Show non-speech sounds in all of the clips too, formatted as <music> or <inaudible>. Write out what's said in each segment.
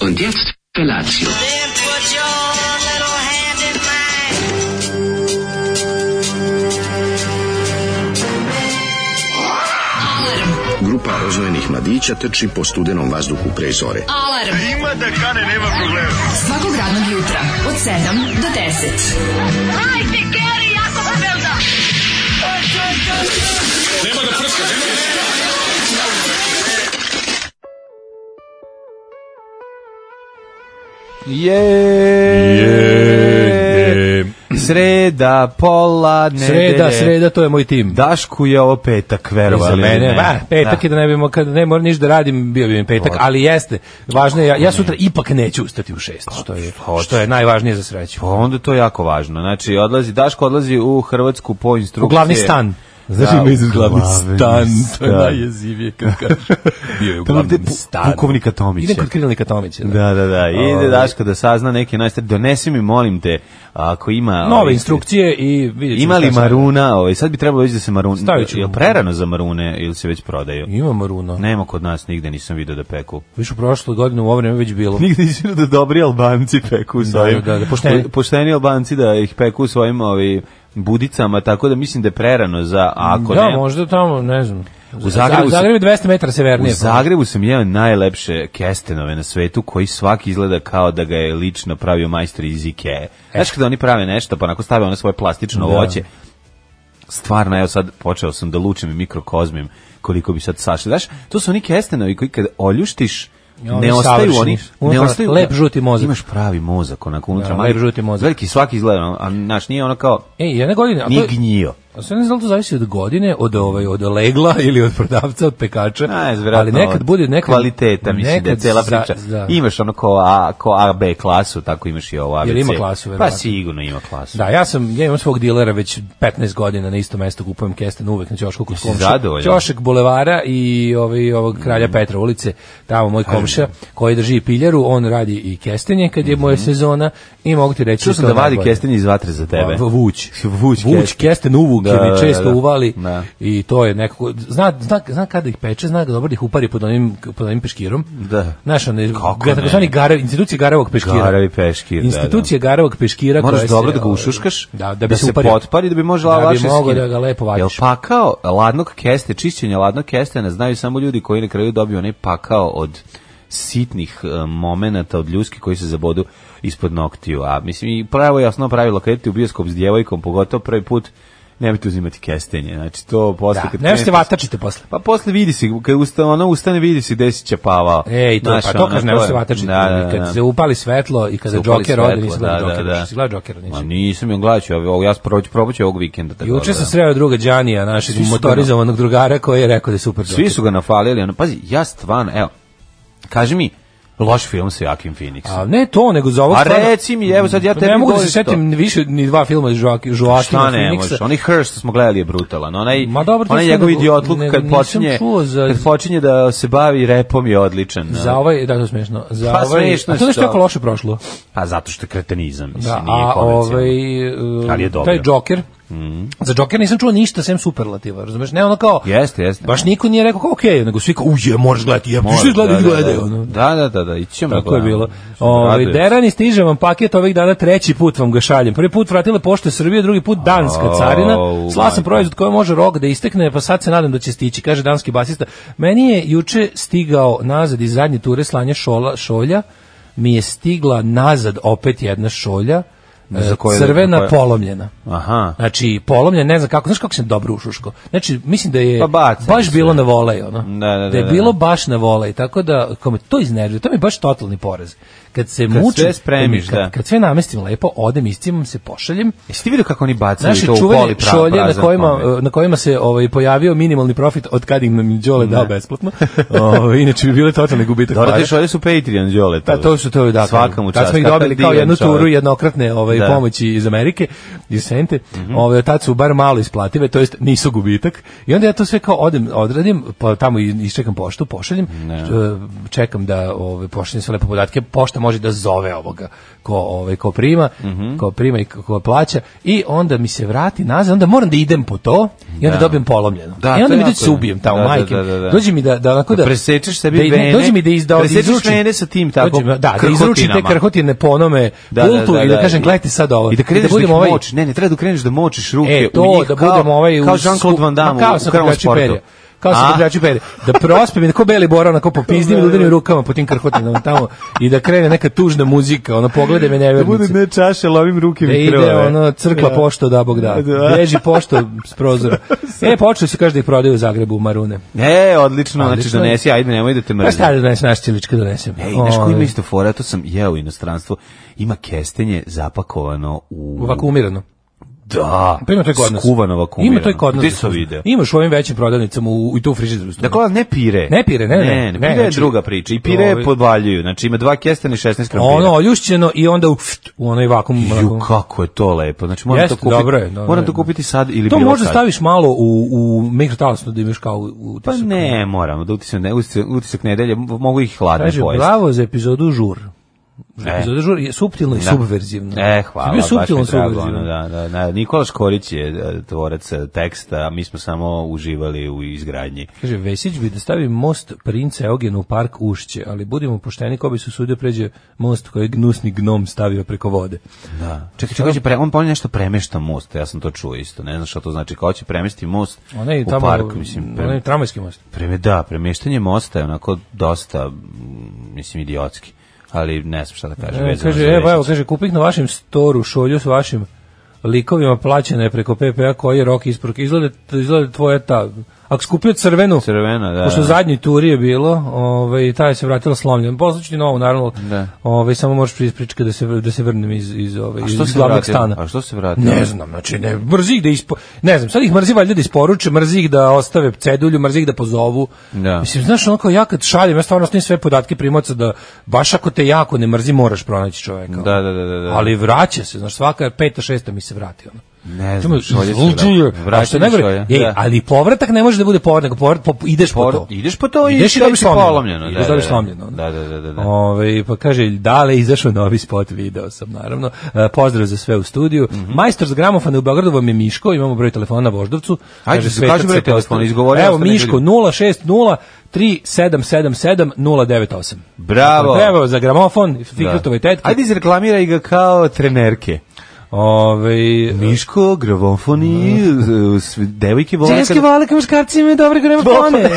Und jetzt Felatio. Then put your little hand in mine. Grupa oznojenih mladića trči po studenom vazduhu pre zore. Alarm. Ima da kane, nema problema. Svakog radnog jutra, od 7 do 10. Hajde, Keri, jako se velda! Je, Je, je. Sreda, pola, nedelje. Sreda, sreda, to je moj tim. Dašku je ovo petak, Za verovali. mene, ba, petak je da ne bimo kad ne moram ništa da radim, bio bi mi petak, ali jeste. Važno je ja, ja sutra ipak neću ustati u 6, što je što je najvažnije za sreću. Pa onda je to jako važno. Znači, odlazi, Daško odlazi u Hrvatsku po instrukcije. U glavni stan. Znaš Da, ima izraz u glavni glavni stan, to je stan. najjezivije kad kažeš. Bio je u Tamo gde glavnom pu- stanu. pukovnika Tomića. Idem kod Krilnika Tomića. Da. Da, da, da. Ide Daško da sazna neke najstari. Donesi mi, molim te, ako ima... Nove ovaj, instrukcije i vidjet ćemo Ima li šta sad. Maruna? Ovaj, sad bi trebalo već da se Marun... Stavit ću. Jel prerano za Marune ili se već prodaju? Ima Maruna. Nema kod nas, nigde nisam video da peku. Više u prošloj godini u ovo vreme već bilo. <laughs> Nigde nisam vidio da dobri Albanci peku svojim... da, da, pošteni. po- pošteni Albanci da ih peku svojim ovim budicama, tako da mislim da je prerano za... a Ako da, ne, možda tamo, ne znam. U Zagrebu U se- Zagrebu 200 metara U severnije. Zagrebu sam jeo najlepše kestenove na svetu, koji svaki izgleda kao da ga je lično pravio majstor iz E. Ikea. Znaš kada oni prave nešto, pa onako stave ono svoje plastično voće, stvarno, evo sad počeo sam da lučim i mikrokozmim koliko bi sad sašli. Znaš, to su oni kestenovi koji kada oljuštiš, I oni ne ostaju savršeni. oni, ne Unutra ostaju, lep žuti mozak. Imaš pravi mozak, onako unutra. Da, mali- lep žuti mozak. Veliki svaki izgleda, ono, a naš nije ono kao, Ej, jedne godine, ako nije je, gnjio. E, A sve ne znam da li to zavisi od godine, od ovaj od legla ili od prodavca, od pekača. A, je ali vjerojatno nekad bude nekad kvaliteta, mislim da je nekad cela za- priča. da. Imaš ono ko A, ko A, B klasu, tako imaš i ovo ABC. Jel ima klasu, Pa verovatno? sigurno ima klasu. Da, ja sam, ja imam svog dilera već 15 godina na istom mestu kupujem kesten uvek na ćošku kod komša. zadovoljan? Mm. Ćošak bulevara i ovaj ovog kralja Petra ulice, tamo moj komša koji drži piljaru, on radi i kestenje kad je moja sezona i mogu ti reći Mhm. Čuo sam to da vadi najbolje. kestenje iz vatre za tebe. Pa, Vuć. Vuć kesten. kesten uvuk, Da, jer mi da, da, često da. uvali Da. i to je nekako, zna, zna, zna kada ih peče, zna dobro da ih upari pod onim, pod onim peškirom. Da. Znaš, one, Kako ga, tako ne? zvani gare, institucije garevog peškira. Garavi peškir, da, da. Institucije garevog peškira. Moraš koja se, dobro da ga ovaj, ušuškaš, Da, da bi se, potpari, upario. da bi može Da bi lakše mogao skine. da ga lepo vadiš. Jel pakao ladnog keste, čišćenje ladnog kestena, znaju samo ljudi koji na kraju dobiju onaj pakao od sitnih e, momenata od ljuski koji se zabodu ispod noktiju. A mislim, i pravo je osnovno pravilo, kad idete u bioskop s djevojkom, pogotovo prvi put, nemojte uzimati kestenje. Znači, to posle... Da, kad nešto se krenete- vatačite posle. Pa posle vidi se, kad usta, ona ustane, vidi se gde si čepavao. Ej, to, Znaš, pa to ono, kaže, nema je- se vatačiti. Da, da, Kad da. se upali svetlo i kada Se upali Joker ode, svetlo, nisam gledao da, da, Jokera, da. nisi gledao Jokera, nisi. Ma nisam joj glaćao, ovo ja proći probaću ovog vikenda. tako Juče da- sam sreo druga Đanija, našeg su motorizovanog drugara koji je rekao da je super Svi su ga nafalili, ono, pazi, ja stvarno, evo, kaži mi, loš film sa Joaquin Phoenixom. A ne to, nego za ovo A stvarno- reci mi, evo sad ja Pa tebi Ne mogu da govorim se setim više ni dva filma Joaki, to. Joakina Šta ne Phoenixa. možeš, onaj Hearst smo gledali je brutalan, onaj, Ma dobro, to onaj sam njegov nego- idiotluk nego kad nisam počinje, čuo za- kad počinje da se bavi repom je odličan. Za ovaj, da, to je smešno. Za Pa, ovaj, smešno a to je je nešto to. jako loše prošlo. Pa zato što je kretenizam, mislim, Da, nije a komercijalno. ovaj, uh, Ali je dobro. Mhm. taj Joker, Za Joker nisam čuo ništa sem superlativa, razumeš? Ne ono kao, Jeste, jeste. baš niko nije rekao kao okej, nego svi kao, uje, moraš gledati, ja, Moram, što gledati, da, da, <laughs> gledaj, da. ono. Da, da, da, da, ići ćemo. da Tako je gledamo. bilo. Raduje Ovaj pa. se. Derani stiže vam paket ovih dana treći put vam ga šaljem. Prvi put vratile pošte Srbije, drugi put danska Au, carina. Sla sam majko. proizvod koji može rok da istekne, pa sad se nadam da će stići, kaže danski basista. Meni je juče stigao nazad iz zadnje ture slanja šola, šolja, mi je stigla nazad opet jedna šolja, Ne znam e, koja je- crvena koja je- polomljena. Aha. Znači, polomljen, ne znam kako, znaš kako sam dobro ušuško. Znači, mislim da je Pa bacaj baš sve. bilo na volej, ono. Da, da, da, je da. bilo baš na volej, tako da, kao me to iznervira, to mi je baš totalni porez. Kad se Kad mučim, sve spremiš, kad, da. kad sve namestim lepo, odem, iscimam se, pošaljem, Jesi ti vidio kako oni bacaju Naše to u čuvene poli šolje na kojima, e, na kojima se ovaj, pojavio minimalni profit od kad im nam Đole dao besplatno. <laughs> Ovaj, inače bi bile totalni gubitak Dobro, para. te šolje su Patreon, Đole. Pa to su to da. Svakam u Tad čast. smo ih Kakav dobili kao divan jednu čovjek. turu jednokratne, ovaj i Da. Mhm. pomoći iz Amerike, iz Sente, ove, tad su bar malo isplative, to jest nisu gubitak. I onda ja to sve kao odem, odradim, pa tamo i- iščekam poštu, pošaljem, č- čekam da ove, pošaljem sve lepo podatke, pošta može da zove ovoga ko, ove, ko prima, Mhm. ko prima i ko, ko plaća i onda mi se vrati nazad, onda moram da idem po to i onda dobijem polomljeno. Da, I to onda je mi dođe jako- se ubijem tamo, da, da, majke. da, da, da. Dođe mi da, da onako da... presečeš sebi da i- ne, vene, dođe mi da, iz, da presečeš izručim- vene sa tim tako dođe mi- da, da izručim te krhotinama. krhotine po onome Da, da, pultu da, i da da. kažem, gledajte sad ovo. I da kreneš da, budem ovaj- ih močiš. Ne, ne, treba da kreneš da močiš ruke E, u to njih da kao, budem ovaj u kao Jean-Claude Van Damme ma kao u sam krvom kopljači sportu. perja. Kao sam A? kopljači perja. Da prospem i da ko beli bora, onako popizdim i da udarim rukama po tim krhotinama tamo i da krene neka tužna muzika, ono pogleda me Da bude nevjernice. ne čaše, lovim ruke Da mi ide krvave. ono crkla pošto da bog da. Da. Beži pošto s <laughs> prozora. E počeli su kaže da ih prodaju u Zagrebu u Marune. E, odlično, znači Odlično. donesi, ajde, nemoj da te Pa mrzim. šta da donesem, naš cilička donesem. Ej, znaš koji ima Ovaj, isto fora, to sam jeo u inostranstvu, ima kestenje zapakovano u... Vakuumirano. Da, Pa ima to i kod nas. skuvano vakuumirano. Ima to i kod nas. Gde sam video? Imaš u ovim većim prodavnicama u, i tu u frižideru. stoji. Dakle, ne pire. Ne pire, ne, ne, ne, ne, pire je znači- druga priča. I pire Ovi- je podvaljuju. Znači, ima dva kestena i 16 krampira. ono oljušćeno i onda u, u onoj vakum. Ju, kako je to lepo. Znači, moram Jeste, to kupiti. dobro je, dobro moram je. to kupiti sad ili To bilo možda kad. staviš malo u, u mikrotalasno da imaš kao u Pa ne, moramo da utisak, ne, utisak, utisak nedelje, m- mogu ih hladne Kaže, pojesti. bravo za epizodu žur. Za E. epizodu žur je suptilno i subverzivno. E, hvala, Bio baš mi suptilno je i drago. subverzivno. ono, Da, da, da. Nikola Škorić je e, tvorac e, teksta, a mi smo samo uživali u izgradnji. Kaže, Vesić bi da stavi most princa Eugena u park Ušće, ali budimo pošteni ko bi se usudio pređe most koji je gnusni gnom stavio preko vode. Da. Čekaj, čekaj, kaže, pre, on pa on nešto premešta most, ja sam to čuo isto, ne znam šta to znači, kao će premesti most Ona je u tamo, park, mislim, pre, onaj tramvajski most. preme, da, premeštanje mosta je onako dosta, mm, mislim, idiotski, ali ne znam šta da kažem. E, vezano kaže, za evo, Vesića. evo, kaže, kupih na vašem storu šolju s vašim likovima plaćena je preko PPA koji je rok isporuke. Izgleda, izgleda tvoja ta... Ako si kupio crvenu, Crveno, da. pošto da. u zadnjoj turi je bilo, ovaj, ta je se vratila slomljena. Poslaću ti novu, naravno, Da. ovaj, samo možeš pričati da se, da se vrnem iz, iz, ovaj, A iz što se glavnog vratilo? stana. A što se vratilo? Ne znam, znači ne, mrzi ih da ispo... Ne znam, sad ih mrzi valjda da isporuče, mrzi ih da ostave cedulju, mrzi ih da pozovu. Da. Mislim, znaš, onako ja kad šaljem, ja stvarno snim sve podatke primoca da baš ako te jako ne mrzi, moraš pronaći čoveka. Da, da, da, da, da. Ali vraća se, znaš, svaka peta, šesta mi se vrati, ono. Ne Čemu, znam, šolje se izluđuje. vratilo. A što je Vraćanje najgore, šolje, ej, da. ali povratak ne može da bude povrat, nego povrat, po- ideš po Por- to. ideš po to i Ideš i to dobiš si slomljeno. polomljeno, Ideš da, dobiš da, da. slomljeno, ono. Da, da, da, da, da. Ovaj, pa kaže, dale, izašao novi spot, video sam, naravno. E, pozdrav za sve u studiju. Mhm. Majstor z gramofona u Beogradu vam je Miško, imamo broj telefona na Voždovcu. Ajde, Kaže, se svetac kaži broj se telefona, postavlja. izgovori, Evo, ostane Miško, ljudi. 060 3777 098. Bravo. Dakle, Evo, za gramofon, Fikretove tetke. Ajde izreklamiraj ga kao trenerke. Ovaj, Miško, gravofoni, mm. devojke vole... Ženske kada- vole kao muškarci imaju dobre gramofone.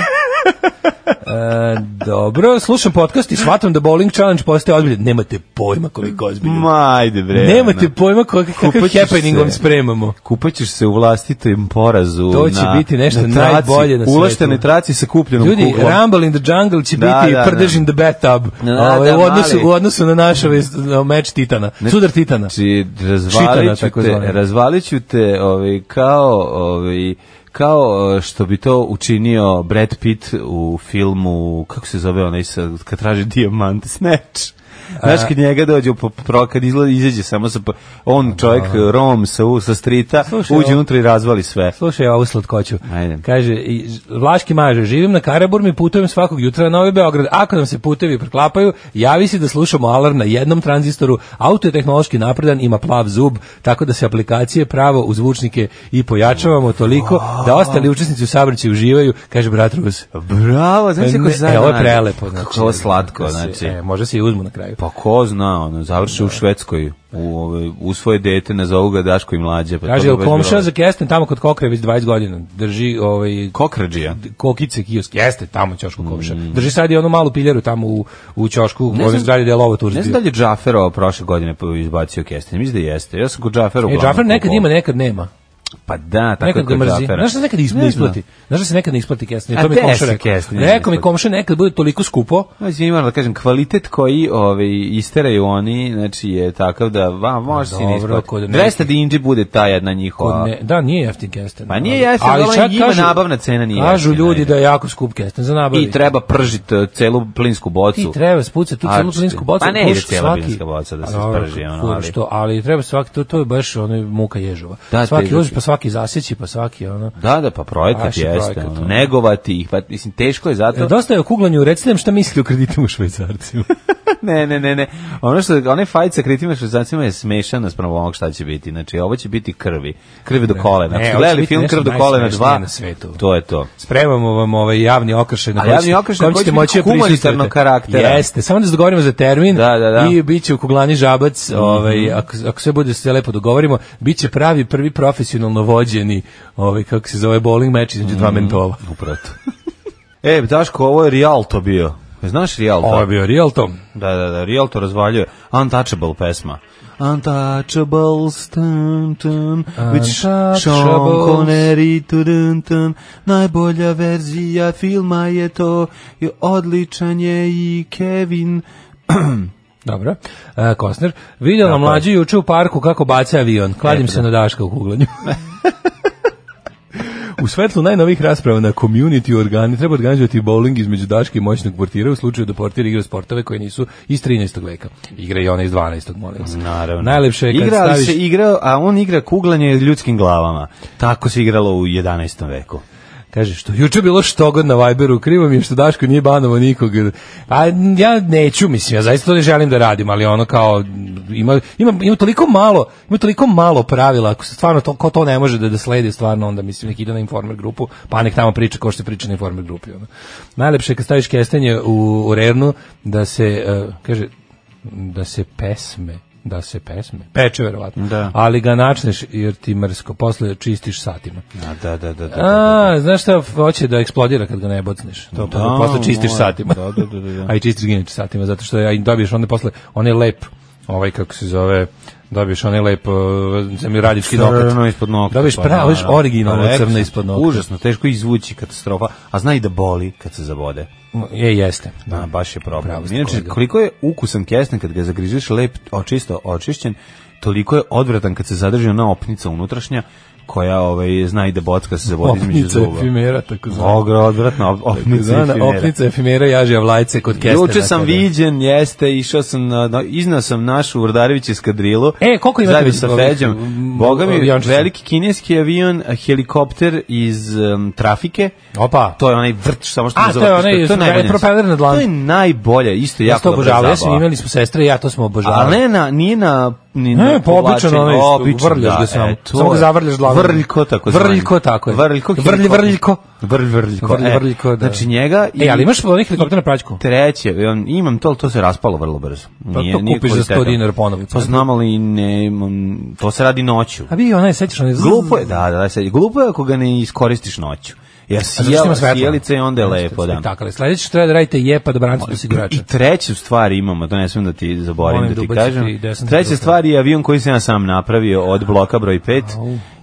E, dobro, slušam podcast i shvatam da bowling challenge postaje ozbiljan. Nemate pojma koliko ozbiljan. Ma, ajde bre. Nemate ono. pojma kakav, kakav Kupat ćeš happening vam se. spremamo. Kupaćeš se u vlastitom porazu. To će na- biti nešto na traci, najbolje na svetu. Ulaštene traci sa kupljenom Ljudi, kuglom. Rumble in the Jungle će Da, biti da, prdež da. in the bathtub. Da, Ovaj, da, u, odnosu, mali. u odnosu na naš ovaj, s- na meč Titana. Sudar Titana. Znači, Čitana, razvalit ću tako te, zvana. razvalit ću te ovaj, kao, ovaj, kao eh, što bi to učinio Brad Pitt u filmu, kako se zove onaj, sa, kad traži dijamant, <laughs> Snatch. Znaš, kad njega dođe, u po, pro, kad izlazi, izađe samo sa, po- on čovjek, Rom, sa, u- sa strita, Slušaj, uđe ovo- unutra i razvali sve. Slušaj ovu slatkoću. Ajde. Kaže, i- Vlaški maže, živim na Karaburmi, putujem svakog jutra na Novi Beograd. Ako nam se putevi preklapaju, javi se da slušamo alarm na jednom tranzistoru. Auto je tehnološki napredan, ima plav zub, tako da se aplikacije pravo u zvučnike i pojačavamo toliko da ostali učesnici u saobraćaju uživaju, kaže brat Rus. Bravo, znači kako Ne, zajedno. e, ovo je prelepo. Znači, Znači, kako je ovo slatko, da se- znači. e, može se i uzmu na kraju. Pa ko zna, ono, završi u Švedskoj, u, ovaj, u svoje dete, nazovu ga Daško i mlađe. Pa to Kaže, bi jel baš komša bilo- za kesten tamo kod Kokre već 20 godina. Drži ovaj, Kokrađija. kokice kiosk jeste tamo u ćošku komša. Drži sad i onu malu piljaru tamo u u ćošku u ovoj zgradi da je Lovo Tours Ne Mm. znam bio. da li je Džaferova prošle godine izbacio kestenje, mislim da jeste. Ja sam kod Džafera E, uglavnom Džafer nekad kupovao. ima, nekad nema. Pa da, tako nekad je ga kod mrzi. Džafera. Znaš da se nekad isplati, Ne znam. isplati? Znaš da se nekad ne isplati kesnije? A To mi je gde komšija se rekao. kesnije ne Rekao mi isplati? komšija nekad bude toliko skupo, Znači, ja moram da kažem, kvalitet koji ove, isteraju oni, znači, je takav da, va, može si ne Dobro, isplatiti. kod 200 dinđe bude ta jedna njihova. Kod ne, da, nije jeftin kesten. Pa nije jeftin, ali čak njima nabavna cena nije Kažu jeftina, ljudi ajde. da je jako skup kesten za nabavi. I treba pržiti e, celu plinsku bocu. Ti treba spucati tu A, celu plinsku bocu. pa ne ide plus cijela svaki- plinska boca da se A, dobro, sprži, ono, fur ali- Što, ali treba svaki, to, to je baš ono, muka ježova. Da, svaki težak uzme, je. pa svaki zaseći, pa svaki ono. Da, da, pa projekat Baš je jeste. projekat, ono, ono. negovati ih, pa, mislim, teško je zato. E, Dosta je o kuglanju, recite nam šta mislite o kreditima u Švajcarcima. <laughs> ne, ne, ne, ne. Ono što, onaj fajt sa kritima švezancima je smešan naspram onog šta će biti. Znači, ovo će biti krvi. Krvi do kolena. Ne, E, Ako ste ovo će gledali biti film nešto Krv do kolena najsmešnije 2, na svetu. to je to. Spremamo vam ovaj javni okršaj na A koji javni ćete- okršaj kojem koji ćete će moći biti da prisustvujete. humanitarnog karaktera. Jeste, samo da se dogovorimo za termin Da, da, Mhm. da. i bit će u Kuglani Žabac, ovaj, ako, ako sve bude sve lepo dogovorimo, bit će pravi prvi profesionalno vođeni, ovaj, kako se zove, bowling meč između dva Mhm. mentova. Upravo to. <laughs> e, Daško, ovo je Rialto bio. E, Znaš Rialto? Ovo je bio real tom. Da, da, da, Real to razvaljuje. Untouchable pesma. Untouchable stun, tun, which Sean Untouchables. Connery, tu, dun, tun, najbolja verzija filma je to, i odličan je i Kevin. Dobro. E, Kostner, vidjela Tako je. mlađu juče u parku kako baca avion. Kladim Eto se na Daška u kuglanju. <laughs> U svetlu najnovih rasprava na community organi treba organizovati bowling između Daške i moćnog portira u slučaju da portir igra sportove koje nisu iz 13. veka. Igra i ona iz 12. molim vas. Najlepše je kad igra, ali staviš... se igrao, a on igra kuglanje ljudskim glavama. Tako se igralo u 11. veku. Kaže, što juče bilo što god na Viberu, krivo mi je što Daško nije banovo nikog. A ja neću, mislim, ja zaista to ne želim da radim, ali ono kao, ima, ima, ima toliko malo, ima toliko malo pravila, ako se stvarno to, ko to ne može da, da sledi, stvarno onda, mislim, nek ide na Informer grupu, pa nek tamo priča ko što priča na Informer grupi. Ono. Najlepše je kad staviš kestenje u, u Rernu, da se, eh, kaže, da se pesme, da se pesme, peče verovatno, Da. ali ga načneš jer ti mrsko, posle čistiš satima. A, da, da, da, da. A, znaš šta hoće da eksplodira kad ga ne bocneš? To pa Da, da, posle čistiš mora. satima. Da, da, da, da, da. <laughs> A i čistiš ga inače satima, zato što ja dobiješ onda posle, on je lep, ovaj kako se zove, dobiješ onaj lep uh, zemljoradnički nokat. Crno ispod nokta. Dobiješ pa pravo, da, dobiješ da. originalno Rekao crno sam, ispod nokta. Užasno, teško izvući katastrofa, a zna i da boli kad se zabode. Je, E, jeste. Da, baš je problem. Pravo ste Inače, kolega. koliko je ukusan kesten kad ga zagrižeš lep, očisto očišćen, toliko je odvratan kad se zadrži ona opnica unutrašnja, koja ovaj, zna i da bocka se zavodi između Opnica zuba. efimera, tako zvana. Ogro, odvratna op- opnica Zvana efimera. Opnica efimera jaži avlajce kod kestena. Juče sam kada- viđen, jeste, išao sam, na, na, iznao sam našu Vrdarević eskadrilu. E, koliko imate Zajedno sa ovih, Feđom. mm, Boga mi, aviončića? veliki kineski avion, helikopter iz em, trafike. Opa. To je onaj vrt, samo što A, mu to je zavatiš, onaj najbolje. propeler na dlanu. To je najbolje, isto Ja sam to jako dobra obožavao, ja sam zabava. imali smo sestre i ja to smo obožavali. A ne na, nije na... Ni na Ne, pa običan povlačenju, onaj isto, običan, vrljaš da, ga samo. e, to Samo ga je. zavrljaš glavom. Vrljko, tako zvani. Vrljko, tako je. Vrljko, Vrlj- helikopter. vrljko. Vrlj, vrljko, Vrlj, e. vrljko, da. Znači njega... i- E, ali imaš onih helikoptera na praćku? treće, on- imam to, ali to se raspalo vrlo brzo. Pa to nije kupiš za 100 kvalitetan. dinara ponovi. Pa znam, ali ne, imam- to se radi noću. A vi onaj sećaš onaj zzz. Glupo je, da, da, da, sad, glupo je ako ga ne iskoristiš noću. Jer A zato što ima sjel, svetla. sjelica i onda je lepo, da. Tako, ali sledeće što treba da radite je pa da branite osigurača. I treću stvar imamo, to ne smijem da ti zaboravim Molim da ti da ubacite i kažem. desnu Treća ruku. stvar je avion koji sam ja sam napravio od bloka broj 5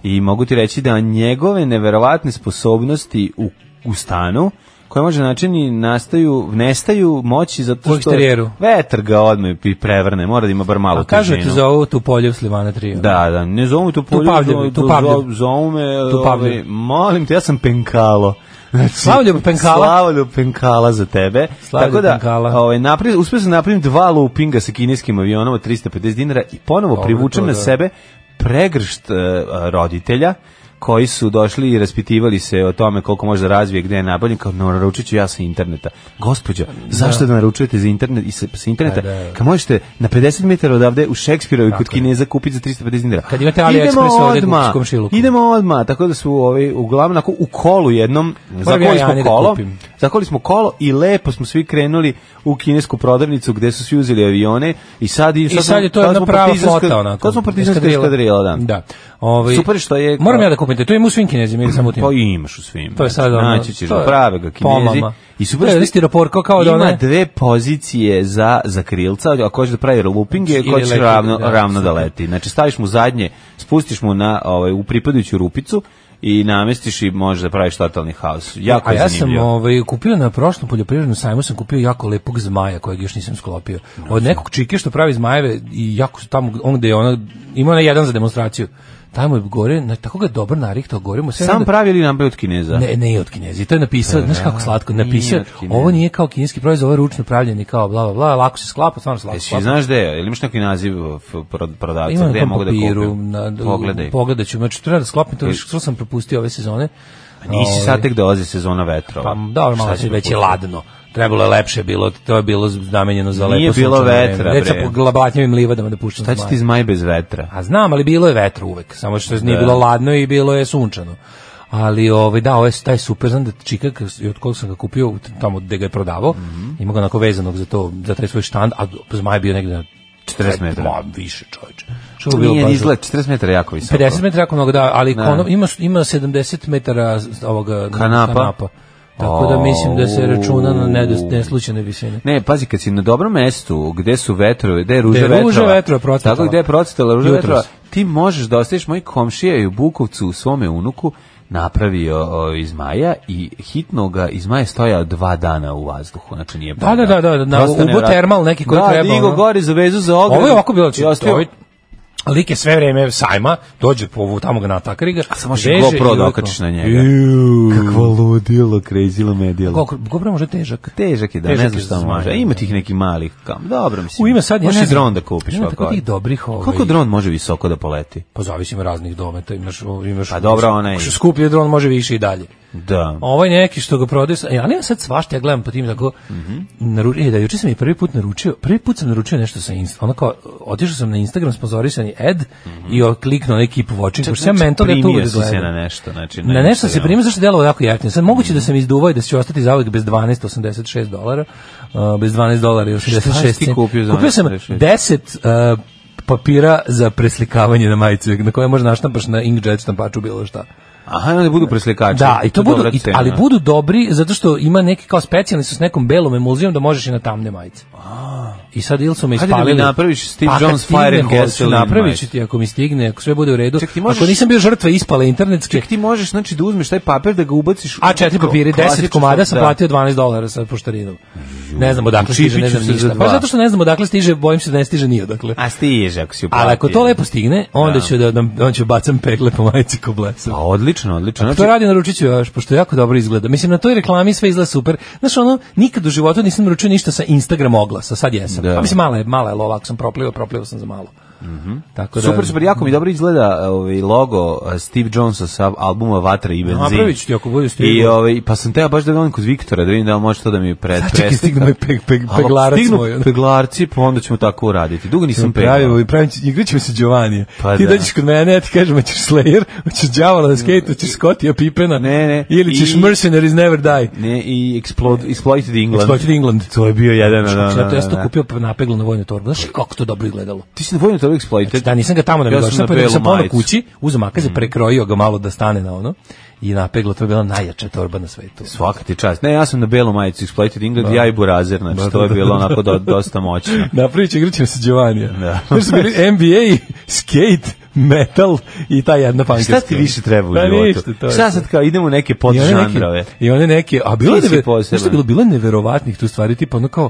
i mogu ti reći da njegove neverovatne sposobnosti u, u stanu koje može načini nastaju, nestaju moći zato U što eksterijeru. vetar ga odmah i prevrne, mora da ima bar malo A Pa kažu ti težinu. za ovo tu polje u Slimana 3. Da, da, ne zovu me tu polju, Pavljevi, tu zo- Pavljevi. zovu me, Tu Pavljevi. ovaj, molim te, ja sam penkalo. Znači, Slavljev penkala. Slavljev penkala za tebe. Slavljev Tako da, penkala. Ovaj, napri, uspio sam napravim dva loopinga sa kineskim avionom od 350 dinara i ponovo Dobro, privučem to na da. sebe pregršt e, a, roditelja koji su došli i raspitivali se o tome koliko može da razvije, gde je nabavljen, kao "No, naručit ću ja sa interneta. Gospođo, zašto da naručujete za internet, i sa, sa interneta? Pa da. Kad možete na 50 metara odavde u Šekspirovi kod Tako je. Kineza kupiti za 350 dinara. Kad imate Idemo AliExpress ovdje odmah, u komšiluku. Idemo odmah, tako da su ovi uglavnom onako u kolu jednom, Moram ja zakolili Jani smo da kolo, kupim. zakoli smo kolo i lepo smo svi krenuli u kinesku prodavnicu gde su svi uzeli avione i sad, I sad je to jedna prava flota onako. To smo partizanska eskadrila. eskadrila, da. da. Ovaj Super što je- Moram ja da kupim, te, to ima u svim kinezima ili samo u tim. Pa imaš u svim. To je sad ono, Naći ćeš to je E, prave ga kinezi. pomama. I super To je što- stiropor, kao- kao da Ima one- dve pozicije za, za krilca, ako hoćeš da pravi looping, je Znači, Ili ko će leti, ravno, da, ravno da super. leti. Znači staviš mu zadnje, spustiš mu na, ovaj, u pripadajuću rupicu i namestiš i možeš da praviš totalni haos. Jako A je ja sam zanimljivo. ovaj, kupio na prošlom poljoprivrednom sajmu sam kupio jako lepog zmaja kojeg još nisam sklopio. Od nekog čike što pravi zmajeve i jako su tamo on gde je ona ima na jedan za demonstraciju. Tamo je gore, na, tako ga je dobro narihtao, gore mu se Sam pravi ili nabavio od Kineza? Ne, ne je od Kinezi. To je napisao, znaš kako slatko, Pa nije napisao. od Kineza. Ovo nije kao kineski proizvod, ovo je ručno pravljen i kao bla bla bla, lako se sklapa, stvarno se lako Jesi, sklapa. znaš gde je? Ili imaš neki naziv uh, f- pro- Ima prodavca na gde ja tom mogu da papiru, kupim? na, Pogledaj. pogledat ću, znači treba da sklopim to, što sam propustio ove sezone. Nisi Ovaj, sad tek dolazi sezona vetrova. Pa dobro, Šta malo si se već je propustio? ladno. Trebalo je lepše bilo, to je bilo namenjeno za lepo Nije bilo sunčano vreme. vetra, Već sa bre. glabatnjavim livadama da puštam Šta će zmaje. ti zmaj bez vetra? A znam, ali bilo je vetra uvek, samo što nije bilo ladno i bilo je sunčano. Ali ovaj da, ovaj taj super znam da čika k- i od kog sam ga kupio tamo gde ga je prodavao. Mhm. Ima ga onako vezanog za to, za taj svoj štand, a zmaj je bio negde na 40 metara. Ma, više, čoveče. Što je bilo Nije baš- izgled, 40 metara je jako visoko. 50 metara jako mnogo da, ali kono- ima ima 70 metara s- ovoga Kanapa. Tako da mislim da se računa na nedos- Au. neslučajne visine. Ne, pazi, kad si na dobrom mestu, gde su vetrove, gde je ruža Gde vetrova, je ruža vetrova procvetala. tako gde je procvetala ruža Jutros. vetrova, ti možeš da ostaviš moj komšija i u Bukovcu u svome unuku napravio o, iz maja i hitno ga iz maja stojao dva dana u vazduhu, znači nije Da, da, da, da, na Prosto Ubu nevjerojatno. termal neki koji da, treba, digo ono. gore za vezu za ogradu. Ovo je ovako bilo, I ostavio- ovaj lik je sve vreme sajma, dođe po ovu, tamo ga natakari ga, A samo što GoPro da okačiš na njega. Kakvo ludilo, krezilo medijelo. GoPro može težak. Težak je da, Težak ne znam je za šta može. zmaj. Ima tih nekih malih kam. Dobro, mislim. U, ima sad, ja Možeš ne i znam. dron da kupiš. Ima tako ovako. tih dobrih, ovaj- Koliko dron može visoko da poleti? Pa zavisi ima raznih dometa, imaš, imaš... Pa dobro, onaj- Što skuplje dron može više i dalje. Da. Ovaj neki što ga prodaju, sa- ja nema sad svašta, ja gledam po tim tako, Mhm. naru- e, da juče sam i prvi put naručio, prvi put sam naručio nešto sa Insta, ono kao, otišao sam na Instagram sponzorisani ad i o- kliknuo onaj keep watching, pošto sam ja mentalno ja to Mhm. znači, primio uvijek si se gledam. na nešto. Znači, Na nešto sam se Instagramu. primio zašto delovo jako jeftino. Sad moguće da sam izduvao i da ću ostati zauvek bez 12,86 dolara, uh, bez 12 dolara i 86 si ti kupio za Kupio sam 12,86? 10 uh, papira za preslikavanje na majicu, na koje možda naštampaš na inkjet štampaču bilo šta. Aha, onda budu preslikači. ono. Da, i to budu, Znači, dobra i, cena. ali budu dobri zato što ima neki kao specijalni su s nekom belom emulzijom da možeš i na tamne majice. I sad ili su me Hajde da mi ispalili. Pa napraviš Steve kad Jones Fire stigne, and hoću, Gasoline Napravit ću majicu. ti ako mi stigne, ako sve bude u redu. Ček, ti možeš- Ako nisam bio žrtva ispale internetske, Ti možeš znači da uzmeš taj papir da ga ubaciš u- a četiri papiri, 10 klasično, komada sam da. platio 12 dolara sa poštarinom. Ne znam odakle stiže, ne čipiću znam se za ništa. dva. Pa zato što ne znam odakle stiže, bojim se da ne stiže ni odakle. A stiže ako si uplatio. Ali ako to lepo stigne, onda ću da, da on će bacam pegle po majici ko blesam. Pa odlično, odlično. Znači, to radi naručit ću još, pošto jako dobro izgleda. Mislim, na toj reklami sve izgleda super. Znaš, ono, nikad u životu nisam naručio ništa sa Instagram oglasa, sad jesam. Da. Mhm. Pa mislim, mala je, mala je lova, ako sam proplivao, proplivao sam za malo. Tako da, Super, super, jako mi dobro izgleda ovaj logo eh, Steve Jonesa sa albuma Vatra i benzin. Napravit ću ti ako bude stiglo. I ovaj pa sam teo baš da on kod Viktora da vidim da li može to da mi <laughs> pred A čekaj, stigne moj peg, peg, A, peglarac stignu moj. ono. peglarci, pa onda ćemo tako uraditi. Dugo nisam peglao. Pravimo i pravim, će- igrat ćemo se Giovanni. Pa ti da. dođeš kod mene, ja ti kažem, hoćeš Slayer, hoćeš Djavola na skate, hoćeš Scottija Pipena, Ne, ne. ili ćeš I- Mercenaries Never Die. Ne, i Explode, Exploited England. E, Exploited England. Znači, To je bio jedan, da, da, Ja to da, ja sam to da. kupio napeglo na vojnu torbu. Znaš kako to dobro izgledalo? Ti si na vojnu toliko Exploited. Znači, da, nisam ga tamo da mi Ja sam došao, na pa da belu sam ponovno majicu. Mm. kući, uzem makaze, prekrojio ga malo da stane na ono i napeglo, to je bila najjača torba na svetu. Svaka ti čast. Ne, ja sam na belu majicu Exploited England, ja i Burazer, znači to je bilo onako do, dosta <laughs> moćno. Napravit ću igraćem se Giovanija. Da. Znaš su bili NBA, skate, metal i ta jedna Šta pankerska. ti više treba u Pa životu? ništa, to je Šta to. sad kao idemo u neke I one neke- podžanrove? I one neke, a bilo Ti je si neve- poseban. znaš šta je bilo, bilo je neverovatnih tu stvari, tipa ono kao,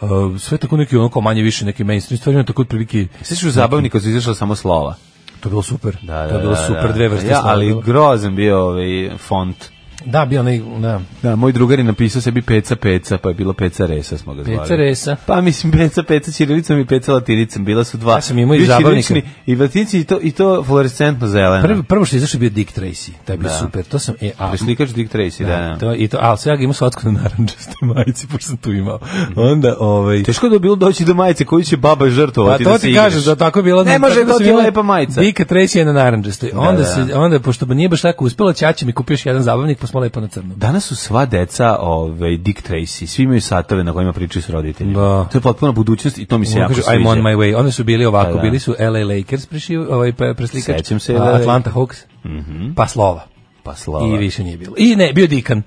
uh, sve tako neki ono kao manje više neke mainstream stvari, ono tako otprilike, Sviš u zabavni kad su izašla samo slova. to je bilo super, Da, da, to je bilo da, super, da. dve vrste ja, stvari. ali grozan bio ovaj font. Da, bio onaj, da, Da, moj drugar je napisao sebi peca peca, pa je bilo peca resa smo ga zvali. Peca Resa. Pa mislim peca peca ćirilicom i peca latinicom, bila su dva. Ja sam imao i Bio zabavnika. ćirilični I latinici i to, i to fluorescentno zeleno. Prvi, prvo što je izašao je bio Dick Tracy, taj je bio super, to sam, e, a, Slikač Dick Tracy, da. da. To, i to, ali sve ja ga imao slatko na naranđastoj majici, pošto sam tu imao. Mhm. Onda, ovaj... Teško je da je bilo doći do majice koju će baba Pa žrtvovati to da se ti igraš. kažeš, da tako je bilo... Ne može, tako to su ti je bile lepa majica. Dika Tracy je na naranđastoj. Onda, da. se, onda pošto bi nije baš tako uspjelo, Ćaća mi kupio još jedan zabavnik, pa smo smo lepo na crno. Danas su sva deca ovaj, Dick Tracy, svi imaju satove na kojima pričaju s roditeljima. Da. To je potpuna budućnost i to mi se Ono jako kažu, sviđa. I'm on my way. Onda su bili ovako, Pa da. bili su LA Lakers prešiv, ovaj, pa- preslikač, Sećam se Mhm. a, LA. Atlanta Hawks, pa Slova. Pa slava. I više nije bilo. I ne, bio je Dikan.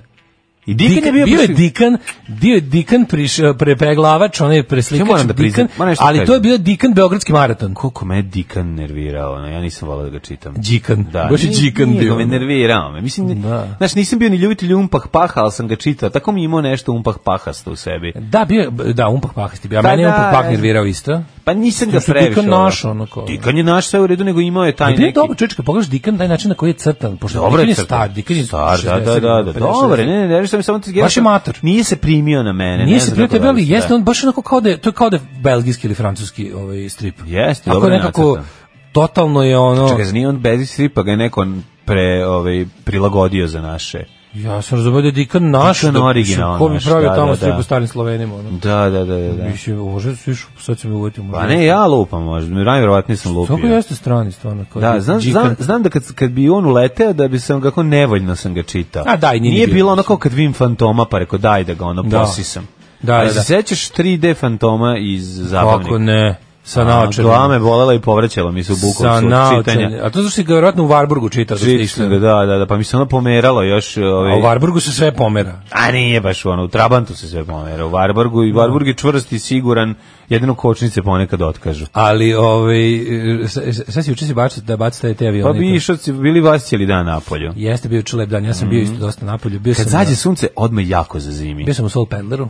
I Dikan je bio... bio je prvi- Dikan, bio je Dikan priš, prepeglavač, onaj preslikač, Ja moram da priznam, Dikan, moram nešto da ali to je kažem. bio Dikan Beogradski maraton. Koliko me je Dikan nervirao, ono, ja nisam volao da ga čitam. Đikan. Da, Baš je nije- Đikan nije bio. ono. ga me nervirao me. Mislim, Da. znaš, nisam bio ni ljubitelj umpah paha, ali sam ga čitao. Tako mi je imao nešto umpah pahasto u sebi. Da, bio, je- da, Umpah Pah je bio. A Pa mene je da, Umpah Pah ne znam. nervirao isto. Pa nisam ga Mislim, previše. Dikan volao. naš, ono kao- Dikan je naš, sve u redu, nego imao je taj Ali bio je neki... dobro čovječ, kad pogledaš Dikan, taj način na koji je crtan, pošto Dobro Dikan je je crtan. star, Dikan je Star, da, da, 60, da, da. 50. Dobro, ne, ne, ne, sam samo ti Baš je mator. Nije se primio na mene. Nije E, ne se znam prijao kako tebe, ali da- jeste on baš onako kao da je, to je kao da je belgijski ili francuski ovaj strip. Jeste, Tako dobro je nekako, nacrtan. totalno je ono... Čekaj, zar nije on bez stripa, ga je neko pre, ovaj, prilagodio za naše. Ja sam razumio da je Dikan naš, Dikan da, original mislim, ko bi naš, pravio da, tamo da, strip da. u starim Slovenima, ono. Da, da, da, da. da. Više, ože, su išu, sad ću me uvjeti. Pa ne, ja lupam možda, najverovatnije sam lupio. Tako jeste strani, stvarno. Kao Da, znam, Dikan. znam, znam da kad, kad bi on uleteo, da bi sam kako nevoljno sam ga čitao. A da, i nije nije, ni bilo. bilo ono kao kad vidim fantoma, pa rekao daj da ga ono Da. posisam. Da, A da, da. se sećaš 3D fantoma iz zabavnika? Kako ne, sa A, naočarima. glava me bolela i povraćala mi se u Sa bukovcu od naočarima. čitanja. A to znači ga vjerojatno u Varburgu čitaš. da ste išli. Čitanja, da, da, da, pa mi se ono pomeralo još... Ovaj, A u Varburgu se sve pomera. A nije baš ono, u Trabantu se sve pomera, u Varburgu i Varburg je čvrst i siguran, jedino kočnice ponekad otkažu. Pa Ali, ovaj, e, s- s- sad si juče si bacio, da bacite te Pa avione. bi išao, si- bili vas cijeli dan napolju. Jeste bio čulep dan, ja sam bio isto dosta napolju. Bio Kad sam, zađe na- sunce, odme jako zazimi. bio sam u Soul Peddleru.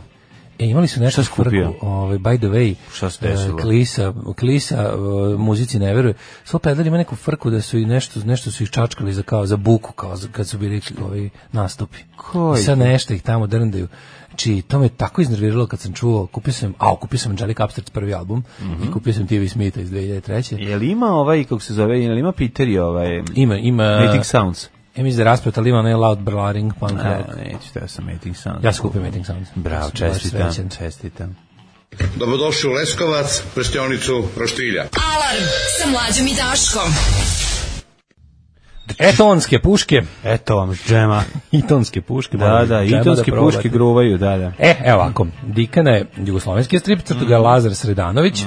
E, imali su nešto si kupio? frku, ovaj, by the way, Šta se desilo? e, klisa, klisa, e, muzici ne veruje. Soul Peddler ima neku frku da su i nešto, nešto su ih čačkali za, kao, za buku, kao za, kad su bili ovi nastupi. Koji? I sad nešto ih tamo drndaju. Znači, to me tako iznerviralo kad sam čuo, kupio sam, a, kupio sam Angelica Upstarts prvi album i kupio sam TV Smitha iz 2003. Je li ima ovaj, kako se zove, je li ima Peter i ovaj... Ima, ima... Mating Sounds. Ja mislim da je rasplet, ali ima onaj loud blaring punk Ne, rock. neću, teo e, sam Mating Sounds. Ja skupim Mating Sounds. Bravo, Ja sam baš čestitam, srećan. čestitam. Dobrodošli u Leskovac, prštionicu Roštilja. Alarm sa mlađom i Daškom. Etonske E, puške. Eto vam, džema. Itonske <laughs> puške. Da, moram da, džema itonske probate. puške gruvaju, da, da. E, evo ovako, Dikana je jugoslovenski strip, crtu ga je Lazar Sredanović,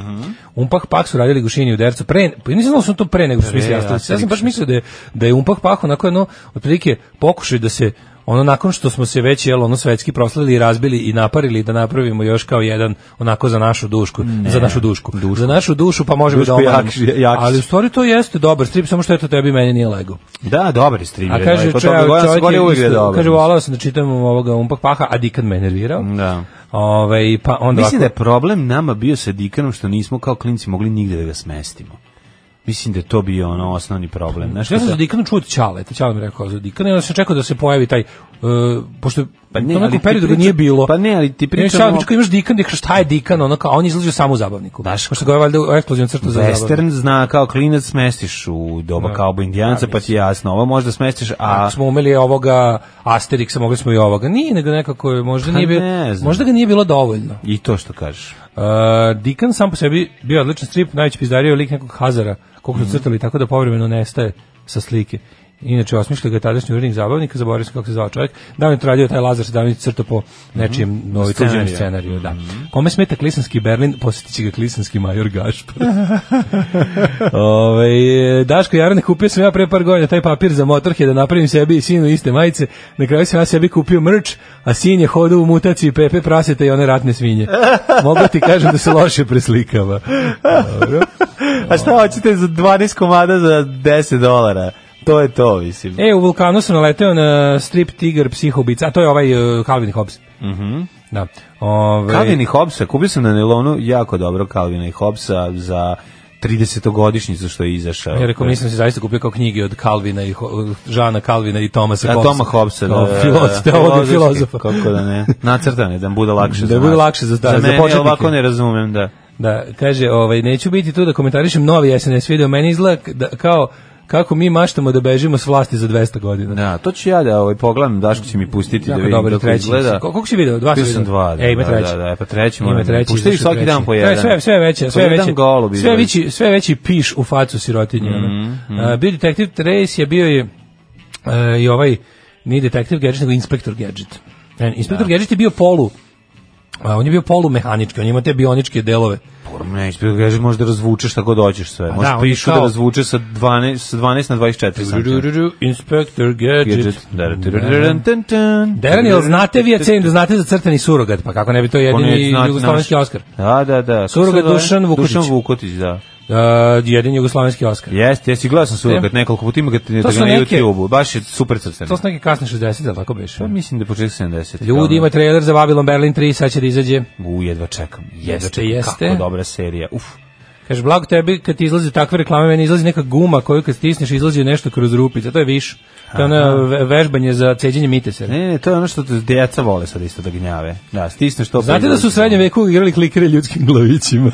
Umpah Pah su radili Gušini u Dercu, pre, pa nisam znao da su to pre nego što su Pre, mislili Asterix. Ja sam baš Asterix. mislio da je, da je Umpah Pah onako jedno, otprilike pokušaj da se ono nakon što smo se već jel ono svetski proslavili i razbili i naparili da napravimo još kao jedan onako za našu dušku za našu dušku, za našu dušu pa možemo Duško da omanemo. Jakšić- Jakšić. ali u stvari to jeste dobar strip samo što je to tebi i meni nije lego Da, dobar je streamer. a kaže Kod čovjek, toga Goran čovjek Sogor je je uvijek isto- dobar. kaže volao sam da čitam ovoga Umpah Paha a Dikan me nervirao Da. Ovaj pa onda Mislim ovako- da je problem nama bio sa Dikanom što nismo kao klinci mogli nigde da ga smestimo. Mislim da je to bio ono osnovni problem. Znaš, Ja sam kada- za Dikanu čuo od Ćale, te Ćale mi je rekao za Dikana i onda sam čekao da se pojavi taj, uh, pošto pa ali ne, to nekom ti periodu ga pričam- nije bilo. pa ne, ali ti I onda pričamo- Ćale mi čekao, imaš Dikan, rekao šta je Dikan, ono kao, a on je izlazio samo u zabavniku. Daško. Pošto ga je valjda u eksplozivnu crtu za zabavniku. Western zna kao klinac smestiš u doba kaubo indijanca, pa ti je jasno. Ovo možda smestiš, a... Ako smo umeli ovoga Asterixa, mogli smo i ovoga. Nije, nego nekako, je, možda, Pa nije bio, ne znam. možda ga nije bilo dovoljno. I to što kažeš. Uh, Dikan sam po sebi bio odličan strip, najveći pizdario je lik nekog Hazara, koliko su crtali, tako da povremeno nestaje sa slike. Inače, osmišljio ga je tadašnji urednik zabavnika, zaboravio sam kako se zvao čovjek. Da je to radio taj Lazar Sedanović crto po nečijem mm -hmm. tuđem Scenariju. scenariju. Da. Kome smeta Klisanski Berlin, posjetit će ga Klisanski major Gašpar. Ove, Daško Jarane, kupio sam ja pre par godina taj papir za motorhe da napravim sebi i sinu iste majice. Na kraju sam ja sebi kupio mrč, a sin je hodao u mutaciji Pepe prasete i one <laughs> ratne svinje. Mogu ti kažem da se loše preslikava. Dobro. A šta hoćete za 12 komada za 10 dolara? To je to, mislim. E, u vulkanu sam naleteo na strip Tiger psihobica, a to je ovaj uh, Calvin i Hobbes. Mhm. da. Ove, Calvin i Hobbesa, kupio sam na Nelonu jako dobro Calvina i Hobbesa za 30-godišnjicu što je izašao. Ja rekao, mislim se zaista kupio kao knjige od Kalvina i Ho- Žana Kalvina i Tomasa Da, Hobbesa. Toma Hobbesa, da, Kao da, da, filozof, da, <laughs> teolog i filozofski, filozofa. Kako da ne, nacrtane, da bude lakše Da za bude nas. lakše za- da, za mene, jer početnike. ovako ne razumem, da. Da, kaže, ovaj, neću biti tu da komentarišem novi SNS video, meni izgleda k- da, kao kako mi maštamo da bežimo s vlasti za 200 godina. Da, to ću ja da ovaj, pogledam, Daško će mi pustiti Jako da vidim dobar je kako treći. izgleda. Ko- koliko si video? Dva si Bio sam video? dva, da, E, ima da, treći. da, da, e, pa treći Ima moram. treći. Puštaju izašao svaki treći. dan po Da, jedan. Sve, sve veće, sve Po jedan veće. golub sve, izađe. veći, sve veći piš u ono. Mhm, facu sirotinje. Mm, Bio detektiv Trace je bio je e, i ovaj Nije detektiv Gadget, nego inspektor Gadget. E, Inspektor Gadget je bio polu, a, on je bio polu mehanički, on je imao te bioničke delove. Ne, ispred kažeš možeš da razvučeš šta god hoćeš sve. Možeš da, on je pišu da kao- razvuče sa 12, sa 12 na 24 santimetra. Inspektor Gadget. Gadget. Da, da, da, da, da, da, da. Deran, jel znate vi, ja cenim da znate za crtani surogat, pa kako ne bi to Ko ne jedini zna- jugoslovenski naš- Oskar? Da, da, da. Kako Surogat se zove? Dušan Vukotić. Dušan Vukotić, da. Uh, jedini jugoslovenski Oskar. Jeste, jesi gledao sam surogat nekoliko puta, ima ga, da su ga na neke- YouTube-u. Baš je super crcen. To su neke kasne 60, ali tako beše. Pa ono- mislim da je početak 70. Ljudi, ima imate... trailer za Babylon Berlin 3, sad će da izađe. U, jedva čekam. Jedva Jeste, čekam. jeste. Kako dobra serija. Uf. Kaže, blago tebi kad ti izlazi takve reklame, meni izlazi neka guma koju kad stisneš izlazi nešto kroz rupice, to je viš. To je ono ve- vežbanje za ceđenje mitesera. Ne, ne, to je ono što djeca vole sad isto da gnjave. Da, stisneš to. pa Znate da su u izlazi. srednjem veku igrali klikere ljudskim <laughs> glavićima?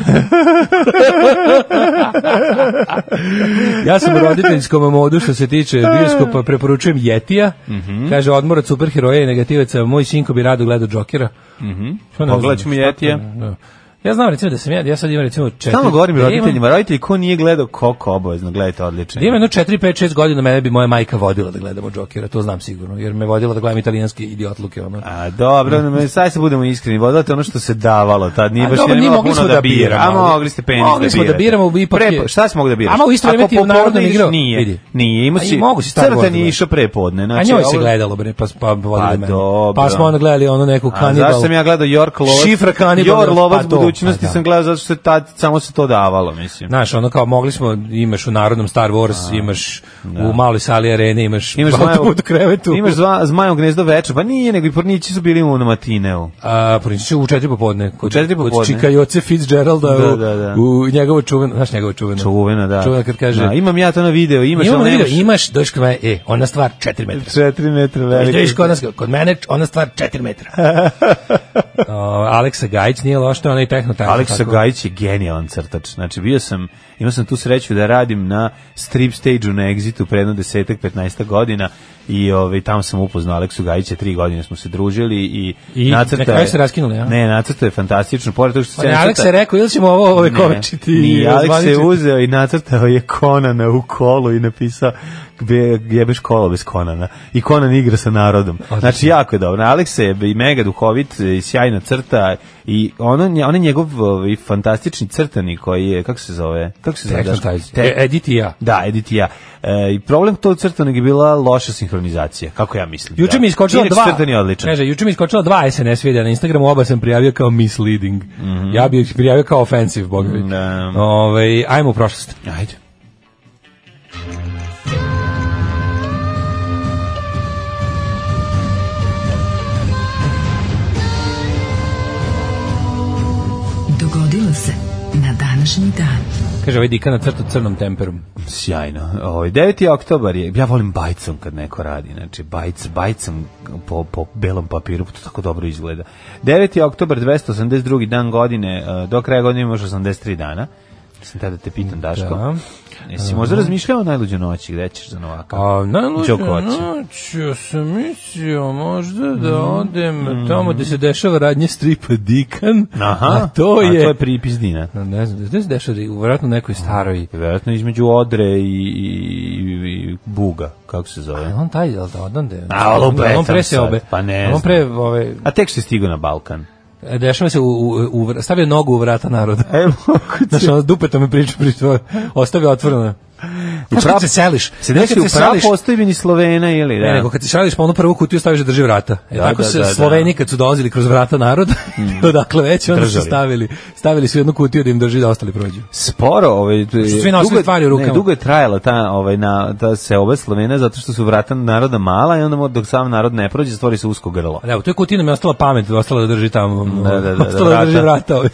ja sam u roditeljskom modu što se tiče bioskopa, preporučujem Jetija. Mhm. Kaže, odmor od superheroja i negativaca, moj sinko bi rado gledao Jokera. Što ne Mhm. Pogledat znam, ćemo šta to- Yetija. da. Ja znam recimo da sam ja, ja sad imam recimo četiri... Stalno govorim ja imam- roditeljima, roditelji ko nije gledao Koko obavezno, gledajte odlično. Da imam jedno 4, 5, 6 godina mene bi moja majka vodila da gledamo Jokera, to znam sigurno, jer me vodila da gledam italijanske idiotluke. Ono. A dobro, no, sad se budemo iskreni, vodate ono što se davalo, tad nije A baš dobro, nije nije imala mogli puno smo da, da bira. biramo, A ali- mogli ste penis Mogli da smo da birate. biramo, ipak je- Prepo- šta si mogli da biraš? Ama u isto vreme Ako ti je u Narodnom popodne ideš, igrao. Nije, Vidi. nije, imao A i si, mogu si Star Wars da crtan je gledaš. išao prepodne. Znači, A njoj se ovo- gledalo, bre, pa, pa vodila Pa mene. dobro. Pa smo onda gledali ono neku A kanibal. zašto sam ja gledao York Lovac? Šifra Kanibal, York Lovac pa to, budućnosti pa da. sam gledao zato što se tad, samo se to davalo, mislim. Znaš, ono kao mogli smo, imaš u Narodnom Star Wars, imaš u maloj sali arene, imaš, Imaš <laughs> imaš zmajevo, autoput u krevetu. imaš zva, zmajevo gnezdo večer, pa nije, nego i pornići su bili u Matineu. A, pronaći u četiri popodne. Kod, U četiri popodne. Kod Čika Joce Fitzgeralda Da, u, da, da. u njegovo čuveno, znaš njegovo čuveno. Čuvena, da. Čuveno kad kaže, Da, imam ja to na video, imaš, imamo ali video, nemaš. imaš, dođeš kod mene, e, ona stvar 4 metra. 4 metra Dođeš, dođeš velika. kod nas, kod mene, ona stvar 4 <laughs> metra. o, Aleksa Gajić nije loš, to je onaj tehnotar. Aleksa Gajić je genijalan crtač. Znači, bio sam, imao sam tu sreću da radim na strip stage-u na Exitu pre jedno desetak, 15 godina i ovaj, tamo sam upoznao Aleksu Gajića, tri godine smo se družili i, I na kraju se raskinuli, a? Pa Ne, nacrtao je fantastično. Pored toga što se Ne, nacrta- Aleksa je rekao, ili ćemo ovo ove kovičiti? Ni, i Aleks je razvaličiti? uzeo i nacrtao je Konana u kolu i napisao gde jebeš kolo bez Konana. I Konan igra sa narodom. Znači, jako je dobro. Aleks je i mega duhovit i sjajna crta i ono, nje- on je njegov ovaj, fantastični crtani koji je, kako se zove? Kako se zove? Daško? Tehnotar. Te- E, Edit i ja. da, Edith i ja. E, I problem tog crtanog je bila loša sinhronizacija, kako ja mislim. Juče Da. mi je iskočilo Inače, dva. Crtani je odličan. Kaže, juče mi je iskočilo dva SNS videa na Instagramu, oba sam prijavio kao misleading. Ja bih ih prijavio kao offensive, boga mi. Mhm. Da. Ovaj, ajmo u prošlost. Ajde. Dogodilo se na današnji dan. Kaže, ovaj dika na crtu crnom temperom. Sjajno. Ovo, 9. oktobar je, ja volim bajcom kad neko radi, znači bajc, bajcom po, po belom papiru, to tako dobro izgleda. 9. oktobar, 282. dan godine, e, do kraja godine imaš 83 dana. Mislim tada te pitam, Daško. Da. Jesi možda razmišljao o najluđoj noći, gde ćeš za Novaka? A najluđa Đoko hoće. noć, ja sam mislio možda da Mhm. odem tamo gde se dešava radnje stripa Dikan, Aha, a to je... to je pripizdina. Ne znam, gde se dešava, vjerojatno nekoj staroj... Vjerojatno između Odre i, i, i Buga, kako se zove. Je on taj, jel da, odande? A, ali opet on pre sam se sad, obe. pa ne On pre, znam. ove, A tek se stigo na Balkan. E, Dešava se u, u, u vra- stavio nogu u vrata naroda. E, <laughs> Znaš, ono dupeta me priča, priča, ostavio otvoreno. Znaš pravo- kad se seliš? Se znaš desi kad u se pravu seliš- postojbini Slovena ili da? Ne, nego kad se šališ pa onu prvu kutiju staviš da drži vrata. E, Da, tako da, se da, da. Sloveni kad su dolazili kroz vrata naroda, <laughs> odakle već, onda Držali. su stavili, stavili su jednu kutiju da im drži da ostali prođu. sporo, ovaj d- su svi nosili dugo je- stvari u rukama. Ne, dugo je trajala ta ovaj na ta se oba Slovena zato što su vrata naroda mala i onda mo- dok sam narod ne prođe stvori se usko grlo. Ali evo, to je kutija nam je ostala pamet, ostala da drži tamo, ono, Da, da, da, <laughs> ostala da, drži vrata. vrata. ovaj.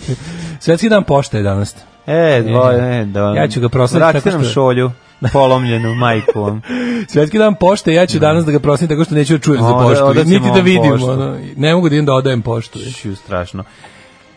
Svetski dan pošte je danas. E, dvoje, ne, da. Ja ću ga proslaviti Vratite tako nam što- šolju polomljenu majku. <laughs> vam. Svetski dan pošte, ja ću danas da ga prosim tako što neću da čujem za Onda poštu, odaćemo niti da vam vidim. poštu. Znači, ono, ne mogu da idem da odajem poštu. Ću, strašno.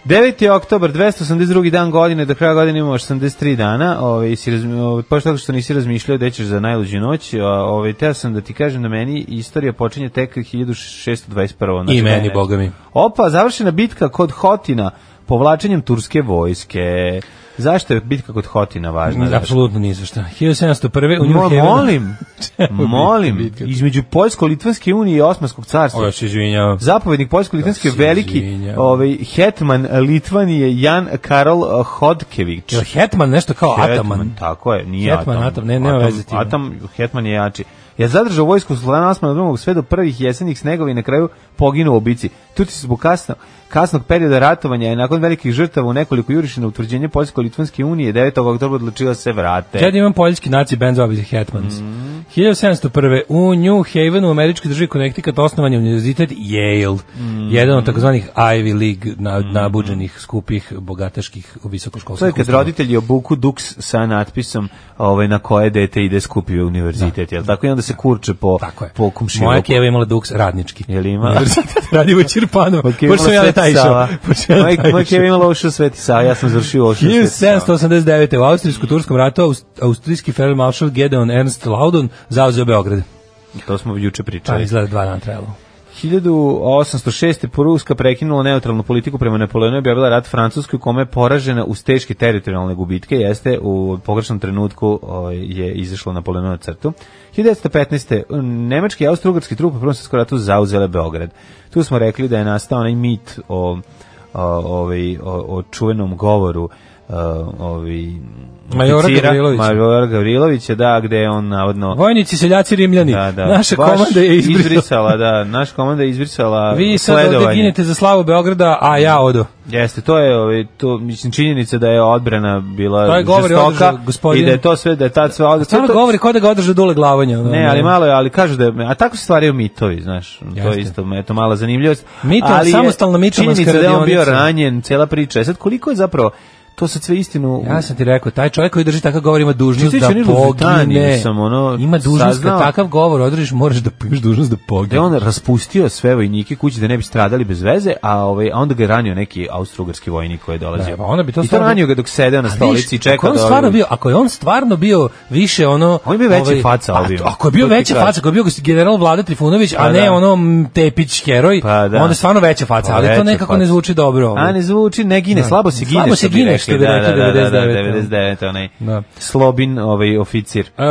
9. oktober, 282. dan godine, do kraja godine imamo 83 dana, ovaj, si razmi, ovaj, pošto tako što nisi razmišljao gde ćeš za najluđu noć, a, ovaj, teo sam da ti kažem da meni istorija počinje tek 1621. I znači da je meni, nešto. boga mi. Opa, završena bitka kod Hotina povlačenjem turske vojske. Zašto je bitka kod Hotina važna? Daško? Apsolutno ni za šta. 1701. u New Mo, Havenu- <laughs> molim, biti molim, bitka? između Poljsko-Litvanske unije i Osmanskog O, carstva. ja se izvinjavam. Zapovednik Poljsko-Litvanske Da se veliki izvinjavam. ovaj, hetman Litvanije Jan Karol eh, Hodkević. Jel Hetman nešto kao Ataman? Tako je, nije Hetman, Ataman. Atam, ne- nema Atam- veze s tim. Atam, Hetman je jači. Je zadržao vojsku Slana Asmana drugog sve do prvih jesenjih snegova i na kraju poginuo u bici. Tu se zbog kasno, kasnog perioda ratovanja i nakon velikih žrtava u nekoliko jurišina utvrđenje Poljsko-Litvanske unije 9. oktobra odlučila se vrate. Ja da imam poljski naci band zove se Hetmans. Mhm. 1701. U New Havenu u američkoj državi Connecticut osnovan je univerzitet Yale, Mhm. jedan od takozvanih Ivy League na, nabuđenih, skupih, bogataških, To je visokoškolskih Mhm. kad roditelji obuku duks sa natpisom ovaj, na koje dete ide skupio univerzitet, jel tako? I onda se kurče po, Tako je. po komšiluku. Moja keva imala duks radnički. Jel ima? Univerzitet <laughs> radi u Čirpanu. Pošto sam ja na taj išao. Pošto sam ja na taj Moja išao. keva imala ošu Sveti Sava, ja sam završio ošu Sveti Sava. 1789. u Austrijsko-Turskom ratu Aust- austrijski Marshal Gedeon Ernst Laudon zauzeo Beograd. To smo juče Pa pričali. izgleda dva dana trajalo. 1806. Poruska prekinula neutralnu politiku prema Napoleonu i objavila rat Francuskoj u kome je poražena uz teške teritorijalne gubitke. Jeste, u pogrešnom trenutku ovaj, je izašla Napoleonu na crtu. 1915. Nemački i austro-ugarski trup u Prvom svjetskom ratu zauzele Beograd. Tu smo rekli da je nastao onaj mit o, o, ovaj, o, o čuvenom govoru o, ovaj, Majora oficira, Gavrilovića. Majora Gavrilovića, da, gde je on navodno... Vojnici, seljaci, rimljani. <laughs> Da, da. Naša Baš komanda je izbrisala. izbrisala. da, naša komanda je izbrisala Vi sad ovde sledovanje. ginete za slavu Beograda, a ja odo. Jeste, to je ovaj to mislim činjenica da je odbrana bila To je govori žestoka održao gospodin- i da je to sve da je tad sve od- Stvarno to- govori ko da ga održa dule glavanja. ono, Ne, ali malo je, ali kažu da je, a tako se stvaraju mitovi, znaš, to je Jeste. isto, eto, mala zanimljivost. Mito- ali je samostalna mitomanska Činjenica da je on bio radionica. ranjen, cela priča. E Sad, koliko je zapravo, to sad sve istinu... Ja sam ti rekao, taj čovjek koji drži takav govor ima dužnost Čitajući da Nilu pogine. Britaniju sam, ono, ima dužnost saznao. E, kad takav govor održiš, moraš da imaš dužnost da da je pogine. on raspustio sve vojnike kući da ne bi stradali bez veze, a ovaj a onda ga je ranio neki austrougarski vojnik koji je dolazio. Da, pa onda bi to I to stvarno- ranio ga dok sedeo na A stolici i vidiš, čekao ako je on da stvarno ovaj- bio, ako je on stvarno bio više ono On je bio veći faca, pa, ovaj bio. Ako je bio To ti veća kažem. faca, ako je bio general Vlada Trifunović, Pa a ne da. ono mm, Tepić heroj, Pa da. onda je stvarno veća faca, Pa ali veća to nekako faca. ne zvuči dobro. ovaj. A ne zvuči, ne gine, slabo se gine. Slabo se što bi gine, rekli, što bi rekli, da, da, da, 99, 99, onaj Da. slobin ovaj, oficir. Uh,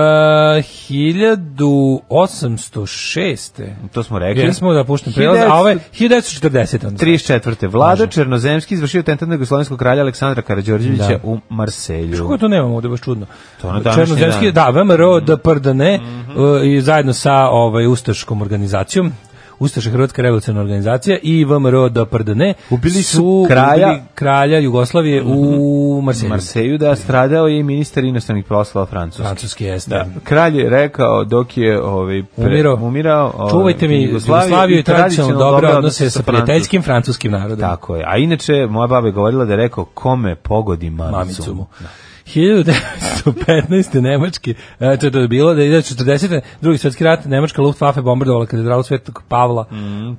1806. To smo rekli. Jesmo da puštam prelaz, a ove 1940. onda. 34. Vlada Černozemski izvršio tentat na jugoslovenskog kralja Aleksandra Karađorđevića Da. u Marselju. Kako to nemamo ovde, baš čudno. To je na današnji Černozemski, da, VMRO, DPR, da ne, uh, i zajedno sa ovaj, Ustaškom organizacijom, Ustaša Hrvatska revolucionarna organizacija i VMRO DPR, da ne, Ubili su Mhm. kralja- ubili kralja Jugoslavije u Marselju. Marseju, da, stradao je i ministar inostranih poslova Francuske. Francuski jeste. Da. Kralj je rekao dok je ovaj pre- Umirao. umirao ovaj, Čuvajte mi Jugoslaviju i tradicionalno dobre odnose sa prijateljskim francuskim narodom. Tako je. A inače moja baba je govorila da je rekao kome pogodi mamicu mu. mamicu. 1915. Nemački, e, to je to bilo, da je 40. drugi svjetski rat, Nemačka Luftwaffe bombardovala katedralu Svetog Pavla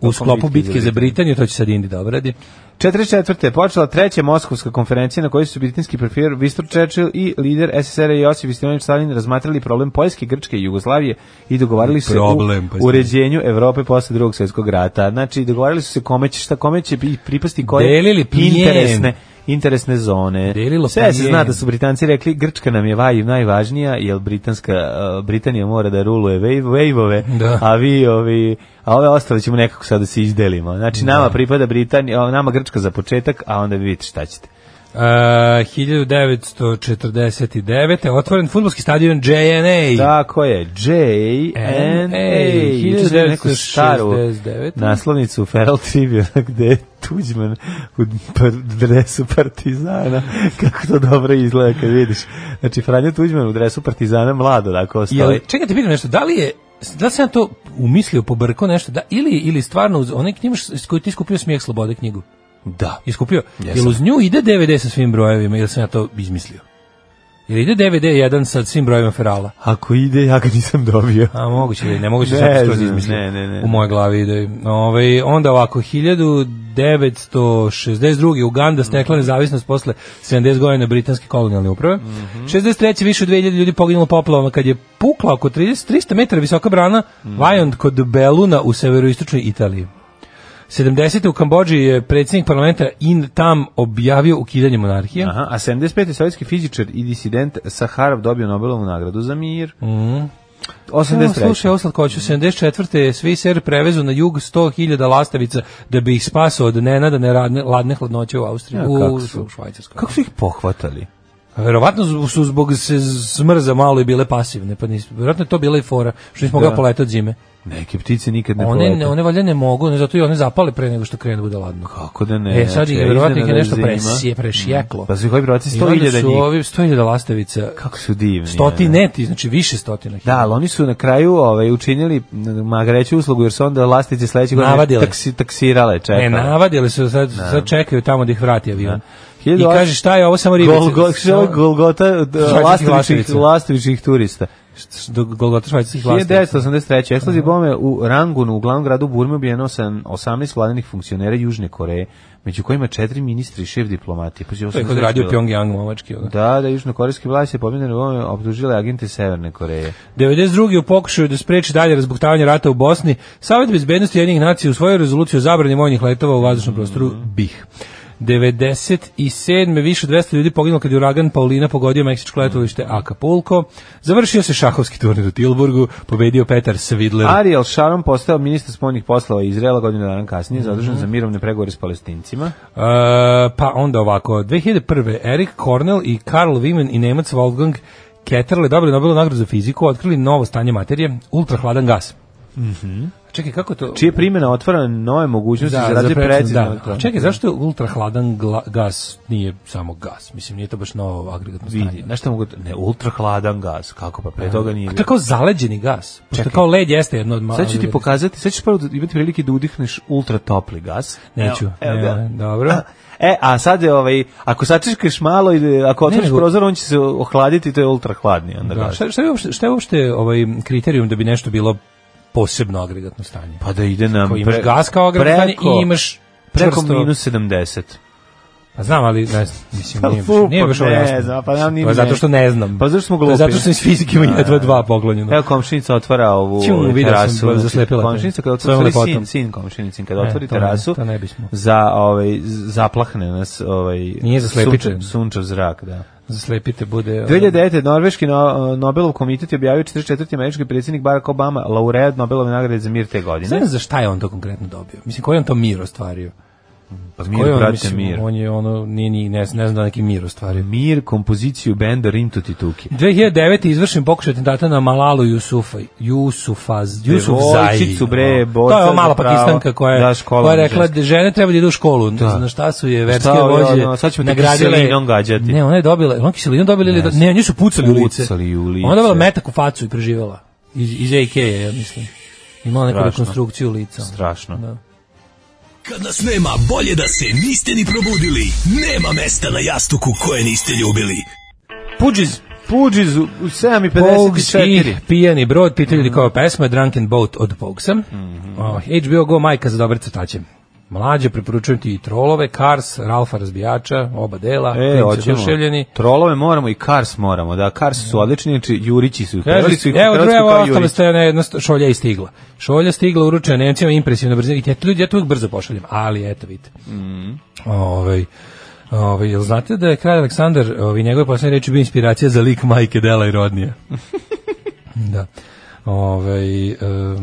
u sklopu bitke za bitke za Britaniju, to će sad Indi da obradi. 44. je počela treća Moskovska konferencija na kojoj su britanski premijer Winston Churchill i lider SSR-a Josip Vistilinović Stalin razmatrali problem Poljske, Grčke i Jugoslavije i dogovarali se Problem, pa u uređenju Evrope posle drugog svjetskog rata. Znači, dogovarali su se kome će šta, kome će bi- pripasti koje Delili plijen. interesne interesne zone. Delilo Sve se plijen. zna da su Britanci rekli Grčka nam je vaj najvažnija, jer Britanska, eh, Britanija mora da ruluje wave, waveove, Da. a vi ovi a ove ostale ćemo nekako sad da se izdelimo. Znači nama pripada Britanija, a nama Grčka za početak, a onda vi vidite šta ćete. E, 1949. otvoren futbolski stadion JNA. Tako je, JNA. Juče sam neku staru 1969. naslovnicu u Feral Tribune gde je Tuđman u par- dresu Partizana. <laughs> Kako to dobro izgleda kad vidiš. Znači, Franjo Tuđman u dresu Partizana mlado, tako Jel, stoji. čekaj, te pitam nešto, da li je da li sam ja to umislio, pobrko nešto, da, ili, ili stvarno, uz, onaj knjimaš s koju ti skupio Smijeh Slobode knjigu? Da. Iskupio? Jel uz nju ide DVD sa svim brojevima ili sam ja to izmislio? Jel ide DVD jedan sa svim brojevima Ferala? Ako ide, ja ga nisam dobio. <laughs> A moguće da je, ne moguće Ne sam to znam, izmislio. ne, ne, ne. U mojoj glavi ide. Ovaj onda ovako 1962. Uganda Mhm. stekla nezavisnost posle 70 godina britanske kolonijalne uprave. Mhm. 63. više od 2000 ljudi poginulo u poplavama kad je pukla oko Mhm. 30 300 metara visoka brana Vajont kod Beluna u severoistočnoj Italiji. 70. u Kambođi je predsjednik parlamenta In Tam objavio ukidanje monarhije. Aha, a 75. sovjetski fizičar i disident Saharov dobio Nobelovu nagradu za mir. Mhm. Evo, 83. slušaj, ovo slatkoću, 74. je svi ser prevezu na jug 100.000 lastavica da bi ih spasao od nenadane radne, ladne hladnoće u Austriji, Ja, u, kako su? u Švajcarskoj. Kako su ih pohvatali? Verovatno su- su zbog se smrza malo i bile pasivne, pa nisu, verovatno je to bila i fora, što nismo mogla poletati od zime. Neke ptice nikad ne One, ne, polete. one valjda ne mogu, ne, zato i one zapale pre nego što krenu bude ladno. Kako da ne? e, sad ih znači, verovatno ih je iznenada nešto zima. presije, prešjeklo. Pa su ih ovi broci I onda 100.000 su njih. ovi 100.000 lastavica. Kako su divni. ono. Stotineti, znači više stotina. Da, ali oni su na kraju ovaj, učinili magreću uslugu, jer su onda lastice sledećeg godine Navadile. taksi, taksirale, čekale. Ne, navadili su, sad, sad čekaju tamo da ih vrati avion. Da. I kaže šta je ovo samo ribice. Golgo, šta je ovo Golgota d- Švajcarskih lastovičnih, lastovica. lastovičnih turista. Do Golgota švajcarskih lastavica. 1983. Eksplozija bombe u Rangunu, u glavnom gradu Burme, ubijeno sam 18 vladinih funkcionera Južne Koreje, među kojima četiri ministri i šef diplomatije. Pa, To je kod radio Pyongyang momački. ono. Da, da, južnokorejski vlast je pobjedene bombe optužile agente Severne Koreje. 92. u pokušaju da spreči dalje razbuktavanje rata u Bosni, Savjet bezbednosti jednih nacija u svojoj rezoluciji o zabrani vojnih letova u vazdušnom prostoru BiH. 97. više od 200 ljudi poginulo kad je uragan Paulina pogodio meksičko letovište Acapulco. Završio se šahovski turnir u Tilburgu, pobedio Petar Svidler. Ariel Sharon postao ministar spoljnih poslova Izraela godinu dana kasnije, zadužen Mhm. za mirovne pregovore s Palestincima. E, pa onda ovako, 2001. Erik Cornell i Karl Wieman i Nemac Wolfgang Ketterle dobili Nobelovu nagradu za fiziku, otkrili novo stanje materije, ultrahladan gas. Čekaj, kako je to? Mhm. Čije primjena otvara nove mogućnosti za razvoj precizno, preciznog da. A Čekaj, zašto je ultrahladan gla- gas nije samo gas? Mislim, nije to baš novo agregatno stanje. Vidi, znaš šta mogu... Ne, ultra hladan gas, kako pa pre toga nije... A to je kao zaleđeni gas. Pošto Čekaj. kao led jeste jedno od Sad ću ti pokazati, sad ćeš prvo da- imati prilike da udihneš ultra topli gas. Neću. Evo, evo ga. Ne, dobro. E, a sad je ovaj, ako sačekaš malo i ako otvoriš nego- prozor, on će se ohladiti, to je ultra hladni. Onda Da, gas. šta, šta je uopšte, šta je uopšte ovaj kriterijum da bi nešto bilo posebno agregatno stanje? Pa da ide nam... Ako imaš pre- gas kao agregatno stanje preko- i imaš Preko čvrsto- minus 70. Pa znam, ali ne znam, mislim, Pa nije baš, super, nije baš ovo ne jasno. znam, pa nam nije- to je zato što ne znam. Pa zašto smo To je glupi? Zato što sam iz fizike ima jedva dva poklonjeno. Evo komšinica otvara ovu Ću, ovu vidio sam, terasu. Znači, ba- zaslepila te. Komšinica kada Svojom otvori sin, lepotom. sin komšinicin kada E, otvori to ne- terasu. to ne bismo. Za ovaj z- zaplahne nas ovaj Nije zaslepit će. sunčev- sunčev zrak, da. Zaslepite bude... ono- 2009. Norveški no, Nobelov komitet je objavio 44. američki predsjednik Barack Obama, laureat Nobelove nagrade za mir te godine. Znam za šta je on to konkretno dobio. Mislim, koji je on to mir ostvario? Pa Koji je mir, on, brate, mislim, mir. On je ono, nije, ni ne, znam- ne znam da neki mir ostvario. Mir, kompoziciju benda Rim to Tituki. 2009. izvršen pokušaj atentata na Malalu Jusufa, Jusufaz, Jusuf Zaji. Devojčicu, bre, borca ono. to je ova mala za prava. pakistanka koja, Da, je škola koja je rekla ženska. da žene treba da idu u školu. Da. Znaš šta su je verske Šta, ono, vođe ono, sad ćemo te nagradile. kiselinom gađati. Ne, ona je dobila, ona kiselinom dobila ili... Ne do- znam. Ne, nju su pucali u lice. Pucali u lice. Ona je dobila metak u facu i preživjela. Iz, iz AK, -e, ja mislim. Imala neku Strašno. rekonstrukciju lica. ono. Strašno. Da. Kad nas nema, bolje da se niste ni probudili. Nema mesta na jastuku koje niste ljubili. Puđiz! Puđi u u 7 i Pogues i 54. Pijani brod, pitaju ljudi kao je pesma Drunken Boat od Pogsa. Mhm. Oh, HBO Go majka za dobre crtače. Mlađe, preporučujem ti i trolove, Cars, Ralfa razbijača, oba dela, E, Klinci hoćemo. oduševljeni. Trolove moramo i Kars moramo, da. Kars su odlični, znači Jurići su. Pevali su Kaže, ih u evo Hrvatskoj drugo, kao ostale Jurići. ste na jedno, sto- šolja je stigla. Šolja stigla, uručena Nemcima, impresivno brzo. Vidite, ja to ljudi, ja to uvijek brzo pošaljem, ali eto vidite. Mhm. Ovaj, ovaj, jel znate da je kralj Aleksandar, ovaj, njegove posljednje reči bio inspiracija za lik majke Dela i <laughs> Rodnija? da. Ovaj, em,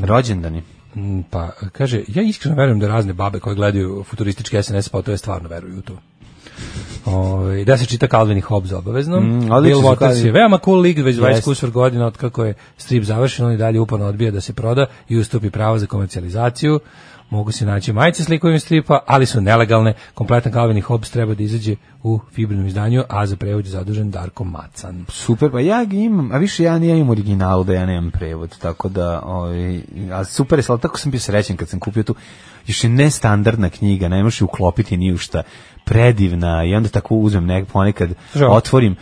Rođendani. Mm, Pa, kaže, ja iskreno verujem da razne babe koje gledaju futurističke SNS pa to je stvarno veruju u to. Ove, da se čita Calvin i Hobbes obavezno. Mm, odlični Bill su Waters Calvin. je veoma cool lik, već 20 Jest. kusur godina od kako je strip završen, on i dalje uporno odbija da se proda i ustupi pravo za komercijalizaciju. Mogu se naći majice s likovim stripa, ali su nelegalne. Kompletan Calvin i Hobbes treba da izađe u fibrnom izdanju, a za prevod je zadužen Darko Macan. Super, pa ja ga imam, a više ja nijem originalu da ja nemam prevod, tako da, ovaj, a super je, ali tako sam bio srećen kad sam kupio tu, još je nestandardna knjiga, ne možeš je uklopiti ni u šta, predivna, i onda tako uzmem nek, ponekad, Žao. otvorim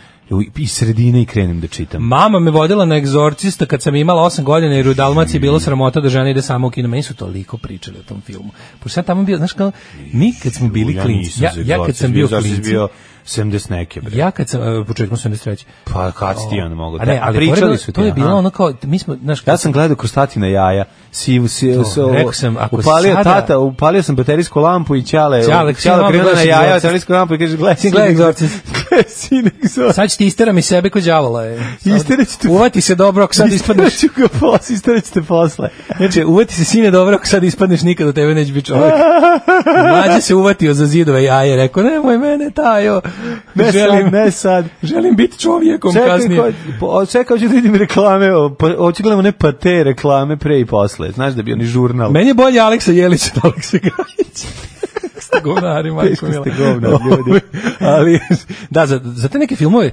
iz sredine i krenem da čitam. Mama me vodila na egzorcista kad sam imala 8 godina jer u Dalmaciji je Mm. bilo sramota da žena ide sama u kino. Meni su toliko pričali o tom filmu. Pošto sam tamo bio, znaš kao, mi kad smo bili Ja klinci, nisam ja, za ja kad egzorcist sam bio, bio zato sam klinci, bio 70 neke, bre. Ja kad sam e, početkom 73. Pa kad si ti onda mogao? A ne, Da, ali pričali pored- su ti, To je bilo aha. ono kao mi smo znaš Ja sam gledao kroz tatina jaja. Si, si, To, so, rekao sam, ako upalio sada- tata, upalio sam baterijsku lampu i ćale. Ćale, Ćale, sine, ćale krenuo na gledaš jaja, Exorcist. baterijsku lampu i kaže, gledaj, Sin, sin, <laughs> gledaj gledaj, Exorcist. sin, Exorcist. Sad ću ti isteram iz sebe kod đavola. <laughs> je. Sad- Isteraću te- Uvati se dobro, ako <laughs> sad ispadneš. Isteraću ga posle, isteraću te posle. Znači, uvati se sine dobro, ako sad ispadneš nikad od tebe neće biti <laughs> čovjek. Mlađe se uvatio za zidove jaje, rekao, nemoj mene tajo, Ne želim, sad, ne sad. <laughs> želim biti čovjekom kasnije. Čekaj, ko- po- čekaj, hoću da vidim reklame, o, pa- hoću gledamo ne pa te reklame pre i posle. Znaš da bi oni žurnal. Meni je bolje Aleksa Jelić od Aleksa Gajića. <laughs> Ste govnari, majko Teško mila. ste govnar, ljudi. Ove, Ali, da, za, za te neke filmove...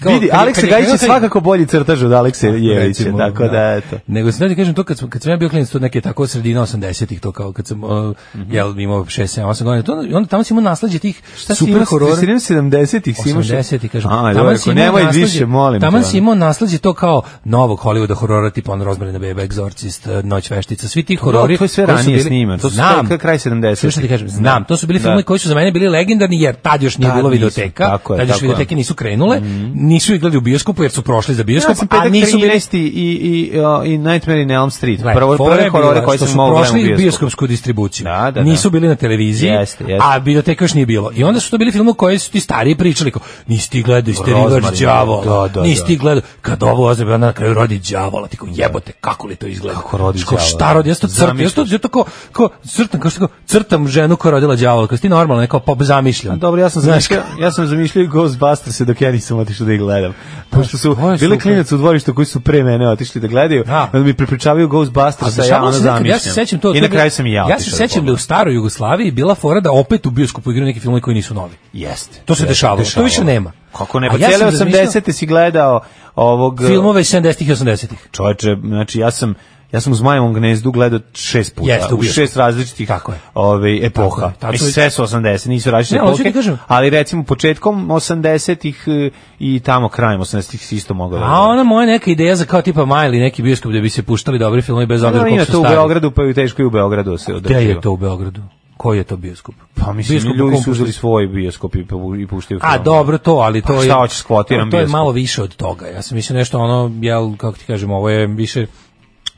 kao- Vidi, kad je- Aleksa kad je Gajić je krenuo taj- Pa, svakako bolji crtaž od Aleksa Jevića, Recimo, tako da, eto. Nego sam da ti kažem to kad sam kad sam ja bio klinac to neke tako sredina 80-ih to kao kad sam uh, Mhm. jel imao 6 7 8 godina to onda- onda tamo se ima naslađe tih Šta si super imao? horora Sredinom 70-ih si imaš... 80 i kažem. A, taman dobro, si ako imao nemoj naslađe- više, molim te. Taman si ono. imao naslađe to kao novog Hollywooda horora, tipa ono, on Rozmarina beba, Exorcist, eh, Noć veštica, svi ti horori. to je sve koji su ranije bili- snimano, to su Znam. kraj- kraj 70-ih. Sve što ti kažem, znam. Znam. To su bili Da. filmovi koji su za mene bili legendarni, jer tad još nije Tad bilo nisu, videoteka, tako je, tad još tako je. Mhm. videoteke nisu krenule, nisu igrali u bioskopu jer su prošli za Ja bioskop, sam a petak nisu bili 13 i, i, i, o, i Nightmare in Elm Street. Gle, Prvo, fora prve je horore bila koje što sam su mogao gledam u prošli bioskopu. bioskopsku distribuciju. Da, da, da. Nisu bili na televiziji, Jeste, jeste. a biblioteka još nije bilo. I onda su to bili filmovi koji su ti stariji pričali kao nisi ti gledao Isterivač Rozmarin, đavola, da, da, nisi da. ti gledao kad ovo ozebe onda na kraju rodi đavola, ti kao jebote kako li to izgleda. Kako rodi Znaš, kao, đavola, Šta da. rodi? Jesto crtam, Zamišljaš. jesto to kao kao crtam kao što kao crtam ženu koja je rodila đavola, kao si ti normalno neka pop zamišljam. A dobro, ja sam Znaš, zamišljao, ja sam zamišljao Ghostbusters dok ja nisam otišao da ih gledam. Pošto su to je bili super. klinac u dvorištu koji su pre mene otišli da gledaju, Da. onda mi prepričavaju Ghostbusters, a ja dešavalo ono se nekad, zamišljam. Ja se sećam to. I to na je bilo- kraju sam i ja Ja se otišao da sećam da je u pogledam. staroj Jugoslaviji bila fora da opet u bioskopu igraju neki filmovi koji nisu novi. Jeste. To se jeste, dešavalo, to više nema. Kako ne, A pa ja cijele sam razmišljao- 80-te si gledao ovog... e, Filmove iz 70-ih i 80-ih. Čovječe, znači ja sam ja sam u Zmajevom gnezdu gledao šest puta, Jeste, u u bioskopu. šest različitih Tako je. ove, epoha. Tako je, tako Mislim, je. sve su 80, nisu različite Ne, ali hoću epohe, ti kažem- ali recimo početkom 80-ih e, i tamo krajem 80-ih si isto mogao Pa da A ona moja neka ideja za kao tipa Majli neki bioskop gde bi se puštali dobri filmovi bez obzira gledaš. koliko ima su to u stari. Beogradu, pa i u teško i u Beogradu se održio. Gde je to u Beogradu? Koji je to bioskop? Pa mislim, Bioskop u ljudi kom su uzeli puštali? svoj bioskop i, pu- i puštaju A film. dobro to, ali to Pa je šta hoćeš, skvotiram To je bioskop. malo više od toga. Ja sam mislio nešto ono, jel, kako ti kažem, ovo je više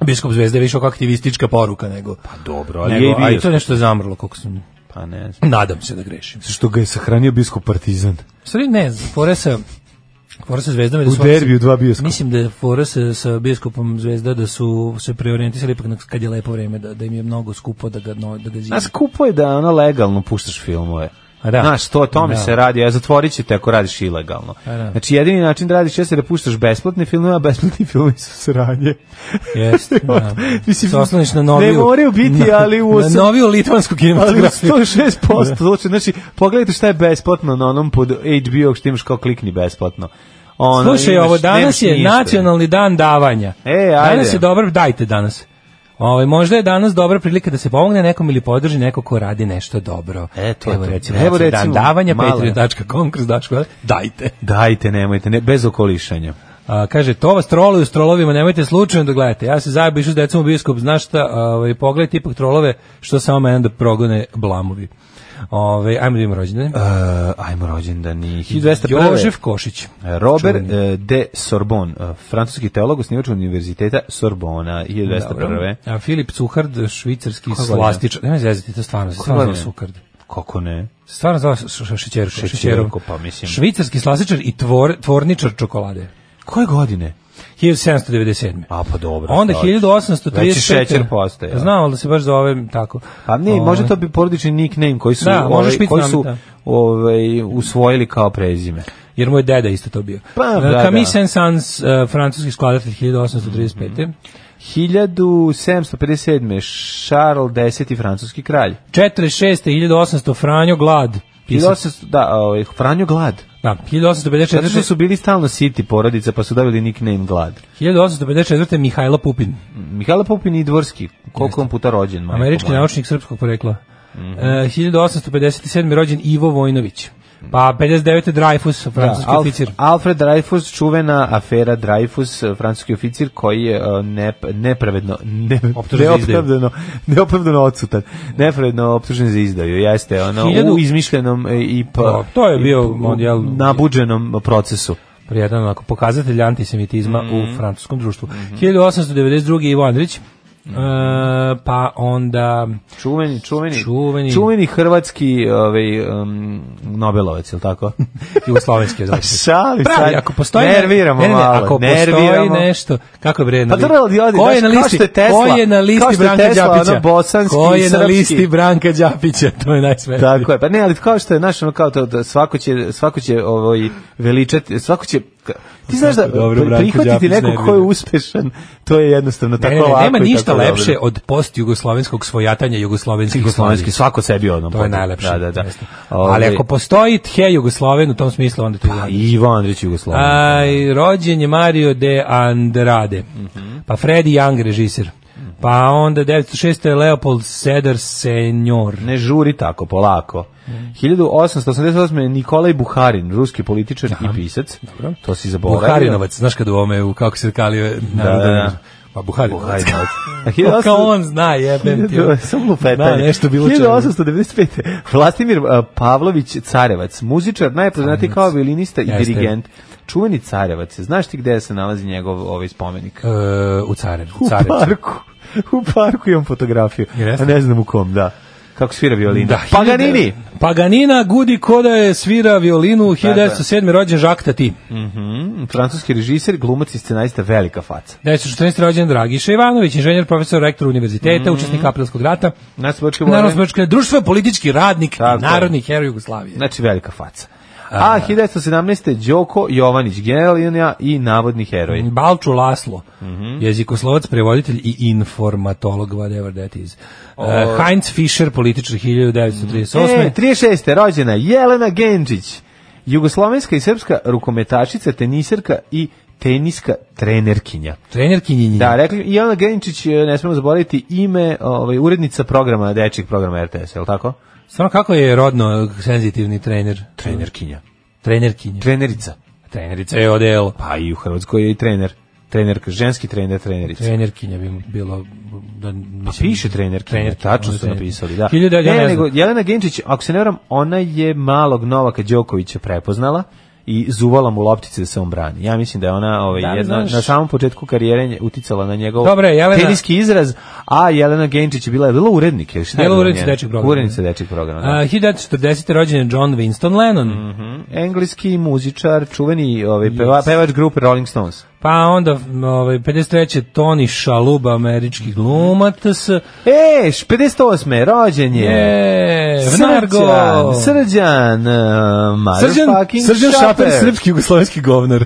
Biskop zvezde je više kao aktivistička poruka nego... Pa dobro, ali ali je i nego, a i to bioskop. je nešto zamrlo, koliko sam... Pa ne znam. Nadam se da grešim. Što ga je sahranio biskup Partizan? U Stvari ne, fora sa fora sa zvezdom je da U su- derbiju dva bioskopa. Mislim da je fora sa, sa bioskopom Zvezda da su se preorijentisali ipak na- kad je lepo vreme da, da im je mnogo skupo da ga no, da ga zime. A skupo je da ono legalno puštaš filmove. A da. Znaš, to o tome Da. Pa se radi, a zatvorit će te ako radiš ilegalno. da. Znači, jedini način da radiš jeste da puštaš besplatne filmove, a besplatni filmovi su sranje. <laughs> Jeste, da. Mislim, Se osloniš na ne noviju. moraju biti, ali u na osam- noviju litvansku Ali u kinematografiju. 106% zvuči, znači, pogledajte šta je besplatno na onom pod HBO što imaš kao klikni besplatno. Ono, Slušaj, imaš- ovo danas nemaš je ništa. nacionalni dan davanja. E, Danas ajde. je dobar, dajte danas. Ovaj možda je danas dobra prilika da se pomogne nekom ili podrži neko ko radi nešto dobro. E, to je Evo to. recimo, Evo Evo dan recimo, davanja, mala. patreon.com, kroz Daško, dajte. Dajte, nemojte, ne, bez okolišanja. A, kaže, to vas troluju s trolovima, nemojte slučajno da gledate. Ja se zajedno išu s decom u bioskop, znaš šta, ovaj, pogledajte ipak trolove, što samo mene da progone blamovi. Ovaj ajmo da imamo rođendane. Uh, ajmo rođendani. 1201. Jožef Košić. Robert Čuveni. eh, de Sorbonne, eh, francuski teolog, osnivač univerziteta Sorbona, 1201. Dobro. A Filip Cuhard, švicarski Koja godina? slastičar. Nemoj zezati, to stvarno, se stvarno Koja zove godina? Cuhard. Kako ne? Se Stvarno zove š- š- šećeru, Šećerko, šećeru. pa mislim. Švicarski slastičar i tvor, tvorničar čokolade. Koje godine? 1797. A, pa dobro, Onda šta hoćeš. 1835. Veći šećer postaje, a? Znao da se baš zove tako. A ne, Ovaj. može to bi porodični nickname koji su, Da, ovaj, možeš biti koji znam, su da. ovaj, usvojili kao prezime. jer moj deda isto to bio. Pa, Uh, da, da. Camille Saint-Saëns, uh, francuski skladatelj 1835. 1757. Charles X. francuski kralj. 46. 1800 Franjo Glad. Pisac. 1800, da, ovaj, Franjo Glad. Da, Zato što su 1854. bili stalno siti porodica, pa su dobili nickname Glad. 1854. Mihajlo Pupin, Mihajla Pupin i Dvorski, koliko on puta rođen? majko američki moja? Mhm. naučnik srpskog porekla. Uh, 1857. rođen Ivo Vojnović. Pa 59. Dreyfus, francuski Alf- oficir. Alfred Dreyfus, čuvena afera Dreyfus, eh, francuski oficir koji je eh, ne, nepravedno, ne, Optužen za izdaju. neopravdano, neopravdano odsutan, nepravedno optužen za izdaju, jeste ono, Hiljadu- u izmišljenom eh, i pa, Da, to je i bio, p- on, jel- nabuđenom procesu. Prijedan onako pokazatelj antisemitizma Mhm. u francuskom društvu. 1892. Ivo Andrić, Mhm. e, pa onda... Čuveni, čuveni, Čuveni. hrvatski ovaj, um, Nobelovac, je <laughs> tako? Jugoslovenski je zapravo. Šalim Pravi, sad, ako postoji nerviramo ne, ne, ne, malo, ako postoji nerviramo. nešto, kako je bre na Pa li- trebalo bi odi, Ko je znaš, na kao listi? što je Tesla- Ko je na kao listi što je Branka Tesla, ono, Đapića? bosanski Ko je na srpski? listi Branka Đapića? <laughs> To je <laughs> najsmešnije. Tako je, pa ne, ali kao što je, znaš, ono kao to, da svako će, svako će ovaj, veličati, svako će, ka- ti znaš da Kako dobro, Branko prihvatiti Đapić nekog ko je nervira. uspešan, to je jednostavno Ne, tako ne, ne, lako. nema i ništa tako lepše dobro. od postjugoslovenskog svojatanja jugoslovenskih Jugoslovenski, jugoslovenskih svako sebi ono. To je najlepše. Da, da, da. jeste. Ovaj, Ali ako postoji tje Jugosloven u tom smislu, onda to je Pa, Ivan. Ivo Andrić Jugosloven. Aj, rođen je Mario de Andrade. Mhm. Pa Freddy Young, režisir. Pa onda 906. je Leopold Sedar Senjor. Ne žuri tako, polako. 1888. je Nikolaj Buharin, ruski političar i pisac. To si zaboravio. Buharinovac, znaš kad u ovome, u kako se kalio narodno. Da, da, da. Pa Buharinovac. <laughs> <laughs> Buharinovac. A Pa 1800 Kao on zna, <laughs> jebem ti. <laughs> Sam lupetanje. Da, nešto bilo čemu. 1895. Vlastimir a, Pavlović Carevac, muzičar najpoznatiji kao violinista i Jeste. dirigent. Čuveni Carevac, znaš ti gde se nalazi njegov ovaj spomenik? E, u Carev. U parku. U parku imam fotografiju. Jeste? A ne znam u kom, da. Kako svira violina. Da, Paganini! Paganina Pa gudi koda je svira violinu 1907. rođen Jacques Tati. Mm, Francuski režiser, glumac i scenarista, velika faca. 1914. rođen Dragiša Ivanović, inženjer, profesor, rektor Mm. univerziteta, učesnik aprilskog rata, Nacionalno-politički narodno vojnik. spočke, društvo, politički radnik, Tako je. narodni heroj Jugoslavije. Znači velika faca. A 1917. Đoko Jovanić, genijalnija i navodni heroj. Balču Laslo, Mhm. jezikoslovac, prevoditelj i informatolog, whatever that is. Uh, Heinz Fischer, političar 1938. E, 36. rođena Jelena Genčić, jugoslovenska i srpska rukometačica, teniserka i teniska trenerkinja. Trener Kinjinji. Da, rekli i Jelena Genčić, e, ne smemo zaboraviti ime, ovaj urednica programa dečijeg programa RTS, je li tako? Stvarno kako je rodno senzitivni trener? Trenerkinja. Trener Kinjinji. Trenerica. Trenerica je odelo. Pa i u Hrvatskoj je i trener. Trenerka, ženski trener, trenerica. Trenerkinja bi mu bilo... Da, Pa mislim, piše trenerkinja, trenerkinja, tačno ono su trener. napisali, da. 1900, ja ne, ne nego znam. Jelena Genčić, ako se ne varam, ona je malog Novaka Đokovića prepoznala i zuvala mu loptice da se on brani. Ja mislim da je ona ovaj, Da, jedna, znaš- na samom početku karijere nje- uticala na njegov Dobro je, Jelena- teniski izraz, a Jelena Genčić je bila, je bila urednik. Je, li šta je Bila bila urednica njena? dečjeg programa. Urednica dečjeg programa, da. A, 1940. rođen je John Winston Lennon. Mhm. Engleski muzičar, čuveni ovaj, peva- pevač grupe Rolling Stones. Pa onda m, ovaj 53. Tony Shaluba, američki glumac. E, 58. rođen je. Je, Nargo. Srđan, Srđan, uh, motherfucking Šaper. jugoslovenski govnar.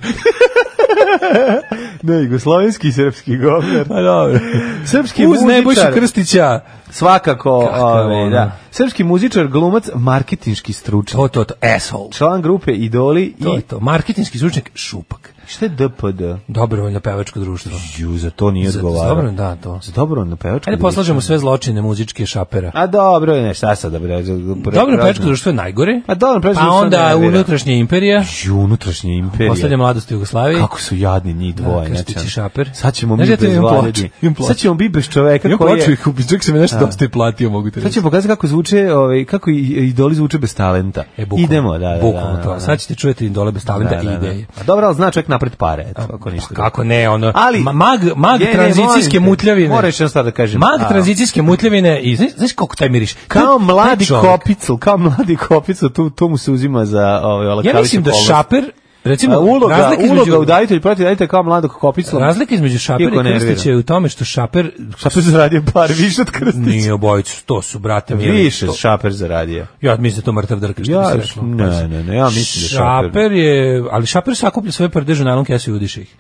Ne, jugoslovenski i srpski govnar. Pa dobro. Srpski Uz Nebojšu muzičar. Krstića. Svakako, Kako je ovaj, ono? da. Srpski muzičar, glumac, marketinški stručnjak. To, to, to, asshole. Član grupe Idoli To je i... to. Marketinski zvučnik Šupak. Šta je DPD? Dobrovoljno pevačko društvo. Ju, za to nije Za- za odgovarao. dobro, da, to. Za dobro na pevačku. Ajde poslažemo sve zločine muzičke šapera. A dobro, ne, šta sad da bude. za- za- Dobro za- pevačko društvo je najgore. A dobro pevačko Pa društvo onda nervira. unutrašnja imperija. Ju, unutrašnje imperije. Poslednja mladost Jugoslavije. Kako su jadni njih dvoje, Da, znači. Krstić i Šaper. Sad ćemo mi Znaš, ja to bez imam vlade. ploču, imam ploču. Sad ćemo mi bez čoveka Ja koji plaću je... ih, čak sam mi nešto dosta i platio, mogu te Sad reći. ćemo pokazati kako zvuče, ovaj, kako i- idoli zvuče bez talenta. E, bukvalno, Idemo, da, da, da. bukvalno da, to. da. Sad ćete čujeti dole bez talenta i ideje. A Pa dobro, ali zna čovjek napred pare, eto, ako ništa. pa Kako ne, ono, Ali- ma- mag, mag Je, ne, tranzicijske molim te, mutljavine. moram još jednu stvar da kažem. Mag A. tranzicijske mutljavine i znaš, znaš kako taj miriš? Kao Taj- mladi taj čovjek. kopicl, kao mladi kopicl, tu, tu mu se uzima za ovaj, Ja olakavića mislim da povlast. šaper, recimo, A, uloga, razlika između, uloga u dajitelju protiv dajitelja kao mladog kopicla. razlika između šapera Iako i nervira. Krstića je u tome što šaper... Šaper zaradio par više od Nije Krstića. obojicu, to su, brate, mi Više šaper zaradio. Ja mislim da je to mrtav drka, što bi Ja, se reklo. ne, ne, ne, ja mislim da šaper. Šaper je, ali Šaper sakuplja svoje prdeže u najlon kesu i udiše ih.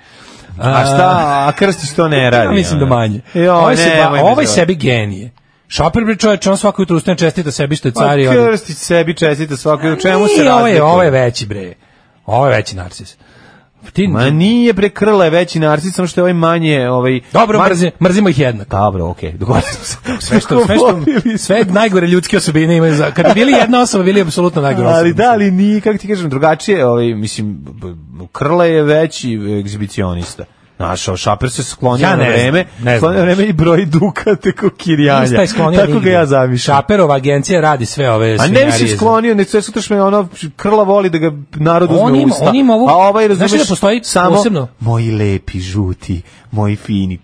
A šta, a Krstić to ne radi. Ja mislim da ono. manje. Jo, ovaj se, ba- nemoj me ovaj zovati. sebi genije. Šaper bre čovječ, on svako jutro ustane čestita sebi što je car i Pa ode. Krstić sebi čestite svaki, u čemu se ovaj- Nije, razlikuje? Ovaj, ovaj je veći bre. Ovaj je veći Ovaj narcis. Ti, Ma nije prekrla je veći narcis, samo što je ovaj manje, ovaj dobro, ma- mrzimo, mrzimo ih jednako. Dobro, <laughs> okej, dogovorili smo se. Sve što, sve što, sve najgore ljudske osobine imaju za... Kad bi bili jedna osoba, bili bi apsolutno najgore osobe. Ali da, ali nije, kako ti kažem, drugačije, ovaj, mislim, b- b- Krle je veći egzibicionista. Znaš, o, Šaper se sklonio Ja na ne znam, vreme, ne znam. sklonio na vreme i broji dukate ko Nisi kirjanja. taj sklonio Tako ga nigde. ja zamišljam. Šaperova agencija radi sve ove A ne bi svinjarije se za- sklonio, nek sve sutra što me ono, krla voli da ga narod uzme On u ima- usta. on ima ovu- a ovaj, znaš razumeš, da postoji samo posebno? moji lepi, žuti, moji fini.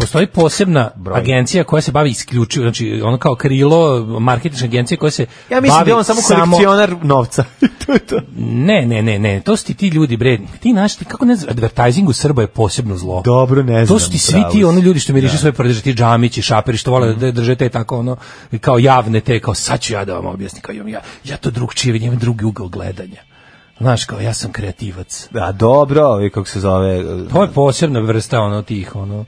Postoji posebna Broj. agencija koja se bavi isključivo, znači ono kao krilo marketinške agencije koja se Ja mislim bavi da je on samo kolekcionar <laughs> novca. to je to. Ne, ne, ne, ne, to su ti, ti ljudi, bre, ti znaš, ti kako ne znaš, advertising u Srba je posebno zlo. Dobro, ne znam. To su ti svi pravo si. Mhm. ti ono ljudi što miriše svoje prdeže, ti džamići, šaperi što vole da drže te tako ono kao javne te kao sad ću ja da vam objasnim kao imam ja ja to drugčije vidim, imam drugi ugao gledanja. Znaš kao ja sam kreativac. Da, dobro, ovaj, kako se zove... To je posebna vrsta ono tih ono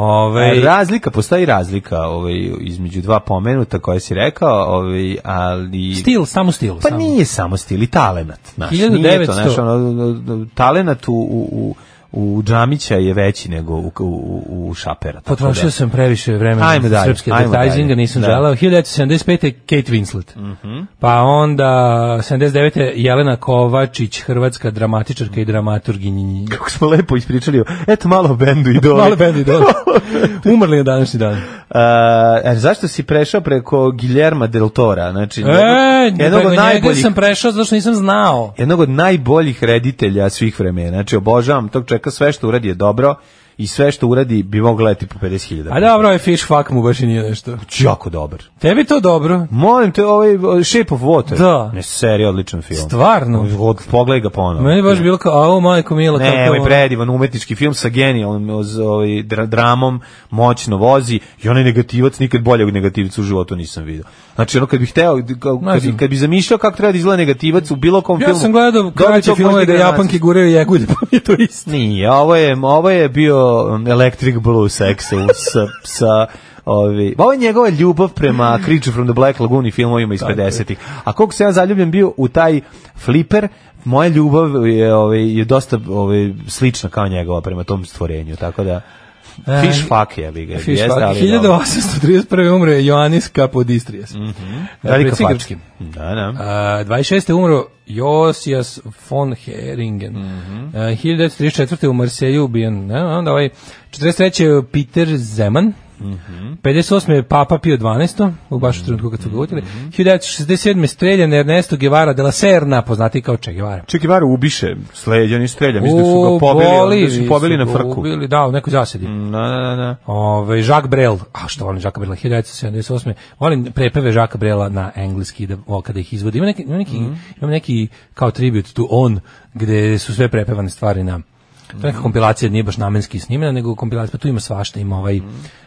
ovaj E, razlika, postoji razlika ovaj, između dva pomenuta koje si rekao, ovaj, ali... stil, samo stil, Pa samo. nije samo stil i talenat. Znaš, nije to, 1900. znaš, ono, talenat u, u, u, u Džamića je veći nego u, u, u Šapera. tako Potrošio da. sam previše vremena Ajmo za dalje, srpski ajmo advertisinga, dalje. nisam Da. Mhm. želeo. 1975. je Kate Winslet. Pa onda 79. je Jelena Kovačić, hrvatska dramatičarka i dramaturginja. Kako smo lepo ispričali, o- eto malo o bendu i dole. Malo <laughs> bendi, dobro. <laughs> Umrli na današnji dan. e, zašto si prešao preko Guillerma del Tora? Znači, E, jednog- jednog jednog od njega najboljih sam prešao zato što nisam znao. jednog od najboljih reditelja svih vremena. Znači, obožavam tog čeka, sve što uradi je dobro i sve što uradi bi moglo gledati po 50.000. A dobro, je fish fuck mu baš i nije nešto. Jako dobar. Tebi to dobro. Molim te, ovaj uh, Shape of Water. Da. Ne, serija, odličan film. Stvarno. Od, pogledaj ga ponovno. Meni je baš bilo kao, au majko mila, kako ono." Ne, je ovaj ovo. predivan umetnički film sa genijalnim oz- ovaj, dra- dramom, moćno vozi i onaj negativac nikad boljeg negativca u životu nisam vidio. Znači ono kad bih hteo, kao- Ne kad, bi, znam. kad bi zamišljao kako treba da izgleda negativac u bilo kom Ja filmu. sam gledao dobio kraće tog filmove možda da i Japanke guraju jegulje, pa mi je to isto. Nije, ovo je, ovo je bio um, Electric Blue Sexu sa, sa ovi, ovo je njegova ljubav prema Creature from the Black Lagoon i filmovima iz 50-ih. A koliko se ja zaljubljen bio u taj fliper, moja ljubav je, ovaj, je dosta ovaj, slična kao njegova prema tom stvorenju, tako da... E, Fish fuck je, bi ga. Fish jeste, fuck. ali je dobro. Mhm. 1831. umro je Ioannis Kapodistrijes. Mm Velika faca. Da, da. 26. umro Josias von Heringen. Mm Mhm. 1934. u Marseju ubijen. Ne, onda ovaj 43. je Peter Zeman. Mhm. 58. je Papa Pio 12. U baš u trenutku kad su ga utili. Mhm. 1967. je streljan Ernesto Guevara de la Serna, poznati kao Che Guevara. Čeki var ubiše, sleđa, nisu strelja, mislim da su U ga pobili, da Boliviji su pobili su na ga frku. ubili, da, u nekoj zasedi. Da, da, da. Ove, Jacques Brel, a što volim Jacques Brel, 1978. Volim prepeve Jacques Brela na engleski, da, o, kada ih izvodi. Ima neki, ima neki, imam neki kao tribute to on, gde su sve prepevane stvari na... To je neka kompilacija, nije baš namenski snimena, nego kompilacija, pa tu ima svašta, ima ovaj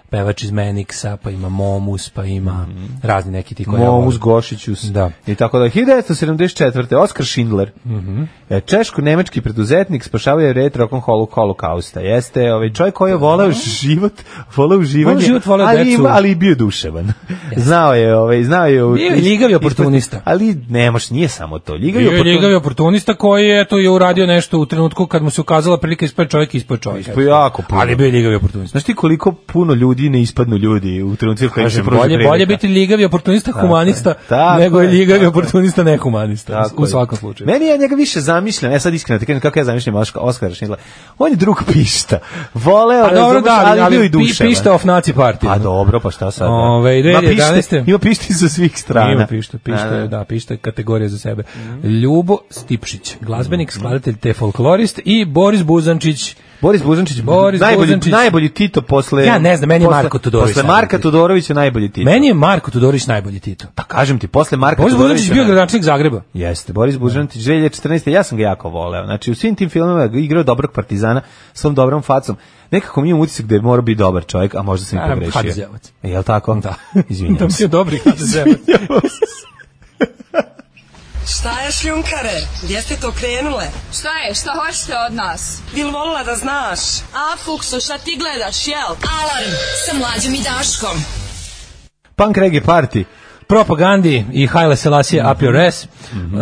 pevač iz Meniksa, pa ima Momus, pa ima razni neki ti koji ja volim. Momus Gošićus. Da. I tako da 1974. Oskar Schindler. Mhm. E, Češko-nemački preduzetnik spašavao je red tokom holo- holokausta. Jeste ovaj čovjek koji je voleo život, voleo uživanje, Voleo život, voleo ali, decu. ima- ali i bio duševan. Znao je, ovaj, znao je... Bio je ljigav i oportunista. Ali nemoš, nije samo to. Ljigav i Bio je oportunista. ljigavi oportunista koji je to je uradio nešto u trenutku kad mu se ukazala prilika ispred čovjeka ispod čovjeka. Ispod Pa jako puno. Ali bio je ljigavi oportunista. Znaš ti koliko puno ljudi ne ispadnu ljudi u trenutku kada se Kaže, pruži bolje, bolje prilika? biti ligavi oportunista humanista Tako nego je je, ligavi tako oportunista nehumanista. Tako U je. svakom slučaju. Meni ja njega više zamišljam, ja sad iskreno ti kažem kako ja zamišljam Oška- Oskara Šindla. On je drug pišta. Voleo, Pa dobro, razumeš, da, ali, bio i ali pi, duševan. pišta of naci partije. Pa dobro, pa šta sad? da? Ove, i Ima pište- 2011.. Ima pišti sa svih strana. Ima pišta, pišta, Da, Mhm. da. da, pišta je kategorija za sebe. Ljubo Stipšić, Mhm. glazbenik, skladatelj te folklorist i Boris Buzančić, Boris Buzančić, Boris najbolji, Buzančić. najbolji Tito posle... Ja ne znam, meni je posle- Marko Todorović Posle najbolji Marka Tito. Todorović je najbolji Tito. Meni je Marko Todorić najbolji Tito. Pa kažem ti, posle Marka Boris Todorović... Buzančić bio gradonačelnik <laughs> Zagreba. Jeste, Boris Buzančić 2014. Ja sam ga jako voleo. Znači, u svim tim filmovima je igrao dobrog partizana s tom dobrom facom. Nekako mi imam utisak da je morao biti dobar čovjek, a možda sam i Naravno, pogrešio. HDZ-ovac. Jel tako? <laughs> Da. Da Izvinjam mi se. je dobri <laughs> HDZ-ovac. Šta je šljunkare? Gdje ste to krenule? Šta je? Šta hoćete od nas? Bil volila da znaš? A, Fukso, šta ti gledaš, jel? Alarm sa mlađom i Daškom. Punk reggae party. propagandi i Haile Selassie up your ass. Mhm. E,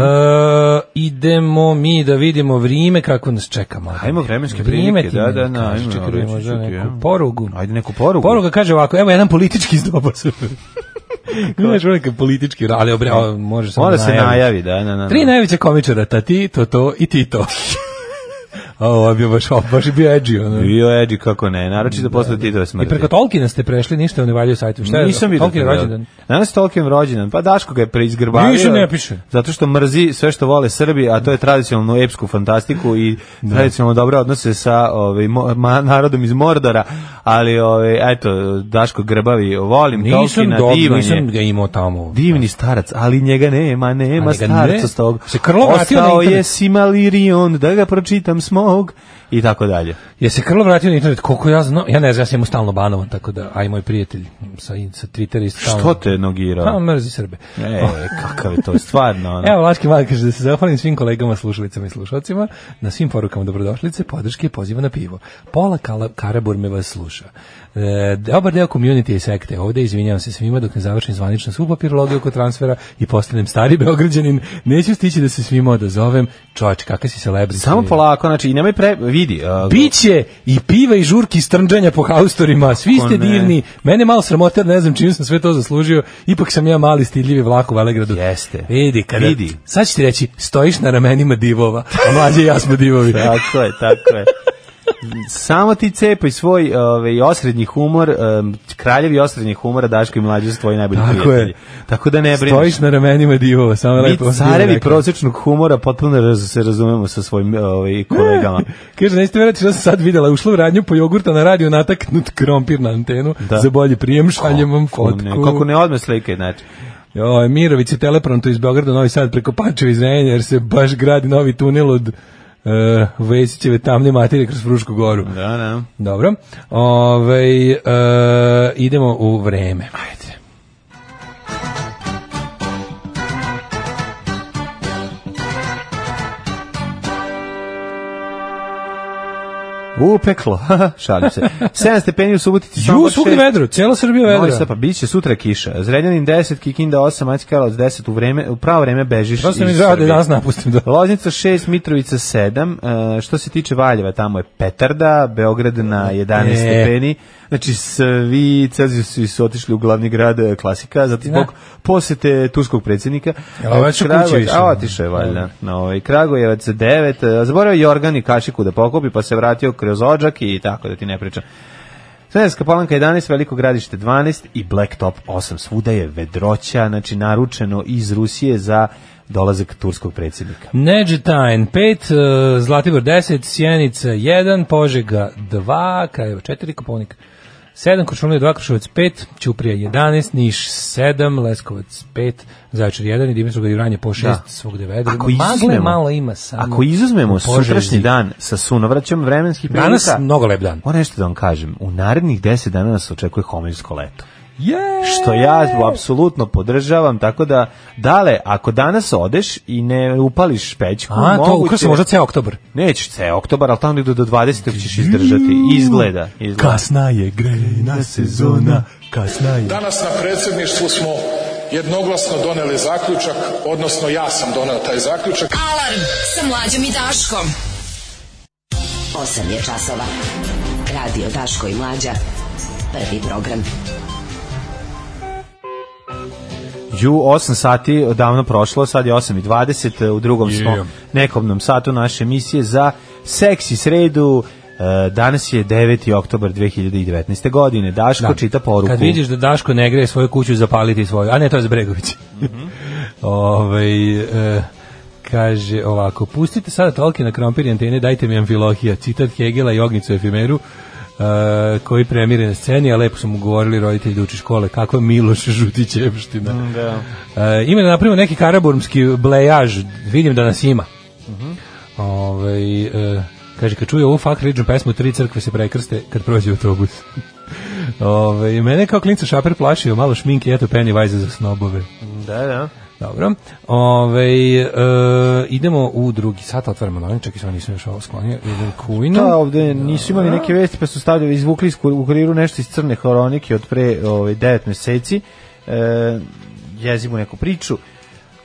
idemo mi da vidimo vrijeme kako nas čeka. malo. Ajmo vremenske Vrijeme prilike, ti da, meni da, da, kaži, ajmo, čekaj, reći možda ću ti, neku ja. porugu. Ajde neku porugu. Poruga kaže ovako, evo jedan politički zdobos. <laughs> Znaš, ono kad politički, ra- ali obre, o, može samo Mora da se najavi. najavi, da, da, da. Tri najveća komičara, Tati, Toto i <laughs> Tito. A Ovo je bio baš, baš je bio edgy, ono. Bio Edi kako ne, naročito posle Titove I smrti. preko Tolkiena ste prešli, ništa ne valjaju sajtu. Šta je? Nisam vidio. Tolkien to, da. rođendan. Danas je Tolkien rođendan. Pa Daško ga je preizgrbavio. Ništa ne piše. Zato što mrzi sve što vole Srbi, a to je tradicionalnu epsku fantastiku i tradicionalno dobre odnose sa ovaj, mo- ma- narodom iz Mordora. Ali, ovaj, eto, Daško grbavi, volim Nisam Tolkiena, dobro, divan je. nisam ga imao tamo. Divni starac, ali njega nema, nema A njega ne. starca s tog. Se Krlo vratio na Ostao je internet. Simalirion, da ga pročitam smog i tako dalje. Je se Krlo vratio na internet, koliko ja znam, ja ne znam, ja sam mu stalno banovan, tako da, a i moj prijatelj sa, sa Twittera isto stalno. Što te nogirao? Pa, mrzi Srbe. E, kakav je to, stvarno. ono. Evo, Laški Mal kaže da se zahvalim svim kolegama, slušalicama i slušalcima na svim porukama dobrodošlice, podrške i poziva na pivo. Pola Kala, Karaburme vas sluša. E, dobar deo community i sekte ovde, izvinjavam se svima dok ne završim zvanično svu papirologiju oko transfera i postanem stari <laughs> beograđanin, neću stići da se svima odazovem. Čovječ, kakav si celebrity. Samo polako, znači, i nemoj pre... Vidi, uh, a, Biće i piva i žurki i strnđanja po haustorima, svi Kako ste ne? divni, mene je malo sramote, jer ne znam čim sam sve to zaslužio, ipak sam ja mali stidljivi vlak u Velegradu. Jeste. Vidi, kada, Vidi. sad ću ti reći, stojiš na ramenima divova, a mlađe i ja smo divovi. Tako je, tako je. Samo ti cepaj svoj ovaj, osrednji humor, em, kraljevi osrednjih humora, Daško i mlađe su tvoji najbolji Tako je. prijatelji. Tako da ne brineš. stojiš na ramenima divova, samo je lepo. Mi carevi prosječnog humora potpuno raz, se razumemo sa svojim ovaj, kolegama. Kaže, nećete verati što sam sad videla, ušla u radnju po jogurta na radio nataknut krompir na antenu, Da. za bolji prijem, šaljem vam Kako fotku. ne, kako ne odme slike, znači. Joj, Mirović se telepronto iz Beograda u Novi Sad preko Pančeva i Zrenja, jer se baš gradi novi tunel od uh, Vesićeve tamne materije kroz Frušku goru. Da, da. Dobro. Ovaj, e, idemo u vreme. Ajde. Upeklo, <laughs> šalim se. 7 stepeni u Subotici, Ju, Sombor svugde šest. vedro, cijela Srbija Novi Sad, vedra. pa bit će sutra kiša. Zrenjanin 10, Kikinda 8, Maći Karlovac 10, u, vreme, u pravo vreme bežiš Što sam mi iz zrao da Srbije. danas napustim da... <laughs> Loznica 6, Mitrovica 7, e, što se tiče Valjeva, tamo je Petarda, Beograd na 11 E. stepeni, znači svi Celsijusi su otišli u glavni grad e, klasika, zato Da. zbog posete turskog predsjednika. Jel, ovaj će kući Kragujevac- više? A, otišao je valjda. Na ovaj, Kragujevac 9, e, zaboravio Jorgan i Kašiku da pokupi, pa se vratio kroz Odžak i tako da ti ne pričam. Sredarska palanka 11, Veliko gradište 12 i Blacktop 8. Svuda je vedroća, znači naručeno iz Rusije za dolazak turskog predsjednika. Neđetajn 5, e, Zlatibor 10, Sjenica 1, Požega 2, Krajeva 4, Koponik 7, Kočulnija 2, Kruševac 5, Ćuprija 11, Niš 7, Leskovac 5, Zaječar 1 i Dimitrovgrad i Vranje po 6, Da. svugde vedro. Ako Magle izuzmemo- malo ima samo. Ako izuzmemo u Požegi. sutrašnji dan sa sunovraćom vremenskih prilika... Danas mnogo lep dan. Moram nešto da vam kažem, u narednih 10 dana nas očekuje homoljsko leto. Yeah! Što ja apsolutno podržavam, tako da, dale, ako danas odeš i ne upališ pećku, A, to moguće- ukrasa možda ceo oktobar. Nećeš ceo oktobar, ali tamo negde do 20. ćeš izdržati. Izgleda. izgleda. Kasna je grejna sezona, kasna je. Danas na predsjedništvu smo jednoglasno doneli zaključak, odnosno ja sam doneo taj zaključak. Alarm sa mlađom i Daškom. 8 je časova. Radio Daško i mlađa. Prvi program. Ju, 8 sati odavno prošlo, sad je 8 i 20, u drugom smo Je. nekomnom satu naše emisije za seksi sredu. E, Danas je 9. oktobar 2019. godine. Daško čita poruku. Kad vidiš da Daško ne greje svoju kuću, zapaliti svoju. A ne, to je za Bregović. Mhm. <laughs> Ovaj, e, kaže ovako, pustite sada tolke na krompir i antene, dajte mi amfilohija, citat Hegela i Ognicu efimeru, e, koji premire na sceni, a lepo su mu govorili roditelji da uči škole, kakva Miloš Žutićevština. Mm, Da. E, ima da napravimo neki karaburmski blejaž, vidim da nas ima. Mhm. Ovaj, e, kaže, kad čuje ovu fuck religion pesmu, tri crkve se prekrste kad prođe autobus. Ove, mene kao klinca šaper plašio, malo šminke, eto Pennywise za snobove. Da, da. Dobro. Ove, e, idemo u drugi sat, otvaramo novin, čak i sad nisam još ovo sklonio. Idem kujno. Da, ovde nisu imali neke vesti, pa su stavljali, izvukli iz kur- u kuriru nešto iz crne hronike od pre ovaj, 9 meseci. E, jezivu neku priču.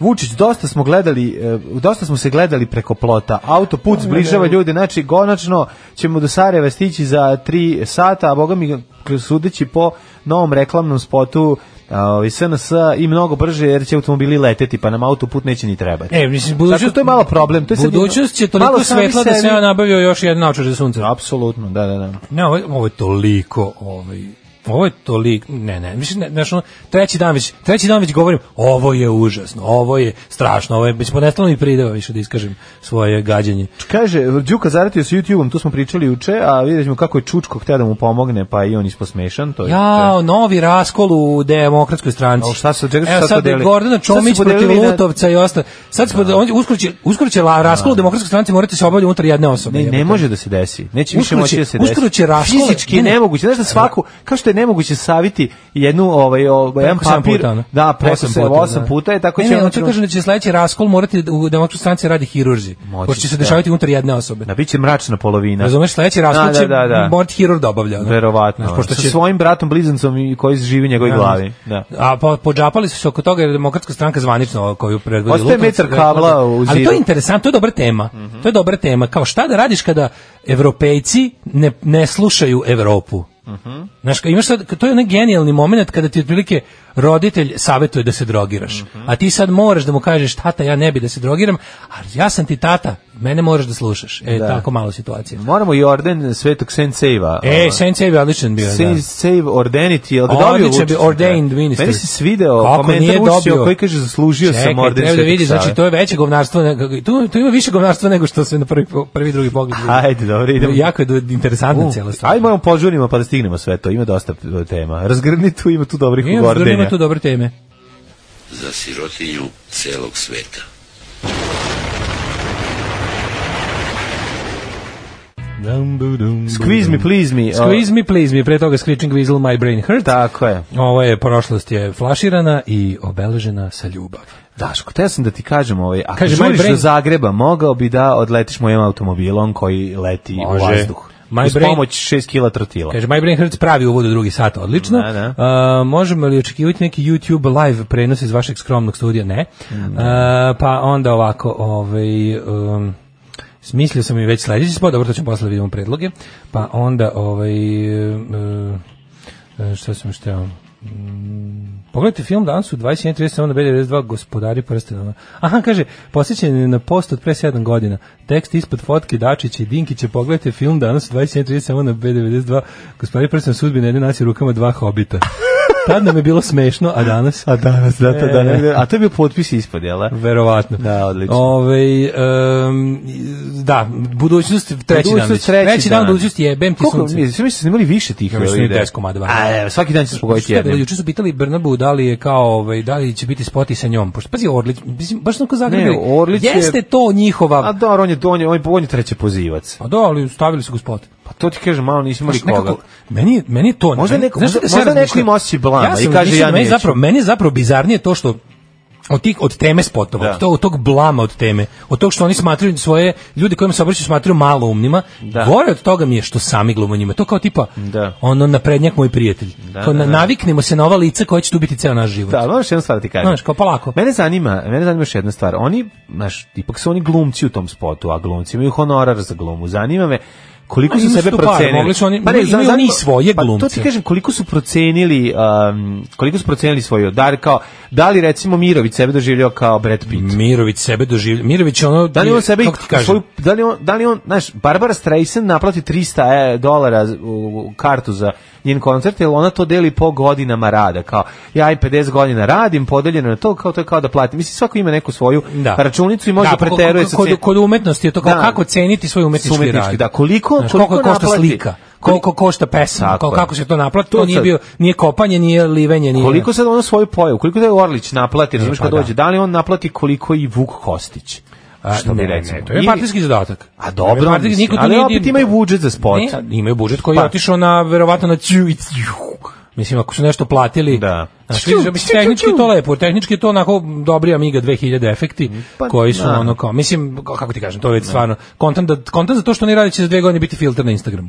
Vučić, dosta smo gledali, e, dosta smo se gledali preko plota. Autoput zbližava ljude, znači konačno ćemo do Sarajeva stići za tri sata, a boga mi sudeći po novom reklamnom spotu ovaj, i SNS i mnogo brže jer će automobili leteti pa nam autoput neće ni trebati. E, mislim, budućnost- Tako, to je malo problem. To je sad budućnost jedno- je toliko malo sami svetla da se sebi- ja nabavio još jedan naočar za sunce. Apsolutno, da, da, da. Ne, ovo, je- ovo je toliko, ovaj, ovo je toliko, ne, ne, mislim, ne, znaš, ono, treći dan već, treći dan već govorim, ovo je užasno, ovo je strašno, ovo je, mislim, ponestalo mi prideva više da iskažem svoje gađanje. Kaže, Đuka zaratio sa YouTube-om, tu smo pričali juče, a vidjet ćemo kako je Čučko htio da mu pomogne, pa i on isposmešan. To je, Jao, novi raskol u demokratskoj stranci. Al šta su- čekaj, šta Evo sad sad podelili? Gordana Šta su Čomić protiv podelili na- Lutovca i ostalo. Sad se podeli- on će- uskoro će, uskoro će la- raskol u demokratskoj stranci morate se obavljati unutar jedne osobe. Ne, ne jebote. može da se desi. Neće više Uskoro moći će- da se desi. uskoro će raskole- Fizički je ne, ne. nemoguće. Znaš da svaku, kao što je nemoguće saviti jednu, ovaj, ovaj, jedan Preko sedam papir, puta, ono. da, preko Osam se, puta, osam da. puta je, tako ne, će ne, ono hoću da kažem da će sledeći raskol morati da- u demokratskoj stranci radi hirurzi. Moći Pošto će se će, da. dešavati unutar jedne osobe. Da, bit će mračna polovina. Razumeš, sledeći raskol Da, da, će da, da. morati hirur da obavlja. ono. Verovatno. Znaš, pošto Sa će- svojim bratom blizancom i koji živi u njegovoj glavi. Da. A po, pođapali su se oko toga jer je demokratska stranka zvanično koju predvodi Ostaje Lutovac, metar rekla- kabla u Ali to zidu. je interesantno, to je dobra tema. To je dobra tema. Kao šta da radiš kada evropejci ne, ne slušaju Evropu? Znaš, ka- imaš sad, to je onaj genijalni moment kada ti otprilike roditelj savjetuje da se drogiraš. A ti sad moraš da mu kažeš, tata, ja ne bi da se drogiram, ali ja sam ti tata, mene moraš da slušaš. E, Da. tako malo situacija. Moramo i orden Svetog Senseiva. E, Sensei je odličan bio, da. Save, save Ordenity, jel ga Odličan dobio bi, Vučić? ordained minister. Meni se svideo Kako komentar nije Vučića dobio? koji kaže zaslužio sam Čekaj, orden treba da Svetog vidi, znači Save. to je veće govnarstvo, nego- tu, tu ima više govnarstva nego što se na prvi, po- prvi drugi pogled. vidi. Ajde, dobro, idemo. Jako je do- interesantna U, cijela stvar. Ajde, moramo požurimo pa da stignemo sve to. Ima dosta p- tema. Razgrni tu, ima tu dobrih Ima gordenja. ima tu dobre teme. za sirotinju celog sveta. Squeeze me, please me. Squeeze me, please me. Pre toga Screeching Weasel, My Brain Hurts. Tako je. Ovo je, prošlost je flaširana i obeležena sa ljubavi. Daško, teo sam da ti kažem, ovaj, ako Kaže, Kaže, my žuriš brain- do Zagreba, mogao bi da odletiš mojim automobilom koji leti Može. u vazduh. My uz brain- pomoć 6 kila trotila. Kaže, My Brain Hurts pravi uvod u drugi sat, odlično. Da, da. A, možemo li očekivati neki YouTube live prenos iz vašeg skromnog studija? Ne. Mm. A, pa onda ovako, ovaj, um, smislio sam i već sledeći spot, dobro, to ćemo posle vidimo predloge. Pa onda, ovaj, um, e, šta sam šteo? Mm, Pogledajte film danas u 21.30 na B92 gospodari prstenova. Aha, kaže, posjećen je na post od pre 7 godina. Tekst ispod fotke Dačića i Dinkića. Pogledajte film danas u 21.30 na B92 gospodari prstenova sudbine jedne nacije u rukama dva hobita. Tad nam je bilo smešno, a <laughs> danas? A danas, da, to, da, E. negde- a to je bio potpis ispod, jel? da? Verovatno. Da, odlično. Ovaj, em, da, budućnost treći dan. već. Budućnost, Treći, dan, budućnosti je ti Koliko, sunce. mi, mi smo snimali više tih Ja mislim jel, da je ide? 10 komada van. A, evo, svaki dan ćeš pogoditi Šta je bilo? jedne. Juče su pitali Brnabu da li je kao ovaj da li će biti spoti sa njom. Pošto pazi Orlić, mislim baš sam kao Zagreb. Ne, Orlić je- Jeste to njihova. A dobro, on je, on je, on je, on je treći pozivac. Pa da, ali stavili su gospod. Pa to ti kažem, malo nisi imali Znaš, koga. nekako, meni, je- meni je to... Možda neko- znaš možda- da se možda neko razmišljam? ima osjećaj blama i sam kaže, mislio ja meni je neću. zapravo, meni je zapravo bizarnije to što od tih od teme spotova, Da. od, tog, od tog blama od teme, od tog što oni smatraju svoje ljudi kojima se obraćaju smatraju malo umnima, Da. gore od toga mi je što sami glumo njima. To kao tipa Da. ono naprednjak moj prijatelj. Da, Kao da, na- da. Naviknemo se na ova lica koja će tu biti ceo naš život. Da, ali moraš jednu stvar da ti kažem. Znaš, kao polako. Mene zanima, mene zanima još jedna stvar. Oni, znaš, ipak su oni glumci u tom spotu, a glumci imaju honorar za glumu. Zanima me koliko Ma, su imaju sebe tu para, procenili. mogli su oni- imaju zanima- oni i svoje Pa to glumce. ti kažem, koliko su procenili, um, koliko su procenili svoju dar, kao, da li recimo Mirović sebe doživljao kao Brad Pitt? Mirović sebe doživlja. Mirović je ono... Da li on sebe kako ti kažem? svoju, da li on, da li on, znaš, Barbara Streisand naplati 300 e, dolara z- u u kartu za njen koncert, jer ona to deli po godinama rada, kao ja i 50 godina radim, podeljeno je to, kao to je kao da platim. Mislim, svako ima neku svoju Da. računicu i može da, pa ko- preteruje ko- sa kod, cen- kod umetnosti je to kao Da. kako ceniti svoj umetnički, S umetnički, rad. da, koliko- Znaš, koliko koliko košta naplati? slika, koliko košta pesma, Tako kao, je. kako se to naplati, to To nije sad- bio nije kopanje, nije livenje, nije. Koliko sad ono svoju pojavu, koliko da je Orlić naplati, razumiješ pa kad da. dođe, da li on naplati koliko i Vuk Kostić? A, Što ne, bi ne, recimo. to je Ili- partijski zadatak. A dobro, Partijski- mislim, niko tu ali nije- opet imaju budžet za spot. Ne, imaju budžet koji Pa. je otišao na verovatno na ću i ću. Mislim, ako su nešto platili, Da. Znaš, vidiš, mislim, tehnički je to lepo, tehnički je to onako dobri Amiga 2000 efekti Pa, koji su da. ono kao, mislim, kako ti kažem, to je već stvarno, kontam, da, kontam za to što oni radi će za dve godine biti filter na Instagramu.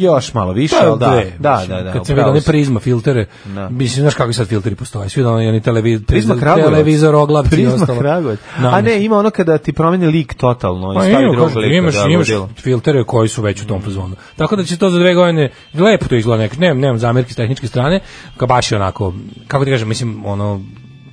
Još malo više, Pa, ali da, dve, da, mislim, da, da. Kad se vidi upravo one si. prizma filtere, Da. mislim, znaš kakvi sad filteri postoje, svi ono oni, oni televi, Prizma Kragujevac. televizor, oglavci i Prizma ostalo. Kragujevac. Na, A ne, ima ono kada ti promeni lik totalno i Pa stavi ima, drugog kažem, lika. imaš, da, imaš ludilo. filtere koji su već u tom fazonu. Tako da će to za dve godine lepo to izgleda nek, nemam, nemam zamjerke s tehničke strane, ka baš je onako, kako ti kažem, mislim, ono,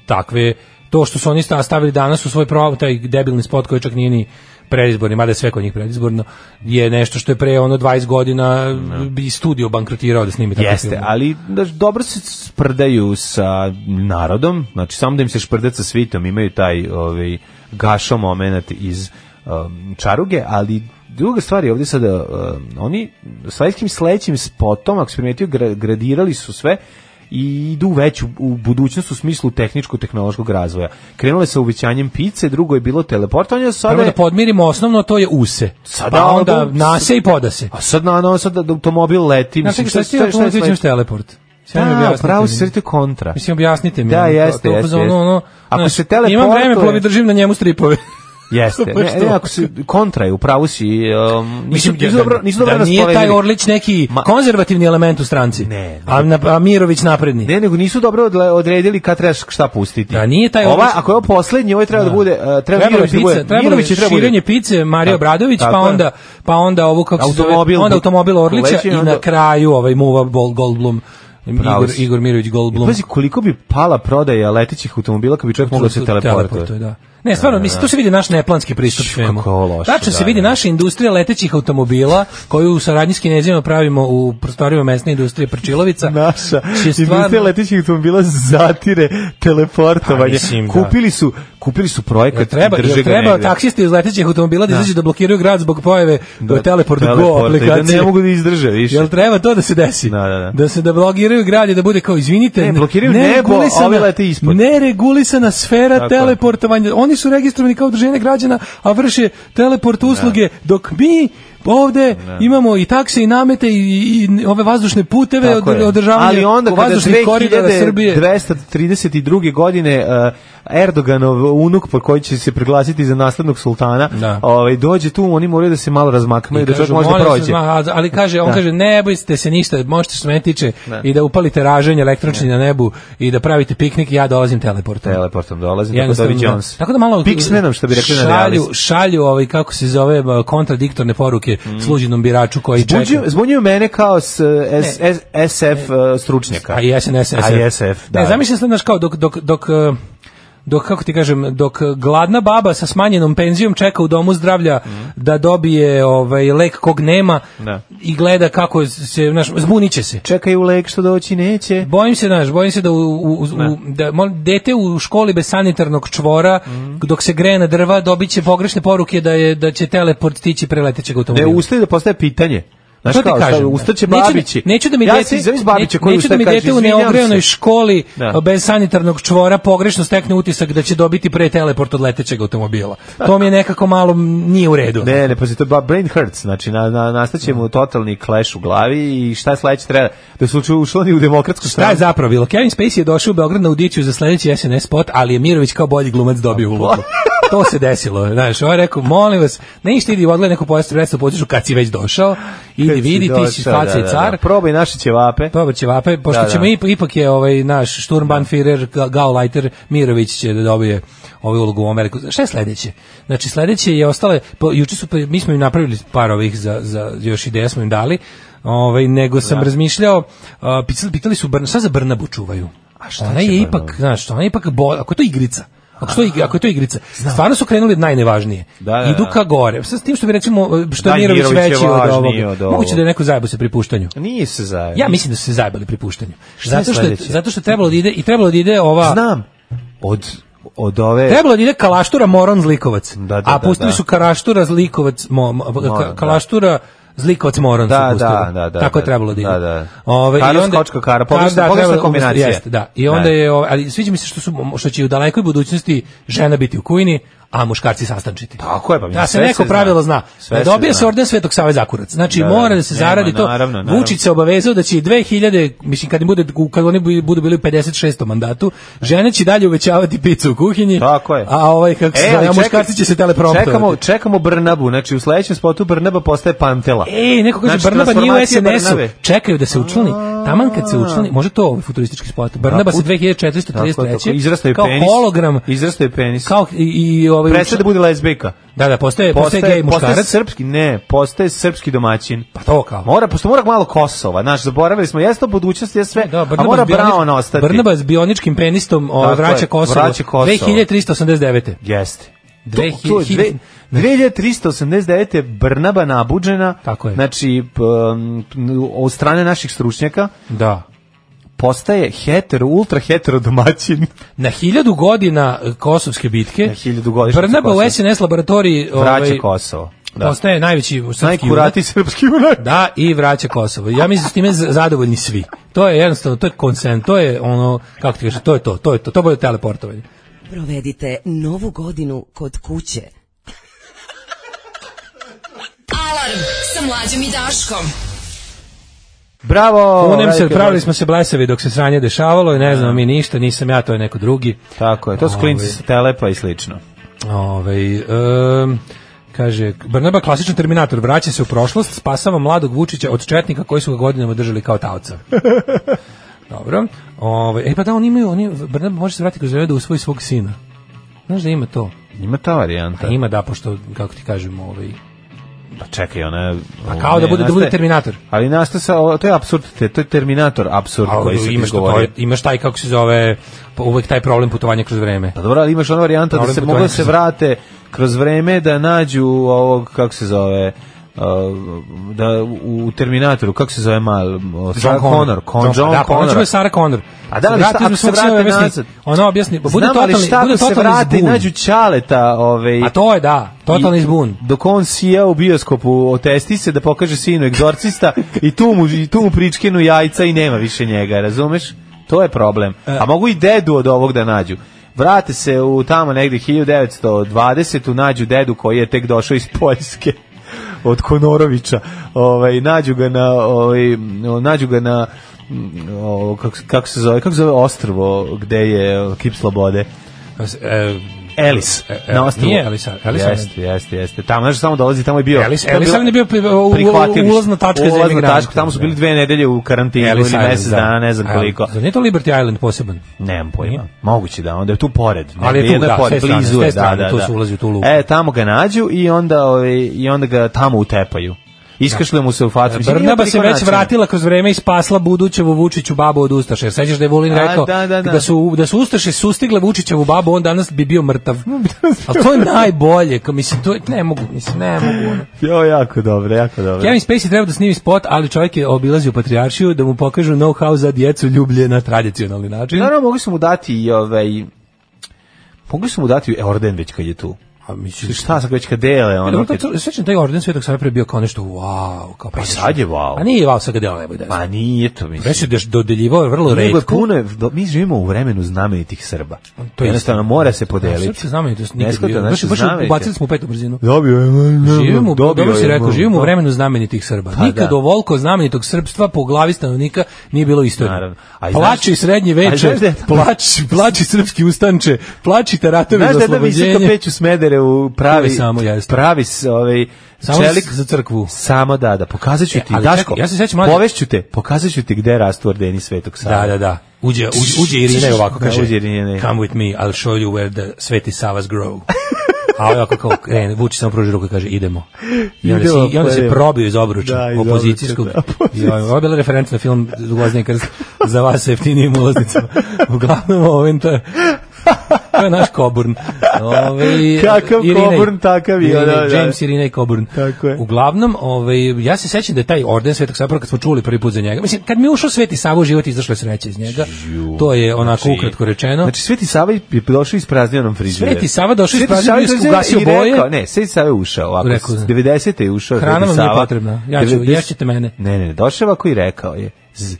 takve, to što su oni sta- stavili danas u svoj prav, taj debilni spot koji čak nije ni predizborni, mada je sve kod njih predizborno, je nešto što je pre ono 20 godina bi studio bankrotirao da snimi tako Jeste, ali da, dobro se sprdaju sa narodom, znači samo da im se šprdat sa svitom, imaju taj ovaj, gašo moment iz um, čaruge, ali druga stvar je ovdje sada, um, oni sa iskim sledećim spotom, ako si primetio, gra- gradirali su sve i idu već u, u budućnost u smislu tehničko-tehnološkog razvoja. Krenulo je sa uvećanjem pice, drugo je bilo teleportovanje, sada Prvo je- da podmirimo osnovno, to je use. Sada pa onda ono- nase i podase. A sad na ono sad da automobil leti, Znači, mislim, šta, šta si ti šta, šta, je automobil sledeće? teleport? Sad mi Da, objasnite pravo mi. si sretio kontra. Mislim, objasnite mi. Da, ono, to- jeste, to je jeste, fazon, jeste. ono, Ako znaš, se teleportuje- Imam vreme, plovi držim na njemu <laughs> stripove. Jeste. Pa Ne, što? ne, ako si kontra je, upravo si. Um, nisu, nisu dobro, nisu dobro da nije taj rasporedili. Orlić neki konzervativni element u stranci. A, na, a Mirović napredni. Ne, nego nisu dobro odle- odredili kad trebaš šta pustiti. Da nije taj Ova, Orlić- ako je ovo poslednji, ovo je treba da bude, uh, treba Trebalo je Mirović da bude. pice, trebalo je Mirović je treba bude. širenje pice Mario Tako- Obradović, pa tako je. onda, pa onda ovu kako se zove, Automobil onda bu- automobil Orlića leći, i na onda- kraju ovaj muva Bol- Goldblum, Pravo Igor, si. E, pa Igor Mirović Goldblum. Pazi, koliko bi pala prodaja letećih automobila kad bi čovjek mogao da se teleportovati. Teleportuje, da. Ne, stvarno, mislim, tu se vidi naš neplanski pristup svemu. kako ovo loše, Tačno se da, vidi naša industrija letećih automobila, koju u saradnji s kinezima pravimo u prostorijama mesne industrije Prčilovica. Naša Će Industrija letećih automobila zatire teleportovanje. Pa, mislim, da. kupili su kupili su projekat Jel treba, i drže jel ga treba negde. taksisti iz letećih automobila da, Da. izađu da blokiraju grad zbog pojave da, teleport go teleporta i da aplikacije. ne mogu da izdrže više. Jel treba to da se desi? Da, da. se da blokiraju grad i da bude kao, izvinite, Ne, blokiraju nebo, neregulisana- a ovi lete ispod. Neregulisana sfera Tako je. teleportovanja. Oni su registrovani kao udruženje građana, a vrše teleport usluge, dok mi ovde imamo i takse i namete i, i- i ove vazdušne puteve, Tako od, je. održavanje Ali onda kada vazdušnih koridora Srbije. 2232. godine uh, Erdoganov unuk po koji će se proglasiti za naslednog sultana, Da. ovaj dođe tu, oni moraju da se malo razmaknu i da čovjek kažu, može da molim vas, prođe. ma, ali kaže, on Da. kaže, ne bojite se ništa, možete što se mene tiče Da. i da upalite raženje električni na nebu i da pravite piknik, ja dolazim teleportom. Teleportom dolazi, tako Jednostavno, Dovi Jones. da. Tako da malo uh, Pixnenom, što bi rekli na šalju, realistu. šalju ovaj kako se zove ba, kontradiktorne poruke sluđenom biraču koji Zbunjuju, čeka. zbunjuju mene kao s, eh, S- S- SF eh, stručnjaka. A i SNS. A i SF, da. Ne, zamislim sad, znaš, kao dok, dok, dok, eh, dok, kako ti kažem, dok eh, gladna baba sa smanjenom penzijom čeka u domu zdravlja da dobije ovaj, lek kog nema Da. i gleda kako se, znaš, zbunit će se. Čekaju lek što doći neće. Bojim se, znaš, bojim se da, u, u, u- Ne. da mol- dete u školi bez sanitarnog čvora, Mhm. dok se greje na drva, dobit će pogrešne poruće da, je, da će teleport tići preletećeg Ne automobila. ustaje da postaje pitanje. Znaš To ti kao, šta, kažem, da. ustaće Neću da- babići. Neću da mi ja dete, se izavim babića ne- koji neću da ustaje mi kaže, dete u "Izvinjavam se." neogrejanoj školi Da. bez sanitarnog čvora pogrešno stekne utisak da će dobiti pre teleport od letećeg automobila. To mi je nekako malo m, nije u redu. Ne, ne, pazi, to je ba- brain hurts, znači na, na, nastaće mu totalni clash u glavi i šta sledeće treba, da su uču- ušli oni u demokratsku Šta je stranu. zapravo bilo? Kevin Spacey je došao u Beograd na audiciju za sledeći SNS spot, ali je Mirović kao bolji glumac dobio ulogu. to se desilo, znaš, on je rekao, molim vas, ne išti idi odgledaj neku pojastu predstavu, potišu kad si već došao, idi Kad si vidi, ti si došao, faca da, i da, car, da. Probaj naše ćevape. Dobar će vape, pošto Da, da. ćemo ip- ipak je ovaj naš Sturmbannführer Ga- Gauleiter Mirović će da dobije ovu ulogu u Ameriku. Šta je sledeće? Znači sledeće je ostale po, juče su pre- mi smo im napravili par ovih za, za još ideja smo im dali. Ovaj nego sam razmišljao a, pitali, pitali su Brna, šta za Brnabu čuvaju? A šta ona je ipak, znaš, ona je ipak bo, ako je to igrica. Ako, što, je ig- ako je to igrica, stvarno su krenuli od najnevažnije. da, Idu da. ka gore. Sad s tim što bi recimo, što Da, je Mirović, Mirović je veći od važniji ovoga. od ovog. Moguće da je neko zajebo se pripuštanju. Nije se zajedno. Ja mislim da su se zajbali pri puštanju. je Zato što je, sledeće? zato što je trebalo da ide i trebalo da ide ova Znam, od, od ove... Trebalo da ide Kalaštura Moron Zlikovac. da, a da, pustili da. su Karaštura Zlikovac mo, mo- ka- da. Kalaštura Zlikovac Moron Da, su pustili. da, da, da, Tako je da, trebalo da ide. da, da. Ove, i Karo onda- Skočka Kara, Ka- pogrešna- da, pogrešna trebalo- kombinacija. Jeste, da. I onda Ne. je ovaj, ali sviđa mi se što su što će i u dalekoj budućnosti žena biti u kujni, a muškarci sastančiti. Tako je, pa mislim, da se sve neko se pravilo zna. zna. Sve Da se dobije se zna. orden Svetog Save Zakurac. Znači Da, mora da, da se nema, zaradi to. naravno, naravno. Vučić se obavezao da će i 2000, mislim kad im bude u- kad oni bu- budu bili u 56. mandatu, žene će dalje uvećavati picu u kuhinji. Tako je. A ovaj kako se E, zove, ali a čekaj, muškarci će se telepromptovati. Čekamo, čekamo Brnabu, znači u sledećem spotu Brnaba postaje Pantela. E, neko kaže Znači, Brnaba nije u transformacija SNS-u. Brnabe. Čekaju da se učlani. Taman kad se učlani, može to ovaj futuristički spot. Brnaba se put- Tako, tako, 2433. izrastao je kao penis. hologram. Izrastao je penis. Kao i, i ovaj Prestaje da bude lezbijka. Da, da, postaje, postaje, Postaje gej muškarac. srpski, ne, postaje srpski domaćin. Pa to kao. Mora, pošto mora malo Kosova, znaš, zaboravili smo, jeste to budućnost, jeste E, sve, da, a Brnabas mora bionič- Brown ostati. Brnabas s bioničkim penistom o, Tako je, vraća Kosovo. vraća Kosovo. 2389. Jeste. To- to je 2000... dve- 2389 je Brnaba nabuđena. Tako je. Znači, p- um, od strane naših stručnjaka. Da. Postaje hetero, ultra hetero domaćin. Na hiljadu godina eh, kosovske bitke, na hiljadu godina Brnaba u SNS laboratoriji Vraća Kosovo. Da. Postaje najveći Ovaj- srpski Najkurati junak. srpski junak. Da, i vraća Kosovo. Ja mislim da s time z- zadovoljni svi. To je jednostavno, to je konsen, to je ono, kako ti kažeš, to je to, to je to, to bude teleportovanje. Provedite novu godinu kod kuće. Alarm sa mlađom i Daškom. Bravo! Kunem se, Radite, pravili smo se blesavi dok se sranje dešavalo i ne znam mi ništa, nisam ja, to je neko drugi. Tako je, to su klinci Ovaj. sa telepa i slično. Ovaj em, kaže, Brnaba klasičan terminator, vraća se u prošlost, spasava mladog Vučića od četnika koji su ga godinama držali kao <laughs> taoca. Dobro. Ovaj e pa da, oni imaju, oni, Brnaba može se vratiti kroz vreme da usvoji svog sina. Znaš da ima to? Ima ta varijanta. A ima da, pošto, kako ti kažem, ovaj, Pa čekaj, ona je- Pa kao da ne, bude- da znaš bude šta je- Terminator. Ali nastaje sa o, to je apsurd, te, to je Terminator apsurd a, koji se imaš, to- izgovori. to je- imaš taj, kako se zove, pa uvek taj problem putovanja kroz vreme. Pa dobro, ali imaš ona varijanta da Problem se putovanja mogu da se kroz- vrate kroz vreme da nađu ovog kako se zove uh, da u- u Terminatoru kako se zove mal o, Sarah Connor, Con- John, da, pa ona će Connor. bude Sarah Connor. A da, ali Vrati šta ako mi se svog sina i vrate objasni- nazad? Ona objasni, pa bude Znam, ali totalni, šta bude ako se totalni vrate i zbun. nađu Ćaleta, ovaj A to je da, totalni i- zbun. Dok on sija u bioskopu, otesti se da pokaže sinu egzorcista i tu mu, i tu mu pričkinu jajca i nema više njega, razumeš? To je problem. E. A mogu i dedu od ovog da nađu. Vrate se u tamo negde 1920. nađu dedu koji je tek došao iz Poljske <laughs> od Konorovića. Ovaj nađu ga na ovaj nađu ga na mm, ovo, kako, se- kako se zove kako se zove ostrvo gde je Kip Slobode. Elis. e, e, na ostrvu. nije Ellis Island, Ellis Island. Jeste, jeste, jeste. Tamo, znaš, samo dolazi, tamo je bio... Ellis- to je Ellis bilo- Island je bio pri- u- u- prihvatilište. ulazna tačka za Ulazna emigrante, tačka, tamo su bili dve nedelje u karantinu ili Ellis Island, mesec da. dana, ne znam A, koliko. zar nije to Liberty Island poseban? Nemam Nije? pojma. Moguće da, onda je tu pored. Ne, Ali je tu, jedno da, s te pored, strane, s blizu te je, da, strane, da, tu da. se ulazi u tu luku. E, tamo ga nađu i onda, ovaj, i onda ga tamo utepaju. Iskašle mu se u facu. Mislim, ima Brnaba se toliko već načina. vratila kroz vreme i spasla Budućevu Vučiću babu od Ustaša. Jer sećaš da je Vulin A, rekao da, da, da. su, da su Ustaše sustigle Vučićevu babu, on danas bi bio <laughs> mrtav. Ali to je najbolje. Kao, mislim, to je, ne mogu, mislim, ne mogu. ono. Jo, jako dobro, jako dobro. Kevin Spacey treba da snimi spot, ali čovjek je obilazio patrijaršiju da mu pokažu know-how za djecu ljublje na tradicionalni način. Naravno, mogli su mu dati i ovaj... Mogli su mu dati i orden već kad je tu. A mislim, Šta sam već kad dele, ono... Dobro, to, kad- to, sećam taj orden Svetog Save pre bio kao nešto wow, kao Pa i sad je wow. A nije wow sad ga delo ne bude. Pa nije to, mislim. Već se deš- dodeljivao je vrlo Nego je retko. puno, je- do- mi živimo u vremenu znamenitih Srba. Pa To To je jednostavno mora se podeliti. Srpske znamenitosti nikad Ne shvata, bilo. znaš, Baš- baš znamenite. ubacili smo u petu brzinu. Dobio je. Živimo, dobro si je, rekao, živimo u da. vremenu znamenitih Srba. Pa Nikad da. ovoliko znamenitog srpstva po glavi stanovnika nije bilo istorije. Naravno. A i Plači znaš- srednje A znaš da veče, je- plači, plači srpski ustanče, plači taratovi Znaš za da je da visoko oslobođenje. peću smedere u pravi, To je samo, jeste. pravi s- ovaj, Samo čelik. za crkvu. Samo da, da, pokazat ću ti, ali Daško, čekaj, ja se sećam mlađe- povešću te, pokazat ću ti gde rastu ordeni Svetog Sava. Da, da, da. Uđe, uđe, uđe Irina i ovako Da, kaže. uđe Irina i- Come with me, I'll show you where the Sveti Savas <laughs> grow. A ovaj ako kao krene, Vučić samo pruži ruku i kaže idemo. I onda, Idemo, se, i onda se idemo. probio iz obruča Da, iz obruča, opozicijskog. da, I ovo, ovo je bila referenca na film Gvozdeni krst za vas sa jeftinijim ulaznicama. Uglavnom, ovim to je, to je naš Coburn. Ove, Kakav Irina i- Coburn, takav i- Irina da, da. James Irina i Coburn. Tako je. Uglavnom, ovaj, ja se sećam da je taj orden Svetog Save, prvo kad smo čuli prvi put za njega, mislim, kad mi je ušao Sveti Sava u život, izašla je sreća iz njega. To je onako ukratko rečeno. Znači, Sveti Sava je došao ispraznio nam frižider. Sveti Sava došao Sveti ispraznio Sava i došao ugasio i boje. rekao- Ne, Sveti Sava je ušao ovako. Rekao, s da. 90. je ušao Hrana Sveti vam nije Sava. potrebna, ja ću, Devedes- ješćete mene. Ne, ne, ne, došao je ovako i rekao je. z-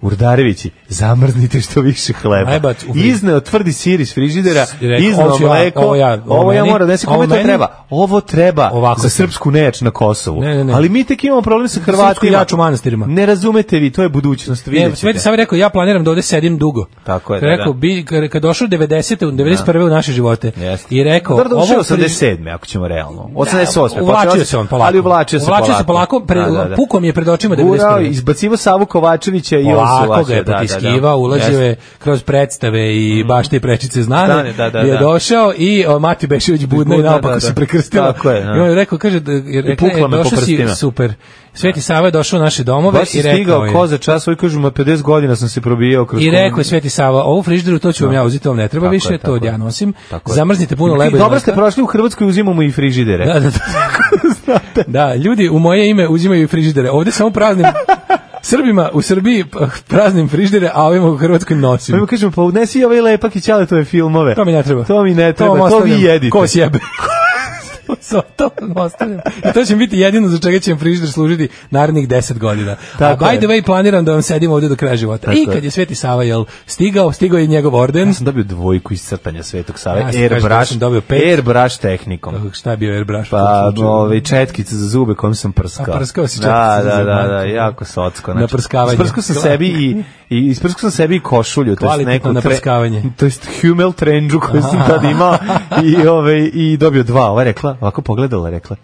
Urdarevići, zamrznite što više hleba. Ajbac u frižider. Izneo tvrdi sir iz frižidera, I rekao, izneo ovo ću ja, mleko, ovo ovo ja, ja, ovo meni, moram da nesem, ovo kome to meni. treba? Ovo treba Ovako za sam. srpsku nejač na Kosovu. Ne, ne, ne. Ali mi tek imamo problem sa Srpsku Hrvatima. jač u manastirima. Ne razumete vi, to je budućnost, Ne, vidjet sve ti ćete. sam rekao, ja planiram da ovde sedim dugo. Tako je, da, rekao, da. bi, kad kad došao 90. u 91. u naše živote. Jeste. I rekao, Dobro, došao ovo... je 87. ako ćemo realno. 88. Da, uvlačio se on polako. pa Ali uvlačio se polako. Uvlačio se polako, pre- pukom je pred očima Gurao, 91.. izbacivo Savu Kovačevića i on se Polako ga uvlačio. je da, da, da. potiskivao, ulazio Jeste. je kroz predstave i bašte i prečice Znane, znane, da, da, je da. došao i o, Mati Bešević budna i Budna, naopako da, da. se prekrstila. Tako je, da. I on je rekao, kaže, da, jer I rekla je, pukla me po došao si prstima. super. Sveti Sava je došao u naše domove Baš i si rekao stigao je... ko za čas, ovi kažu, ma 50 godina sam se probijao kroz I komunizam. rekao je Sveti Sava, ovu frižideru to ću vam ja uzeti, to vam ne treba Tako više, je, to od tako je. ja nosim. Tako je. Zamrznite puno leba i Dobro mleka. ste prošli u Hrvatskoj, uzimamo i frižidere. <laughs> Da, da, da. da, ljudi u moje ime uzimaju i frižidere. Ovde samo <laughs> praznim Srbima u Srbiji p- praznim frižidere, a ovima u Hrvatskoj Pa nosim. mu kažemo, pa odnesi i ovaj lepak i ćale tove filmove. To mi ne treba. To mi ne treba, vam to, ostavljam. vi jedite. Ko sjebe? <laughs> to, to vam ostavljam. I to će mi biti jedino za čega će vam frižider služiti narednih 10 godina. Tako a by je. the way planiram da vam sedim ovde do kraja života. Tako I je. kad je Sveti Sava jel, stigao, stigao je i njegov orden. Ja sam dobio dvojku iz crtanja Svetog Save. Ja sam kažem da airbrush, sam dobio pet. airbrush tehnikom. Kako, Pa, Šta je bio airbrush? u tom Pa, slučaju? ove, četkice za zube kojom sam prskao. A, prskao si da, četkice da, za zube, da, da, majko. jako socko. Znači, Naprskavanje. Isprskao sam sebi i, i isprskao sam sebi i košulju, to jest Kvalitetno neku naprskavanje. To jest Hummel trendžu koju sam tad imao i, ove, i dobio dva. Ova je rekla, ovako pogledala, rekla,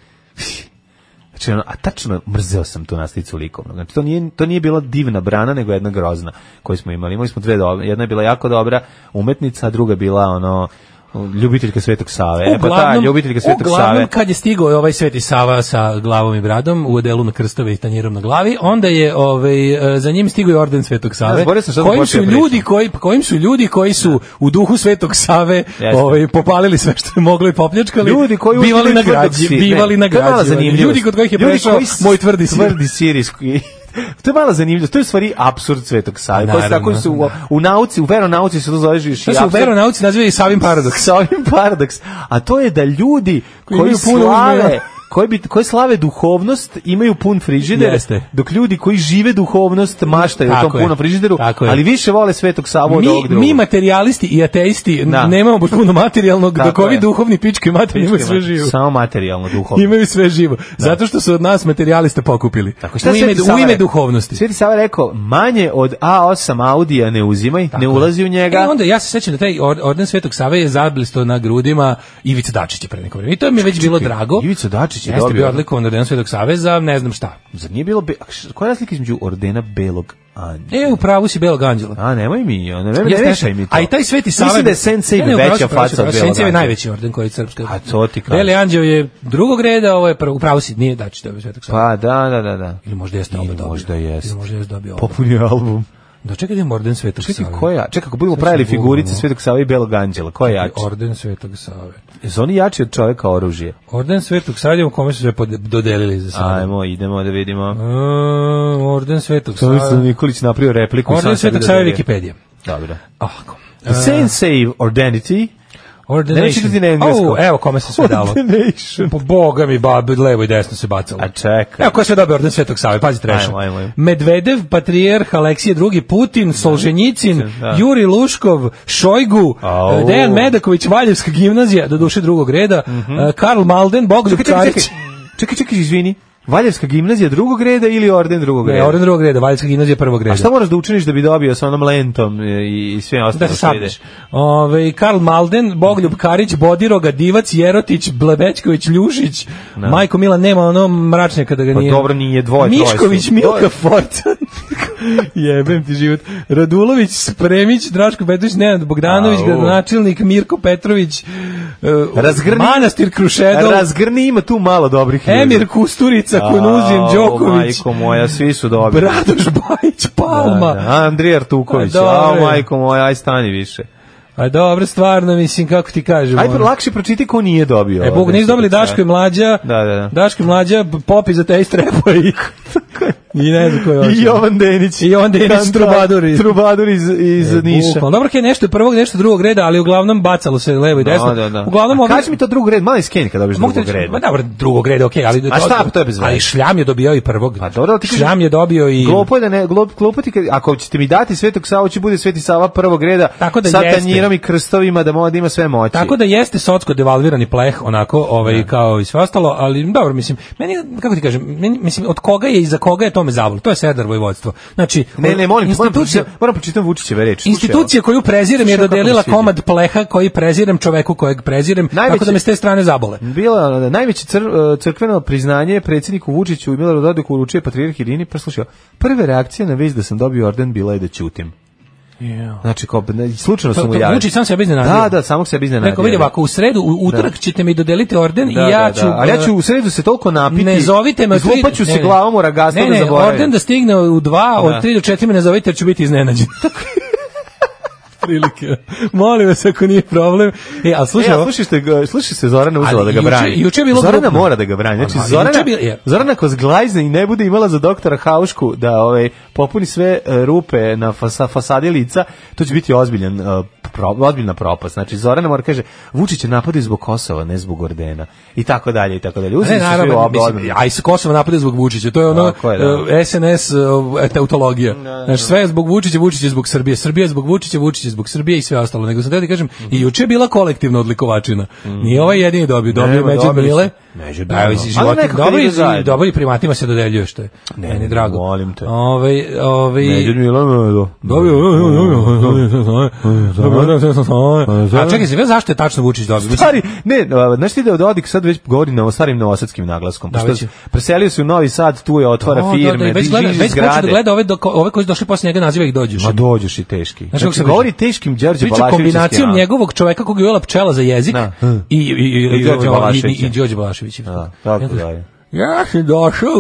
Znači, ono, a tačno, mrzeo sam tu nastavicu likovnog. Znači, to nije, to nije bila divna brana, nego jedna grozna koju smo imali. Imali smo dve dobre. Jedna je bila jako dobra umetnica, a druga je bila, ono, ljubiteljka Svetog Save. E, pa ta ljubiteljka Svetog uglavnom Save. kad je stigao ovaj Sveti Sava sa glavom i bradom u odelu na krstove i tanjirom na glavi, onda je ovaj e, za njim stigao i orden Svetog Ja, Save. zaboravio sam šta sam kojim počeo su pričam. ljudi koji kojim su ljudi koji su u duhu Svetog Save ovaj popalili sve što je moglo i popljačkali. Ljudi koji bivali na uzimaju tvrdog građi, sira. bivali Ne, na to je mala građi. zanimljivost. Ljudi kod kojih je ono, Ljudi prešao koji s- moj tvrdi sir. Tvrdi sir iz koji- <laughs> To je mala zanimljivost. To je u stvari apsurd Svetog Save. To je Naravno. tako su u, u nauci, u veronauci se to zove žiš. To se u <laughs> veronauci naziva i Savin paradoks. sa ovim paradoks, a to je da ljudi koji, Koji imaju puno slave uzgoja. <laughs> koji bi koji slave duhovnost imaju pun frižider Jeste. dok ljudi koji žive duhovnost maštaju o Tako tom je. punom frižideru Tako je. ali više vole Svetog Savu od ovog Mi, drugog mi materijalisti i ateisti n- Da. nemamo baš puno materijalnog, dok Tako ovi je. duhovni pički materijalni imaju sve Pičke, živo. samo materijalno duhovno Imaju sve živo. Zato što su od nas materijaliste pokupili. Tako, šta Pa u ime, Sveti Sava u ime rekao? duhovnosti. Sveti Sava rekao manje od A8 Audija ne uzimaj ne ulazi u njega E, onda ja se sećam da taj or- orden Svetog Save je zablisto na grudima Ivica Dačića pre neko vreme. I to mi je već bilo drago. Ivica Dačić je Jeste dobio- bio odlikovan ordenom Svetog Save za ne znam šta. Zar nije bilo be... koja je razlika između ordena belog anđela E, u pravu si Belog Anđela. A nemoj mi, ne, ne, ne, Jeste, mešaj mi to. A i taj Sveti Sava... Mislim da je Sensei Ne, ne, u pravu si, veća u pravu si, faca u pravu od si. Belog Sensei je Anđela. najveći orden koji je srpska. A to ti kažem. Beli Anđel je drugog reda, ovo je prvo, u pravu si, nije Dačić dobio Svetog Save. Pa da, da, da, da. Ili možda jeste oba Ili dobio. možda jeste. Ili možda jeste dobio oba. Popunio album. Da čekaj da imam orden Svetog Čekaj, Save. ko je? Čekaj, kako budemo pravili Svetog figurice Save. Svetog Sava i Belog Anđela, ko je jači? Orden Svetog Save. Jesu oni jači od čoveka oružje? Orden Svetog Save, u kome su sve pod- dodelili za sada. Ajmo, idemo da vidimo. Mm, Orden Svetog Samo što Save. Nikolić napravio repliku. Orden sam sebi Svetog Save E, dodelio. Wikipedia. Dobro. Ovako. The Sensei of Ordinity. Orden Ne neću čitati na engleskom. evo kome se sve dalo. Ordination. Po boga mi, babi, levo i desno se bacalo. A čekaj. Evo ko je sve dobio orden Svetog Save, pazi treša. Ajmo, ajmo, ajmo. Medvedev, Patrijarh, Aleksije II, Putin, Solženjicin, da. Juri Luškov, Šojgu, e, Au. Dejan Medaković, Valjevska gimnazija, do duše drugog reda, eh, Karl Malden, Bogdan Mhm. Čekaj, čekaj, Carić. čekaj. Čekaj, čekaj, izvini. Valjevska gimnazija drugog reda ili orden drugog Ne, reda? orden drugog reda, Valjevska gimnazija prvog reda. A šta moraš da učiniš da bi dobio sa onom lentom e, i, i sve ostalo da se što ide? sapneš. Ove, Karl Malden, Bogoljub Karić, Bodiroga, Divac, Jerotić, Blebečković, Ljušić. Majko Mila nema ono mračnja kada ga Pa nije. dobro, nije dvoje, troje su. Mišković, Dvoje. Milka Fortan. <laughs> Jebem ti život. Radulović, Spremić, Draško Petrović, Nenad Bogdanović, Au. gradonačelnik, Mirko Petrović, e, Razgrni- Manastir Krušedol, Razgrni ima tu malo dobrih ljudi. Emir Kusturica, Kunuzin, Au, Đoković, Majko moja, svi su dobri. Bradoš Bajić, Palma. Da, da, Andrija Artuković. A, A, Pa dobro je. majko moja, aj stani više. A dobro, stvarno, mislim, kako ti kažem. Aj ono. lakše pročiti ko nije dobio. E, Bog, ovde. nisu dobili Daško i Mlađa. Da, da, da. Daško i Mlađa, Popi za te istrepa i... I ne znam ko je I ovaj Jovan Denić. I Jovan Denić, Kantar, trubadur iz- Trubadur iz, iz E, Niša. bukvalno. Dobro, je nešto prvog, nešto drugog reda, ali uglavnom bacalo se levo i desno. Da, da, da. Uglavnom A ovi- kaži mi to drugog reda, mali skenj kada dobiš Mogu ti drugog reći, reda. Ma dobro, drugog reda, okej, ali A šta, to je bez veze. Ali Šljam je dobio i prvog. Pa dobro, ali ti kažeš- Šljam je dobio i Glupo je da ne, glup, glupo ti kad, ako ćete mi dati Svetog Savu, će bude Sveti Sava prvog reda Tako da sa jeste. tanjirom i krstovima da mo- da ima sve moći. Tako da jeste socsko devalvirani pleh onako, ovaj kao i sve ostalo, ali dobro mislim, meni kako ti kažem, meni, mislim od koga je i za koga je tome zavol. To je Serdar vojvodstvo. Znači, Ne, ne, molim, te, moram institucija, pročitam, moram pročitam Vučićeve reči. Slušaj, institucija evo. koju prezirem je Slušaj, kako mi se dodelila sviđa. komad pleha koji prezirem čoveku kojeg prezirem, tako Najveće- da me s te strane zabole. Bila e, najveće cr, e, crkveno priznanje predsjedniku Vučiću i Miloradu Dodiku uručuje patrijarh Irine, pa slušaj, prve reakcije na vez da sam dobio orden bila je da ćutim. Znači, kao, ne, slučajno To- sam mu to javio. Pa, Vučić sam sebe iznenadio. Da, da, samog sebe iznenadio. Rekao, vidi ovako, u sredu, u utorak Da. ćete mi dodeliti orden i ja ću... Ali ja ću e, u sredu se toliko napiti. Ne zovite me... od tri- Izlupat ću ne, se ne. glavom u ragastu Ne, da ne, zaboravim. orden da stigne u dva, Da. od tri do četiri me ne zovite jer ću biti <laughs> iznenađen. Prilike. Molim vas ako nije problem. E, ali slušaj, E, a ovo- slušaj, što je ga- slušaj se Zorana uzela Ali da ga juče- brani. juče je bilo Zorana grupno. mora da ga brani. Znači, Ali Zorana, juče je bilo- je. Zorana ako zglajzne i ne bude imala za doktora Haušku da ovaj, popuni sve e, rupe na fasa, fasadi lica, to će biti ozbiljan, e, pro- ozbiljna propast. Znači, Zorana mora kaže, Vučić je napadao zbog Kosova, ne zbog ordena. I tako dalje, i tako dalje. Ne, Uzeli su svi u naravno, oba mislim, odmah. a i sa Kosova napada zbog Vučića, to je ono Tako je, da. eh, SNS eh, teutologija. Znači, sve je zbog Vučića, Vučić je zbog Srbije, Srbija je zbog Vučića, Vučić je zbog Srbije i sve ostalo. Nego sam teo da ti kažem, i juče je bila kolektivna odlikovačina. Nije ovaj jedini dobio, dobio je Nema, Međed dobili su. Mile. Međed Evo, Mile. iz Ali životinja- nekako dobro ide i- zajedno. dobro i primatima se dodeljuje što je. Ne, Meni ne, drago. molim te. Ovaj, ovaj- Međud Milanović. Dobio, A čekaj se, zašto je tačno Vučić dobio? Mislim, Stari, ne, a, znaš ti da Dodik sad već govori na starim novosadskim naglaskom, Da, pošto već je. preselio se u Novi Sad, tu je otvara O, da, firme, da, i već diži gleda, već počeo da zgrade. gleda ove, do, ove koji su došli posle njega naziva ih dođeš. Ma dođeš i teški. kako Znači, se govori priča? teškim Đorđe Priča Balaševićem. kombinacijom njegovog čoveka kog je ujela pčela za jezik Da. i, i, i, i, I Đorđe i, i, Balaševića. i Đorđe Balaševića. Da, tako da <laughs> je. Ja <laughs> sam došao.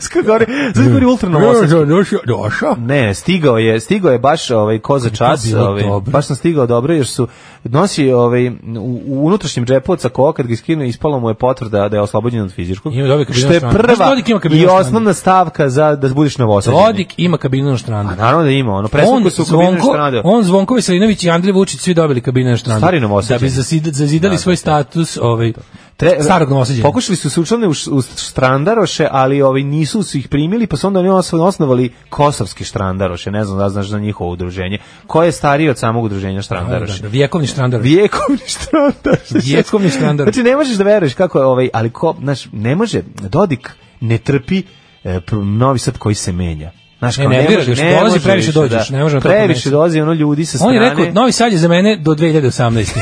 Skoro govori, znači govori ultra Ja novosadski. sam došao. Došao? Ne, stigao je, stigao je baš ovaj ko za čas, bilo ovaj dobro. baš sam stigao dobro jer su nosi ovaj u, u unutrašnjem džepu od sakoa kad ga skinu ispalo mu je potvrda da je oslobođen od fizičkog. Ima dobio kabinu Što je na strani. Znaš, prva Dodik ima kabinu i na strani. osnovna stavka za da budeš novosađen. Dodik ima kabinu na štranu. A naravno da ima, ono presvuku On, su kabinu zvonko, štrade. on Zvonko Veselinović i Andrija Vučić svi dobili kabinu na štranu. Stari Novosađani. Da bi zasid- zazidali svoj status ovaj, starog novosađenja. Pokušali su se učlane u, š- u Štrandaroše, ali ovaj, nisu su ih primili, pa su onda oni osno- osnovali Kosovski Štrandaroše, ne znam da znaš za njihovo udruženje, koje je starije od samog udruženja da, Štrandaroše. da, vijekovni štrandar. Vijekovni Štrandaroše. Vijekovni Štrandaroše. Znači, ne možeš da veruješ kako je, ovaj, ali ko, znaš, ne može, Dodik ne trpi e, pr- novi sad koji se menja. Znaš, Ne, kao, nervira može- ga što dolazi, može previše više, dođeš, ne može na to Previše promeniti. dolazi, ono, ljudi sa On strane. je rekao, Novi Sad je za mene do 2018.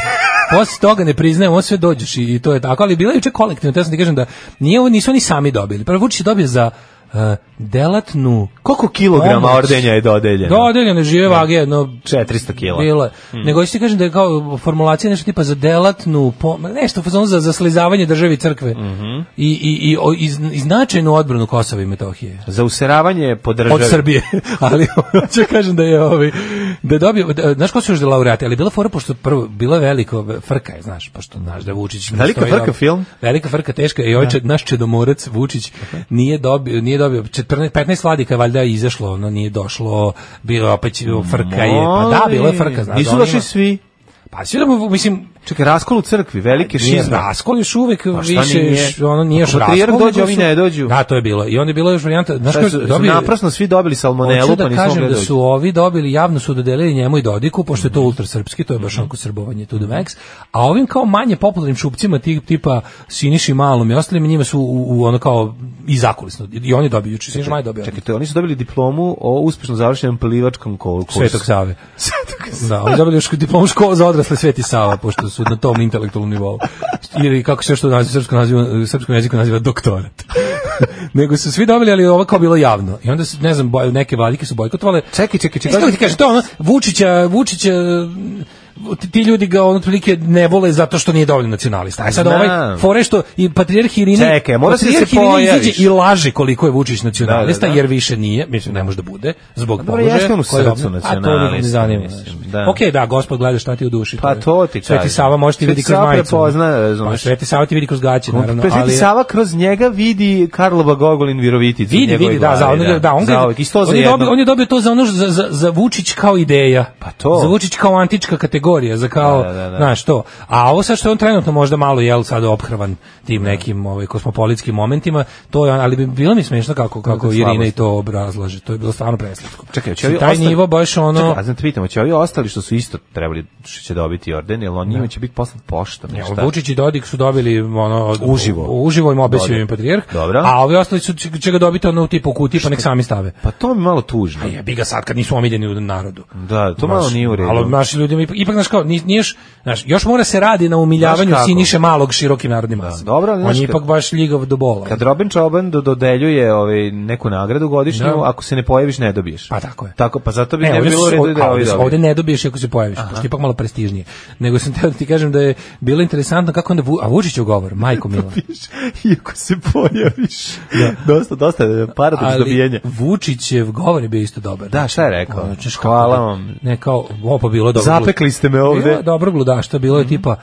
Posle toga ne priznajem, on sve dođeš i, i to je tako, ali bila je juče kolektivno, te sam ti kažem da nije, ovo- nisu oni sami dobili. Prvo Vučić je dobio za uh, delatnu Koliko kilograma Pomoć. ordenja je dodeljeno? dodeljene žive vage, jedno 400 kila. Bilo je. Hmm. Nego ti kažem da je kao formulacija nešto tipa za delatnu, po, nešto u fazonu za, za slizavanje države i crkve Mhm. i, i, i, o- i, zn- i značajnu odbranu Kosova i Metohije. Za useravanje po državi. od Srbije. <laughs> ali hoću da kažem da je ovaj da je dobio da, znaš ko su još da laureati, ali bila fora pošto prvo bila veliko frka je, znaš, pošto znaš da Vučić mu Velika stoji frka dobro. film? Velika frka teška je i ovaj čed- naš čedomorac Vučić nije dobio nije dobio 14 15 vladika je valjda izašlo, ono nije došlo, bilo opet će- frka je. Pa da, bila je frka, znaš. Nisu da on došli ima- svi. Pa svi da mu- mislim Čekaj, raskol u crkvi, velike nije šizme. raskol još uvek Pa šta više nije? š- ono nije još Ako patrijarh raskol, dođe, nego ovi su- ne dođu. Da, to je bilo. I onda je bilo još varijanta, znaš Šta ko su, su dobio naprasno svi dobili salmonelu, Hoću pa da nismo kažem da gledali. su ovi dobili, javno su dodelili njemu i Dodiku, pošto je to ultrasrpski, to je Mhm. baš onko srbovanje to the max, a ovim kao manje popularnim šupcima tip, tipa Siniši Malom i ostalim, njima su u, u ono kao i zakulisno, i oni dobiju, juče Siniša Maj dobio. Čekaj, to, oni su dobili diplomu o uspešno završenom plivačkom kol- kursu. Svetog <laughs> Save. Da, oni dobili još diplomu školu za odrasle Sveti Sava, pošto su na tom intelektualnom nivou. Ili kako se što naziv, srpsko nazivu, srpskom jeziku naziva doktorat. <laughs> Nego su svi dobili, ali ovo kao bilo javno. I onda su, ne znam, boj- neke valike su bojkotovale. Čekaj, čekaj, čekaj. Kako ti kažem, to je ono, Vučića, Vučića, ti- ti ljudi ga on otprilike ne vole zato što nije dovoljno nacionalista. A sad Znam. ovaj fore što i patrijarh Irina Čekaj, mora se da se patrijarh Irina pojaviš. izađe i laže koliko je Vučić nacionalista Da, da, da. jer više nije, mislim ne može da bude zbog dobro, položaja. jeste on u koji je srcu obna- A to nikog ne nacionalista, zanima. mislim, znaš. da. Okej, da, gospod gleda šta ti u duši. Pa je- to ti Sveti kažem. Sava može ti Sveti vidi kroz Sava majicu. prepozna, razumeš. Pa, Sveti Sava ti vidi kroz gaće, naravno. Pa Sveti ali- Sava kroz njega vidi Karlova Gogolin Viroviticu. u Vidi, njegovoj vidi, da, za glavi, ono, da, on, ga, Zauvek, i sto on, za je jedno. dobio, on je dobio to za ono za, za, za Vučić kao ideja. Pa to. Za Vučić kao antička kategorija, za kao, Da, da, da. znaš to. A ovo sad što je on trenutno možda malo jel sad ophrvan tim nekim ovaj, kosmopolitskim momentima, to je, on- ali bi bilo mi smiješno kako, kako Slabost. Irina i to obrazlaže. To je bilo stvarno preslatko. Čekaj, hoće Mislim, ovi taj ostali- nivo baš ono... Čekaj, a znam te pitam, hoće ovi ostali što su isto trebali, što će dobiti orden, jel on njima će biti poslat poštom? ili Ja, šta? Vučić i Dodik su dobili ono od- Uživo. uživo im obesio Dodik. im patrijarh. Dobro. A ovi ostali su će će ga dobiti ono u tipu kutiji pa nek sami stave. Pa to mi je malo tužno. A jebi ga sad kad nisu omiljeni u narodu. Da, to malo Znaš, nije u redu. Ali naši ljudi ipak, ipak znaš kao, ni- nije još, znaš, još mora se radi na umiljavanju Znaš kako? Pa, Siniše malog širokim narodnim masama. dobro, ali On znaš je kako? ipak baš ljigav do bola. Kad Robin Čoban do, dodeljuje ovaj, neku nagradu godišnju, Da. ako se ne pojaviš, ne dobiješ. Pa tako je. Tako, pa zato bi Ne, ne, ovdje, bilo u su- redu da kao, ovi ovdje, dobiju. ovdje ne dobiješ ako se pojaviš, pošto je ipak malo prestižnije. Nego sam teo da ti kažem da je bilo interesantno kako onda, Vu- a Vučić je govor, <laughs> majko mila. <laughs> Iako se pojaviš. Dosta, dosta je paradoks Ali dobijenja. Vučićev govor je bio isto dobar. Da, šta je rekao? Ono, znaš kako- Hvala vam. Ne, kao, ovo pa bilo je dobro. Zapekli ste me ovde. Bilo je dobro gludašta, bilo je tipa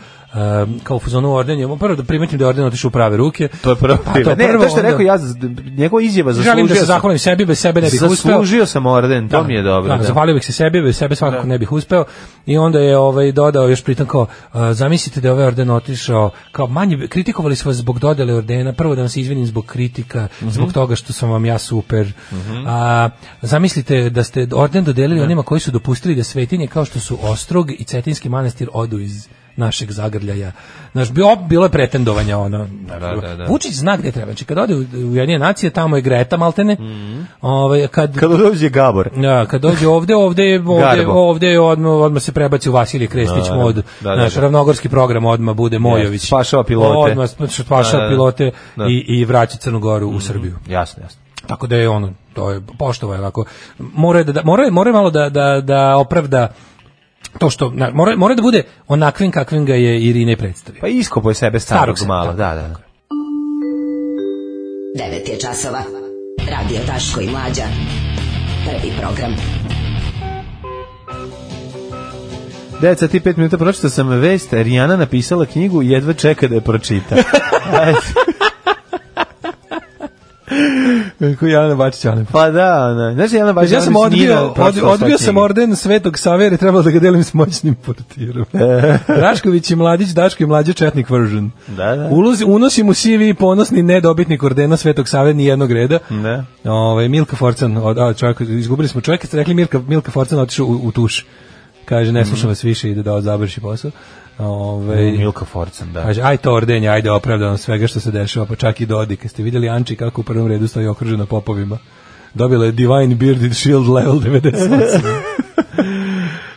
um, kao u fuzonu orden, je, prvo da primetim da je orden otišao u prave ruke. To je prvo. Pa, to je ne, prvo, to što je onda- rekao ja, z- njegova izjava zaslužio Želim da se sam. zahvalim sebi, bez sebe ne bih uspeo. Zaslužio sam orden, to mi je dobro. Da, da. Zahvalio bih se sebi, bez sebe svakako ne bih uspeo. I onda je ovaj dodao još pritom kao a, zamislite da je ovaj orden otišao kao manje bi- kritikovali su vas zbog dodele ordena, prvo da vam se izvinim zbog kritika, Mhm. zbog toga što sam vam ja super. A, zamislite da ste orden dodelili onima koji su dopustili da svetinje kao što su Ostrog i Cetinski manastir odu iz našeg zagrljaja. Znaš, bi- op- bilo je pretendovanja ono. da, da. Vučić zna gde treba. Znači, kad ode u Ujedinjene nacije, tamo je Greta maltene. Mhm. Ovaj, kad, Kad dođe Gabor. da, kad dođe ovde, ovde je ovde, Garbo. ovde je odmah, odmah se prebaci u Vasilije Krestić Da, mod. da, da, naš da. ravnogorski program odmah bude Mojović. spašava pilote. Odmah sp- spašava Da, da, da. pilote Da. Mhm. i i vraća Crnu Goru u Srbiju. Jasno, jasno. Tako da je ono, to je poštovao je onako. Mora je da, da mora, je- mora je malo da da da opravda to što na, mora, mora da bude onakvim kakvim ga je Irine predstavio. Pa iskopo je sebe Starog starog sebe, malo, da, da. 9 je časova. Radio Daško i Mlađa. Prvi program. 9 sati 5 minuta pročitao sam vest, Rijana napisala knjigu i jedva čeka da je <laughs> pročita. Kako Jelena Bačić, ona. Pa da, ona. Znaš, Jelena Bačić, ja sam ona mislim, nije odbio, pročitala svoje odbio sam knjige. orden Svetog Save jer je trebalo da ga delim s moćnim <laughs> portirom. Rašković i Mladić, Daško i Mlađe Četnik version. Da, da. Ulozi, unosim u CV i ponosni nedobitnik ordena Svetog Save ni jednog reda. Da. Ovaj Milka Forcan, od, a, čovjek, izgubili smo čovjeka, ste rekli Milka, Milka Forcan otišao u, u tuš. Kaže, ne slušam vas više, ide da završi posao. Ovaj, Ove, Mhm. Milka Forcan, da. Kaže, aj to ordenje, ajde opravdano svega što se dešava, pa čak i Dodik. Jeste vidjeli Anči kako u prvom redu stoji okružena popovima? Dobila je Divine Bearded Shield level <laughs> 98.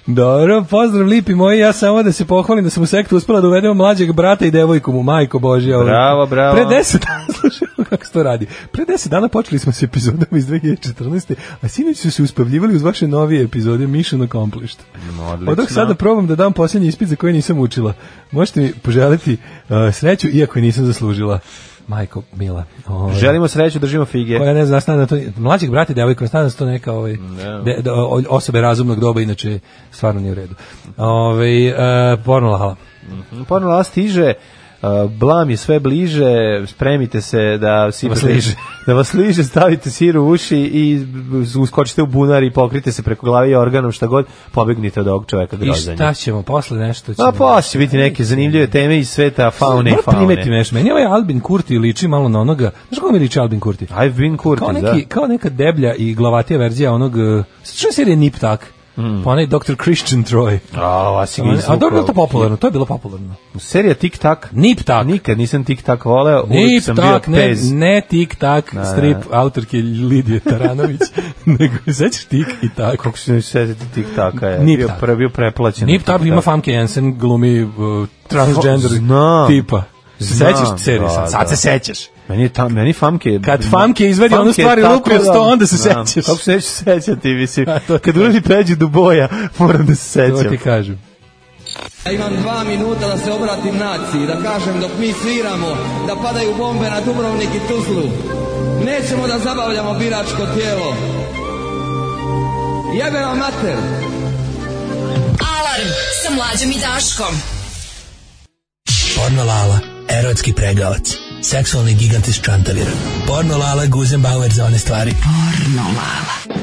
Dobro, pozdrav lipi moji, ja samo da se pohvalim da sam u sektu uspela da uvedemo mlađeg brata i devojku mu, majko Božja. ovo- Bravo, bravo. Pre deset dana, <laughs> slušaj kako se to radi. Pre deset dana počeli smo s epizodom iz 2014. A sinoć su se uspavljivali uz vaše novije epizode Mission Accomplished. Odlično. Odok sada probam da dam posljednji ispit za koji nisam učila. Možete mi poželiti uh, sreću, iako je nisam zaslužila. Majko, mila. Ovaj. Želimo sreću, držimo fige. Koja ne zna, stane na to, mlađih brata i devojka, stane su to neka ovaj, de- de- o- osobe razumnog doba, inače stvarno nije u redu. Ovaj e, porno lahala. Mhm. Ponovno vas stiže, uh, blam je sve bliže, spremite se da Vas sipate, liže. da vas liže, stavite sir u uši i uskočite u bunar i pokrite se preko glave i organom šta god, pobegnite od ovog čoveka I grozanja. šta ćemo, posle nešto ćemo. A Pa posle će biti neke zanimljive teme iz sveta faune i Moram primetim faune. nešto. Meni ovaj Albin Kurti liči malo na onoga. Znaš kako mi liči Albin Kurti? I've been Kurti, Kao, da. neki, kao neka deblja i glavatija verzija onog... eh, Što je serija Nip Tak? Hmm. Pa onaj Dr. Christian Troy. A, ova si ga A, a izvukao. dobro je bilo to popularno, to je bilo popularno. Serija Tic Tak. Nip Tak. Nikad nisam Tic Tak voleo, uvijek Nip sam bio tak, ne, pez. ne tik tak, strip autorke Lidije <laughs> Taranović, nego sećaš tik i tak. Kako se ne sjetiti Tic Taka je? Nip bio, Tak. pre, bio preplaćen. Nip tak Tic ima Tak. Famke Jensen, glumi uh, transgender Znam. tipa. Znam, Sećaš serije da, sad, sad da. se sećaš. Meni je tam, meni famke... Kad famke izvadi Famke onu stvar i je tako lupi uz to, onda se znam, sećaš. Kako se neću sećati, mislim. <laughs> A, to ti Kad ljudi pređu do boja, moram da se To sećam. ti kažem. Ja imam dva minuta da se obratim naciji, da kažem dok mi sviramo, da padaju bombe na Dubrovnik i Tuzlu. Nećemo da zabavljamo biračko tijelo. Jebe vam mater! Alarm sa mlađom i Daškom. Porno Lala, erotski pregavac, seksualni gigant iz Čantavira. Porno Lala, Guzenbauer za one stvari. Porno Lala.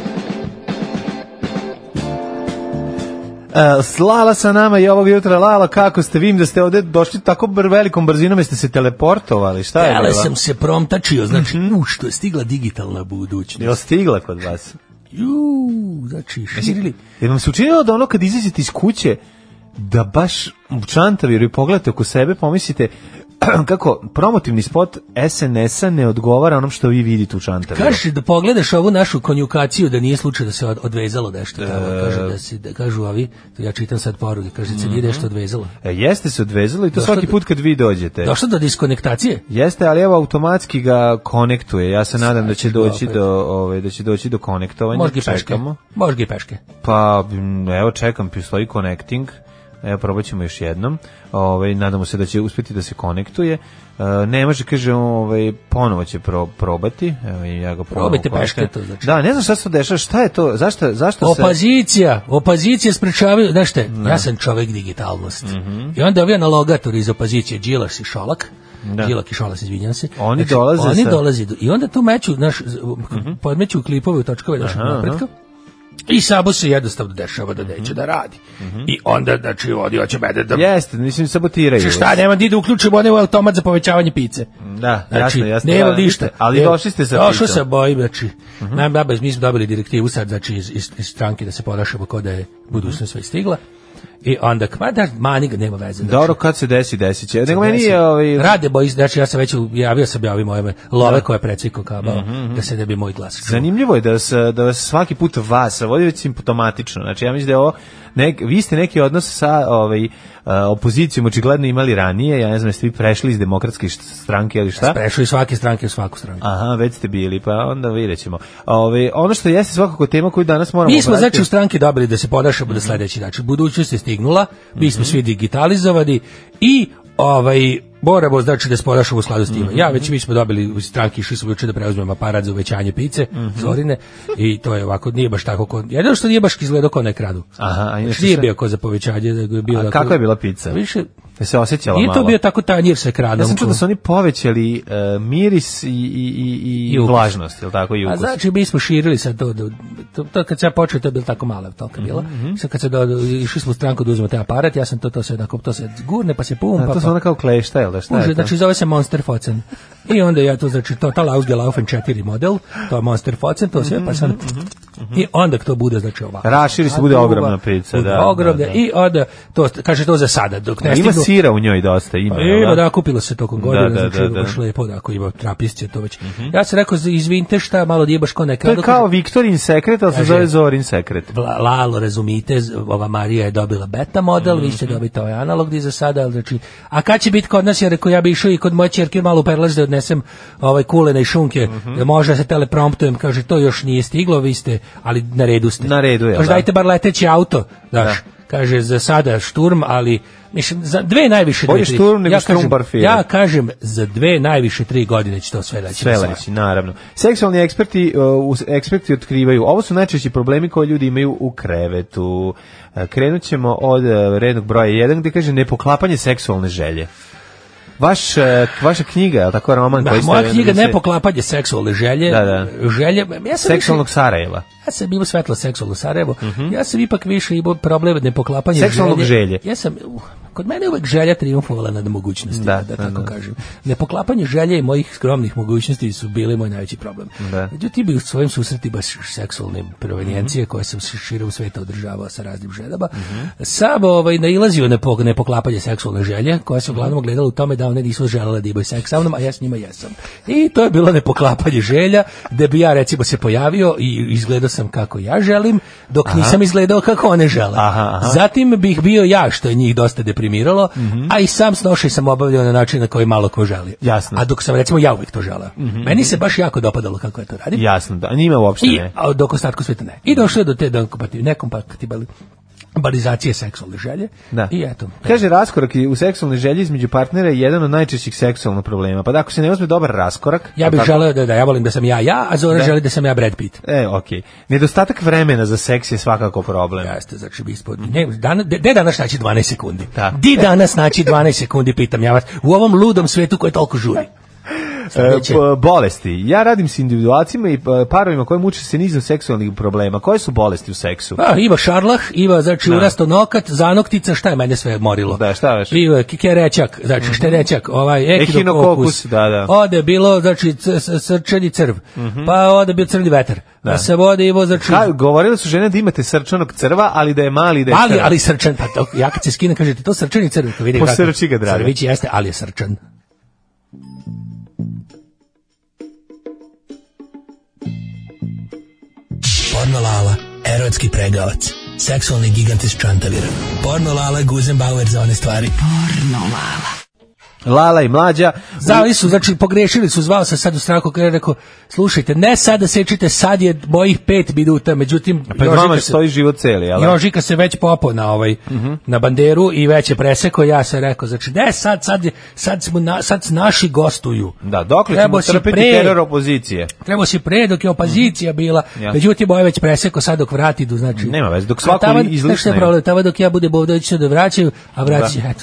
Uh, Slala sa nama i ovog jutra Lala, kako ste vidim da ste ovde došli tako br velikom brzinom jeste se teleportovali, šta je? Ali bilo? sam se promtačio, znači, Mhm. u, što je stigla digitalna budućnost. Jel stigla kod vas? Ju, znači, širili. Jel vam se učinilo da ono kad izađete iz kuće da baš u čantaviru i pogledate oko sebe pomislite <clears throat> kako promotivni spot SNS-a ne odgovara onom što vi vidite u čantaviru. Kaže da pogledaš ovu našu konjukaciju da nije slučaj da se od- odvezalo nešto tamo, E. kaže da se da kažu ovi, to ja čitam sad poruke, kaže se Mhm. nije nešto odvezalo. E, jeste se odvezalo i to Došlo svaki do- put kad vi dođete. Došlo do diskonektacije? Jeste, ali evo automatski ga konektuje. Ja se nadam da će doći do ovaj da će doći do konektovanja. Možda i peške. Čekamo. Možda i peške. Pa m, evo čekam, pi- stoji connecting. Evo probat ćemo još jednom. Ovaj nadamo se da će uspjeti da se konektuje. E, ne može kaže ovaj ponovo će pro- probati. Evo i ja ga ponovo Probajte konektujem. peške, to znači. Da, ne znam šta se to dešava, šta je to? Zašto zašto se Opozicija, opozicija sprečavaju, znaš te, ja sam čovek digitalnosti. Mhm. I onda ovi analogatori iz opozicije, Đilaš i Šolak, Da. Đilak i Šolak, izvinjam se. Znači, Oni dolaze Oni sa- Mhm. dolaze, do- i onda tu meću, znaš, z- podmeću klipove u točkove našeg Aha, Mhm. aha. napretka. I Sabo se jednostavno dešava da neće da radi. Mhm. I onda, znači, vodi hoće mene da... Jeste, mislim sabotiraju. Če Znači, šta, nema di da uključimo onaj automat za povećavanje pice. Da, Znači, jasno, jasno. nema da, ništa. Ali Ne- došli ste sa Došao pričom. Mhm. sa bojim, znači, nam baba, mi smo dobili direktivu sad, znači, iz, iz, iz stranke da se ponašamo kao da je Mhm. budućnost sve stigla. I onda, ma da, mani ga, nema veze. Znači, Dobro, kad se desi, desi će. Nego meni je Desi. ovaj Rade boji, znači ja sam već u- javio sam ja ovim ovim love Da. koje je preciko kabao, Mhm, mhm. da se ne bi moj glas čuo. Zanimljivo je da vas, da vas svaki put vas vodi već simptomatično. Znači, ja mislim da je ovo, nek, vi ste neki odnos sa ovaj, eh, opozicijom očigledno imali ranije, ja ne znam, jeste vi prešli iz demokratske št- stranke ili šta? Prešao iz svake stranke u svaku stranku. Aha, već ste bili, pa onda vidjet ćemo. Ove, ono što jeste svakako tema koju danas moramo Mi smo obratiti- znači u stranke dobili da se ponašamo Mhm. na sledeći način. Budućnost je stignula, mi smo svi digitalizovani i ovaj moramo znači da se ponašamo u skladu s time. Mhm. Ja već mi smo dobili u stranki išli smo juče da preuzmemo aparat za uvećanje pice, Mhm. Zorine i to je ovako nije baš tako ko. Jedino što nije baš izgledao kao na ekranu. Aha, a inače Znači, nije sve- bio kao za povećanje, nego je bio A onako- kakva je bila pica? Više Je se osjećala Nije to malo? bio tako tanjir sa ekranom. Ja sam čuo da su oni povećali eh, miris i, i, i, i, I ukus. vlažnost, je li tako, i A ukus. znači mi smo širili sad to, to, to, to kad sam ja počeo to je bilo tako mala tolka bila. Mhm. Sad kad se do, išli smo u stranku da uzmemo taj aparat, ja sam to to se jednako to se gurne pa se pumpa. A, to su pa- ona kao klešta, je li da šta Kuže, je to? znači zove se Monster Focen. I onda ja to znači to ta Laufen 4 model, to je Monster Focen, to sve pa Mhm, sad i onda to bude znači ovako. Raširi se, bude A, duva, ogromna pizza, bude da, Ogromna da, da. i onda to kaže to za sada dok ne A Ima stignu. sira u njoj dosta, ima. Pa jel ima, da, kupilo se tokom Da, godina, da, znači da, da. Mhm. baš lepo, da, ako ima trapisće to već. Ja sam rekao, izvinite šta, malo nije baš ko neka. To je kao Viktorin sekret, ali se Kaže- zove Zorin sekret. Vla- Lalo, razumite, z- ova Marija je dobila beta model, vi Mhm. ćete dobiti ovaj analog di za sada, ali znači, a kad će biti kod nas, ja rekao, ja bi išao i kod moje čerke malo u perlaž da odnesem ovaj kulene i šunke, Mhm. da može da se telepromptujem, kaže, to još nije stiglo, vi ste, ali na redu ste. Na redu je, Kaže, da. dajte bar leteći auto, znaš, kaže, za sada šturm, ali Mislim, za dve najviše Bolje dve, tri. šturm nego ja kažem, štrumbarfir. ja kažem, za dve najviše tri godine će to sve leći. Sve leći, naravno. Seksualni eksperti, uh, us- eksperti otkrivaju, ovo su najčešći problemi koje ljudi imaju u krevetu. Uh, Krenut ćemo od uh, rednog broja 1 gde kaže nepoklapanje seksualne želje. Vaš, uh, vaša knjiga, je li tako roman? Da, koji ste- moja knjiga se- Nepoklapanje seksualne želje, Da, da. želje, ja sam Seksualnog Sarajeva. Ja sam imao svetlo seksualno Sarajevo. Ja sam ipak više imao problem nepoklapanja Seksualnog želje. Ja sam uh, kod mene je uvek želja triumfovala nad mogućnostima, da, tako kažem. Nepoklapanje želje i mojih skromnih mogućnosti su bile moj najveći problem. Da. Međutim, i u svojim susretima s seksualnim provenijencije koje sam se širom sveta održavao sa raznim ženama, sam ovaj, nailazio na pog- nepoklapanje seksualne želje, koja se uglavnom gledala u tome da one nisu želele da imaju seks sa mnom, a ja s njima jesam. I to je bilo nepoklapanje želja, da bi ja recimo se pojavio i izgledao sam kako ja želim, dok Aha. nisam izgledao kako one žele. Aha, aha. Zatim bih bio ja, što je njih dosta deprimiralo, Mhm. a i sam snošaj sam obavljao na način na koji malo ko želi. Jasno. Mhm. A dok sam recimo ja uvijek to želeo. Meni se baš jako dopadalo kako je to radim. Jasno, da, njima uopšte I, ne. a dok ostatku sveta ne. I došlo je do te nekompatibilnosti. barizacije seksualne želje. Da. I eto. Kaže, raskorak u seksualnoj želji između partnera je jedan od najčešćih seksualnih problema. Pa da, ako se ne uzme dobar raskorak... Ja bih tako- želeo da, da ja volim da sam ja ja, a Zora želi da sam ja Brad Pitt. E, okej. Nedostatak vremena za seks je svakako problem. Jeste, znači bi ispod... Mhm. Ne, dana, de, de danas naći 12 sekundi? Di danas naći 12 sekundi, pitam ja vas. U ovom ludom svetu koje toliko žuri. Sledeće. E, po- bolesti. Ja radim s individualcima i e, parovima koji muče se nizom seksualnih problema. Koje su bolesti u seksu? A, ima šarlah, ima znači Da. urasto nokat, zanoktica, šta je mene sve morilo. Da, šta veš? Ima kikerećak, znači mm šterećak, ovaj Echinococcus, ekinokokus. da, da. Mhm. Ode je bilo znači c- c- srčani crv. Pa ode je bio crni vetar. Da. Da. se vode imao znači Ka, govorili su žene da imate srčanog crva, ali da je mali i da je ali, crv. ali srčan, pa to, ja kad se skinem, kažete, to srčani crv, kad vidim kako- Posrči ga, dragi. Crvić jeste, ali je srčan. Pornolala, erotski pregavac, seksualni gigant iz Čantavira. Pornolala, Guzenbauer za one stvari. Pornolala. Lala i mlađa. Zvali su, znači pogrešili su, zvao sam sad u stranku kada je rekao, slušajte, ne sada sečite, sad je mojih pet minuta, međutim... Pred Jožika vama se- stoji život celi, jel? da? Jožika ono, se već popao na ovaj Mhm. na banderu i već je preseko, ja sam rekao, znači ne, sad, sad, je- sad, smo na, sad naši gostuju. Da, dokle Trebao ćemo si trpeti pre. teror opozicije? Trebao si pre dok je opozicija bila, Jasno. međutim ovo je već preseko, sad dok vrati idu, znači... Mhm. Nema veze, dok A svako tavan- izlišne znaš šta je je. problem, tamo dok ja budem ovdje, će da vraćaju, a vraći, Da. eto.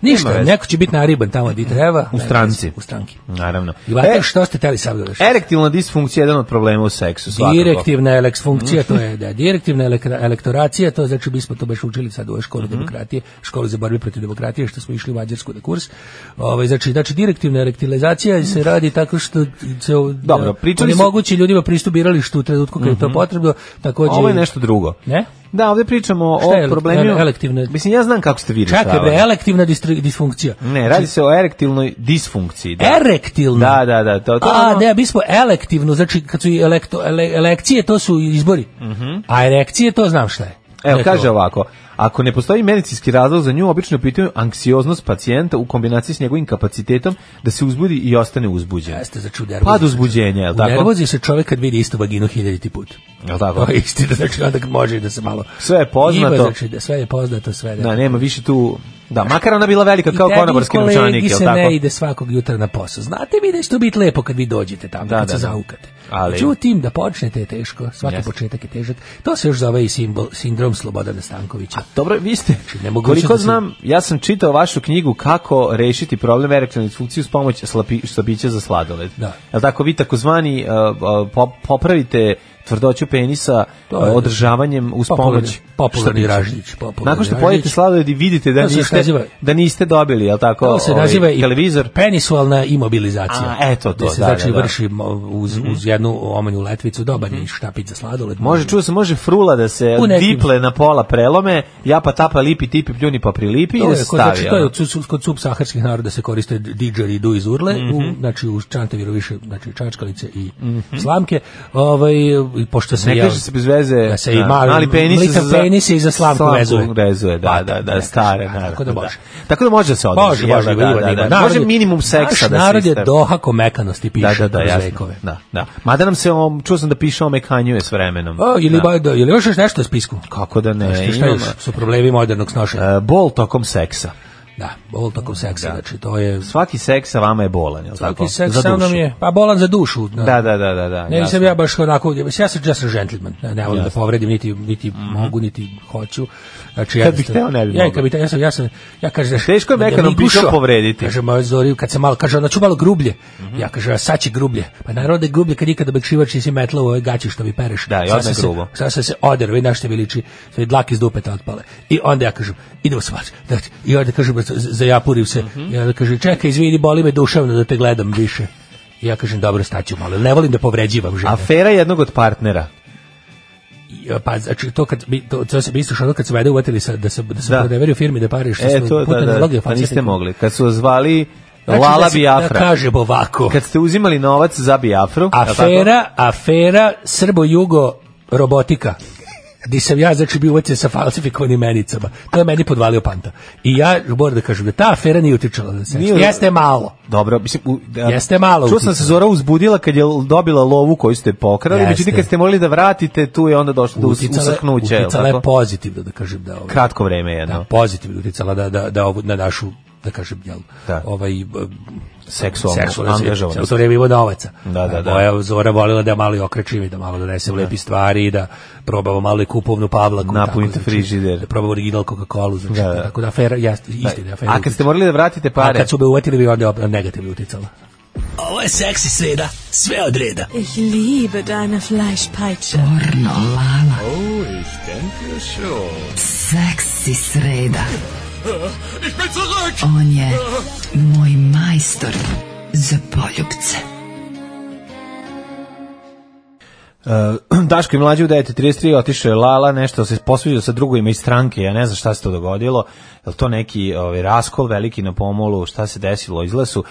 Ništa, Nema veze. neko će biti nariban tamo gdje treba. U stranci. U stranki. Naravno. I vate E, što ste teli sad gledaš? Erektilna disfunkcija je jedan od problema u seksu. svakako. Mhm. Direktivna eleks funkcija, to je da, direktivna elekra- elektoracija, to je, znači mi smo to baš učili sad u ovoj školi Mhm. demokratije, školi za borbe protiv demokratije, što smo išli u Mađarsku na kurs. Ovaj, znači, znači, direktivna elektilizacija se radi tako što se Dobro, pričali su- Mhm. mogući ljudima pristup biralištu u trenutku kad je to potrebno, takođe... Ovo je nešto drugo. Ne? Da, ovdje pričamo Šta je o problemima... ele- elektivna- Mislim, ja znam kako ste vi Čekaj rešavali. bre, elektivna distri- disfunkcija. Ne, radi se o erektilnoj disfunkciji. Da. Da, Erektilna? da, da. To, to, je Er- A, ono- ne, mi smo elektivno, znači kad su i elekto, ele- elekcije, to su izbori. A erekcije, to znam šta je. Mhm. Evo, Ne, to- kaže ovako, ako ne postoji medicinski razlog za nju, obično pitaju anksioznost pacijenta u kombinaciji s njegovim kapacitetom da se uzbudi i ostane uzbuđen. Jeste, znači u nervozi. Pad uzbuđenja, je U li tako? nervozi se čovjek kad vidi istu vaginu hiljaditi put. Je li tako? To je istina, <laughs> znači onda kad može i da se malo... Sve je Ima, poznato. znači, da sve je poznato, sve Da, nema više tu... Da, makar ona bila velika I kao tebi, konobarski kolegi, novčanik, je li se ne tako? ide svakog jutra na posao. Znate vi da će to biti lepo kad vi dođete tamo, Da, kad da, se da. zaukate. Ali- Međutim, da počnete je teško, svaki Jeste. početak je težak. To se još zove i simbol, sindrom Slobodana Stankovića. Dobro, vi ste, nemoguće koliko da se- znam, ja sam čitao vašu knjigu kako rešiti problem erektilne disfunkcije s pomoć slapi, slapića za sladoled. Da. Je li tako, vi takozvani uh, uh, pop- popravite tvrdoću penisa To je- uh, održavanjem uz Popularni- pomoć popularni štapića. ražnjić, popularni Nakon što ražnjić. pojedete sladoled i vidite da, To se još niste, naziva- da niste dobili, je li tako, To se ovaj, naziva i televizor? penisualna imobilizacija. A, eto to, Gde se da, znači da, da. vrši mo- uz, uz jednu omanju letvicu, dobar je štapić za sladoled. Može, čuo sam, može frula da se U nekim- diple na pola prelome, ja pa tapa lipi, tipi, pljuni pa prilipi i To da je, se kod, stavi. znači, to je ono. od su- su- kod subsaharskih naroda se koriste didžeri du iz urle, Mhm. u, znači u čantaviru više znači čačkalice i slamke. Ovaj, i pošto se Ne jel- kaže se bez veze, da se i da, mali, mali penis litav za- penis je i za slamku, vezuje. Pa, da, da, da, ne stare, kaže, a, naravno. tako da može. Tako da može da se održi. Može, jel može, da, da, da, da. Može minimum seksa da se narod je istravi. dohako mekanosti piše Da, da, da, kroz jasno. vekove. Da, da. Mada nam se, om, čuo sam da piše omekanjuje s vremenom. O, Pa, ili, Da. ba, da, ili još još nešto u spisku? Kako da ne, Šta, šta još imamo. su problemi modernog snošenja? E, Bol tokom seksa. Da, bol tokom seksa, znači to je... Svaki seks sa vama je bolan, jel tako? Svaki seks Za sa mnom dušu. je, pa bolan za dušu. Da, Da, da, da, da. da Ne, jasno. nisam ja baš onako, ja sam ja sam gentleman, ne, ne volim da povredim, niti, niti mogu, niti hoću. Znači, Mhm. Kad bi jednostavno- hteo, ne bi ja, mogao. kad bi hteo, ja sam, ja sam, ja kažem, Teško je mekanom pišom povrediti. Mhm. Kaže, ma Zori, kad se malo, kaže, ona ću malo grublje. Ja kaže, a sad će grublje. Pa naravno da je grublje kad nikada bekšivač nisi metla u ovoj gaći što mi pereš. Da, i Sad odmah sam se- grubo. Sad sam se oder, vi našte mi liči, sve dlak iz dupeta otpale. I onda ja kažem, idemo svač. Znači, I onda kažem, z- z- zajapurim se. Mhm. I onda kažem, čekaj, izvini, boli me duševno da te gledam više. I ja kažem, dobro, staću malo. Ne volim da povređivam žene. Afera jednog od partnera. I, Pa, znači, to kad, mi- to, to se misliš ono kad se vede uvatili sa, da se, da se Da. proneveri u firmi da pariš. što E, smo to putne da, da, naloge pa niste falsifikovali. mogli. Kad su zvali Znači, Lala da se- Biafra. Da kažem ovako. Kad ste uzimali novac za Biafru, jel tako? Afera, afera Srbo-Jugo robotika. gdje sam ja znači bio uvećen sa falsifikovanim menicama. To je meni podvalio panta. I ja moram da kažem da ta afera nije utičala na seks. Nije- Jeste malo. Dobro, mislim, u- da- Jeste malo Čuo sam se uticaj. Zora uzbudila kad je l- dobila lovu koju ste pokrali, Jeste. međutim kad ste morali da vratite, tu je onda došlo do us- usrknuća. jel uticala je tako? pozitivno da kažem da ovaj, Kratko vreme jedno. Da, pozitivno uticala da da da ovu, na našu da kažem jel Da. ovaj b- Seksualno seksualno angažovanost. u to vrijeme imao novaca. Da, da, da. Moja Zora volila da malo i okrećim i da malo donesem lepi stvari i da probamo malo i kupovnu pavlaku. Napunite tako, znači, frižider. Da probamo original Coca-Cola. Znači, Da, da. Tako da afera, jeste, istina, afera. A kad ste morali da vratite A pare? kad su me uvetili bi onda op- negativno uticala. Ovo je seksi sreda, sve od reda. Ich liebe deine Fleischpeitsche. Pornolala. Oh, ich denke schon. Seksi sreda. Ich bin zurück! On je moj majstor za poljubce. Uh, <clears throat> Daško i mlađi u 9.33 otišao je Lala, nešto se posviđao sa drugovima iz stranke, ja ne znam šta se to dogodilo, je li to neki ovaj, raskol veliki na pomolu, šta se desilo, izgleda su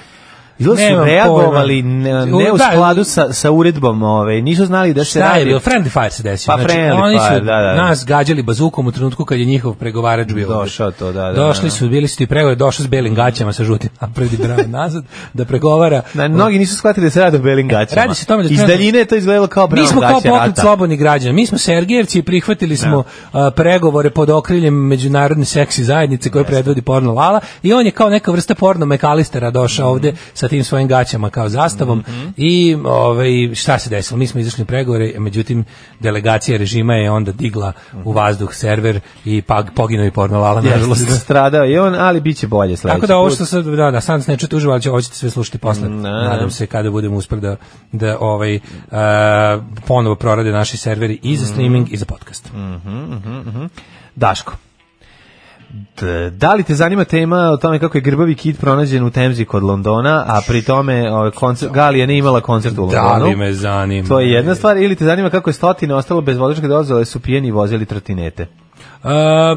Izgleda su Nemam reagovali pojma. ne, ne u Da, skladu sa, sa uredbom, ovaj, nisu znali da se Šta je radi. bilo? Friendly fire se desio. Znači, Pa friendly oni su fire, da, da. nas gađali bazukom u trenutku kad je njihov pregovarač bio. ovde. Došao to, da, da. Došli da. su, bili su ti pregovori, došao s belim gaćama sa žutim <laughs> napred i bravo nazad da pregovara. Na, mnogi nisu shvatili da se radi o belim gaćama. Radi se o tome da Iz trenutno- daljine je to izgledalo kao bravo Mi smo kao gaće pokret rata. slobodnih građana. Mi smo Sergejevci i prihvatili smo a, pregovore pod okriljem međunarodne seksi zajednice koje predvodi porno Lala i on je kao neka vrsta porno mekalistera došao ovde sa tim svojim gaćama kao zastavom Mhm. i ovaj, šta se desilo? Mi smo izašli na pregovore, međutim delegacija režima je onda digla u vazduh server i pag, poginuo i porno Lala Jeste, nažalost. stradao je on, ali bit će bolje sledeći Tako da ovo put. Mm, što sad, da, da, sad se ne čujete uživo, ali će, ovo ćete sve slušati posle. Ne. Nadam se kada budemo uspeli da, da ovaj, e, ponovo prorade naši serveri i Mm. za streaming i za podcast. Daško. D- Da li te zanima tema o tome kako je grbavi kit pronađen u Temzi kod Londona, a pri tome ovaj, koncert, Galija nije imala koncert u Da Londonu? li me zanima? To je jedna stvar, ili te zanima kako je stotine ostalo bez vozačke dozvole, su pijeni i vozili trotinete. E,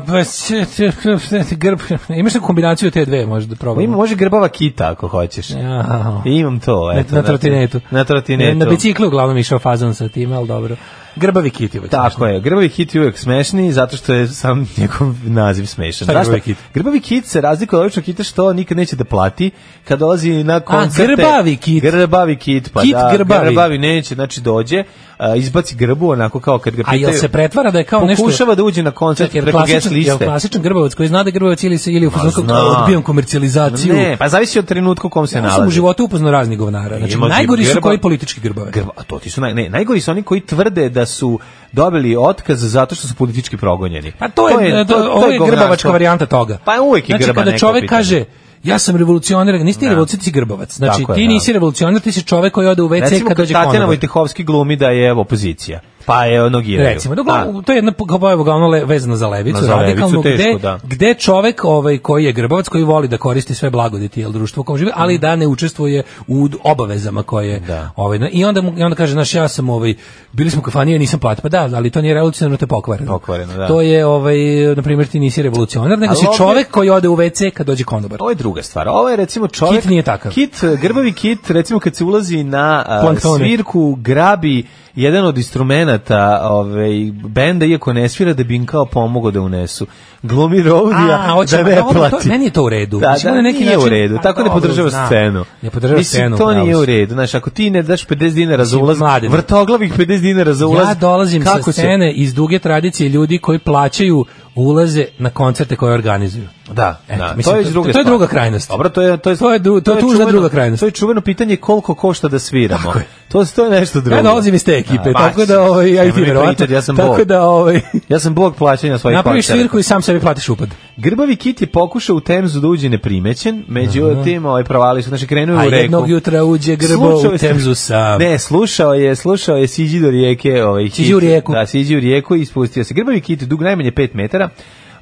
pa, se- se- se- se- grb, imaš neku kombinaciju te dve, možda da probamo. Ima, može grbava kita ako hoćeš. Ja. Imam to, Na- eto. na znači, trotinetu. Na trotinetu. Na, na biciklu uglavnom išao fazon sa tim, ali dobro. Grbavi kit je uvek Tako je, grbavi kit je uvek smešni zato što je sam <laughs> njegov naziv smešan. Šta je Zašto? grbavi kit? Grbavi kit se razlikuje od običnog kita što nikad neće da plati kad dolazi na koncerte. grbavi kit. Grbavi kit, pa Kit da. grbavi. neće, znači dođe, a, izbaci grbu onako kao kad ga A pitaju. jel se pretvara da je kao nešto... Pokušava da uđe na koncert Čekaj, jel preko guest klasičan, jel liste. klasičan grbavac koji zna da je grbavac ili se ili u fazonu zna. kao odbijam komercijalizaciju. Ne, pa zavisi od trenutka u kom se Ja sam u nalazi. životu upoznao raznih govnara. Znači, Ima najgori su grba- koji politički grbavi. Grba, a to ti su naj, ne, najgori su oni koji tvrde da su dobili otkaz zato što su politički progonjeni. Pa to, je, to, ovo je govnarstvo. grbavačka varijanta toga. Pa uvek je znači, grba kada neko čovek pitanje. kaže ja sam revolucionar, nisi ti Da. revolucionar, ti si grbavac. Znači, Tako je, ti da. nisi revolucionar, ti si čovek koji ode u WC Recimo kad kad dođe Tatjana konobar. Vojtehovski glumi da je opozicija, pa je nogiraju. Recimo, da, uglavnom, to je jedna kao je uglavnom le- vezano za levicu, Za levicu, radikalnu, teško, gde, da. gde čovek ovaj, koji je grbavac, koji voli da koristi sve blagodeti jel, društvo u kom živi, Mm. ali da ne učestvuje u d- obavezama koje... Ovaj, na- i, onda, mu- I onda kaže, znaš, ja sam, ovaj, bili smo u kafaniji, ja nisam platio. Pa da, ali to nije revolucionarno, to je pokvareno. Pokvareno, da. To je, ovaj, na primjer, ti nisi revolucionar, nego Ali si ovdje- čovek koji ode u WC kad dođe konobar. Ovo je druga stvar. Ovo je recimo čovjek... Kit nije takav. Kit, eh, grbavi kit, recimo kad se ulazi na eh, Planktone. svirku, grabi jedan od instrumenata ovaj, benda, iako ne svira, da bi im kao pomogao da unesu. Glumi rovdija A, hoće- da ne a, ovo- to- plati. meni je to u redu. Da, Mislim, da, na neki nije u način- redu. a, Tako ne dobro, podržava znam. scenu. Ne podržava Mislim, scenu, to pravo nije u si. redu. Znaš, ako ti ne daš 50 dinara za Mislim, ulaz, mladen. vrtoglavih 50 dinara za ulaz, Ja dolazim kako se- sa scene iz duge tradicije ljudi koji plaćaju ulaze na koncerte koje organizuju. Da, Eto, da. E, mislim, to je to- druga to je stvar. druga krajnost. Dobro, to je to je To je dru- to je tužna druga krajnost. To je čuveno pitanje koliko košta da sviramo. Tako je. To to je nešto drugo. Ja dolazim iz te ekipe, pa tako da ovaj ja i ti verovatno. ja sam Pa tako bog. da ovaj Ja sam bog plaćanja svojih napraviš koncerata. svirku i sam sebi platiš upad. Grbavi Kit je pokušao u Temzu da uđe neprimećen, međutim, ovaj provali su, znači krenuo je A u reku. jednog jutra uđe grbo Slušao u je- Temzu sam. Ne, slušao je, slušao je siđi do rijeke, ovaj Siđi hit. u rijeku. Da, siđi u rijeku i ispustio se. Grbavi kit dug najmanje 5 metara.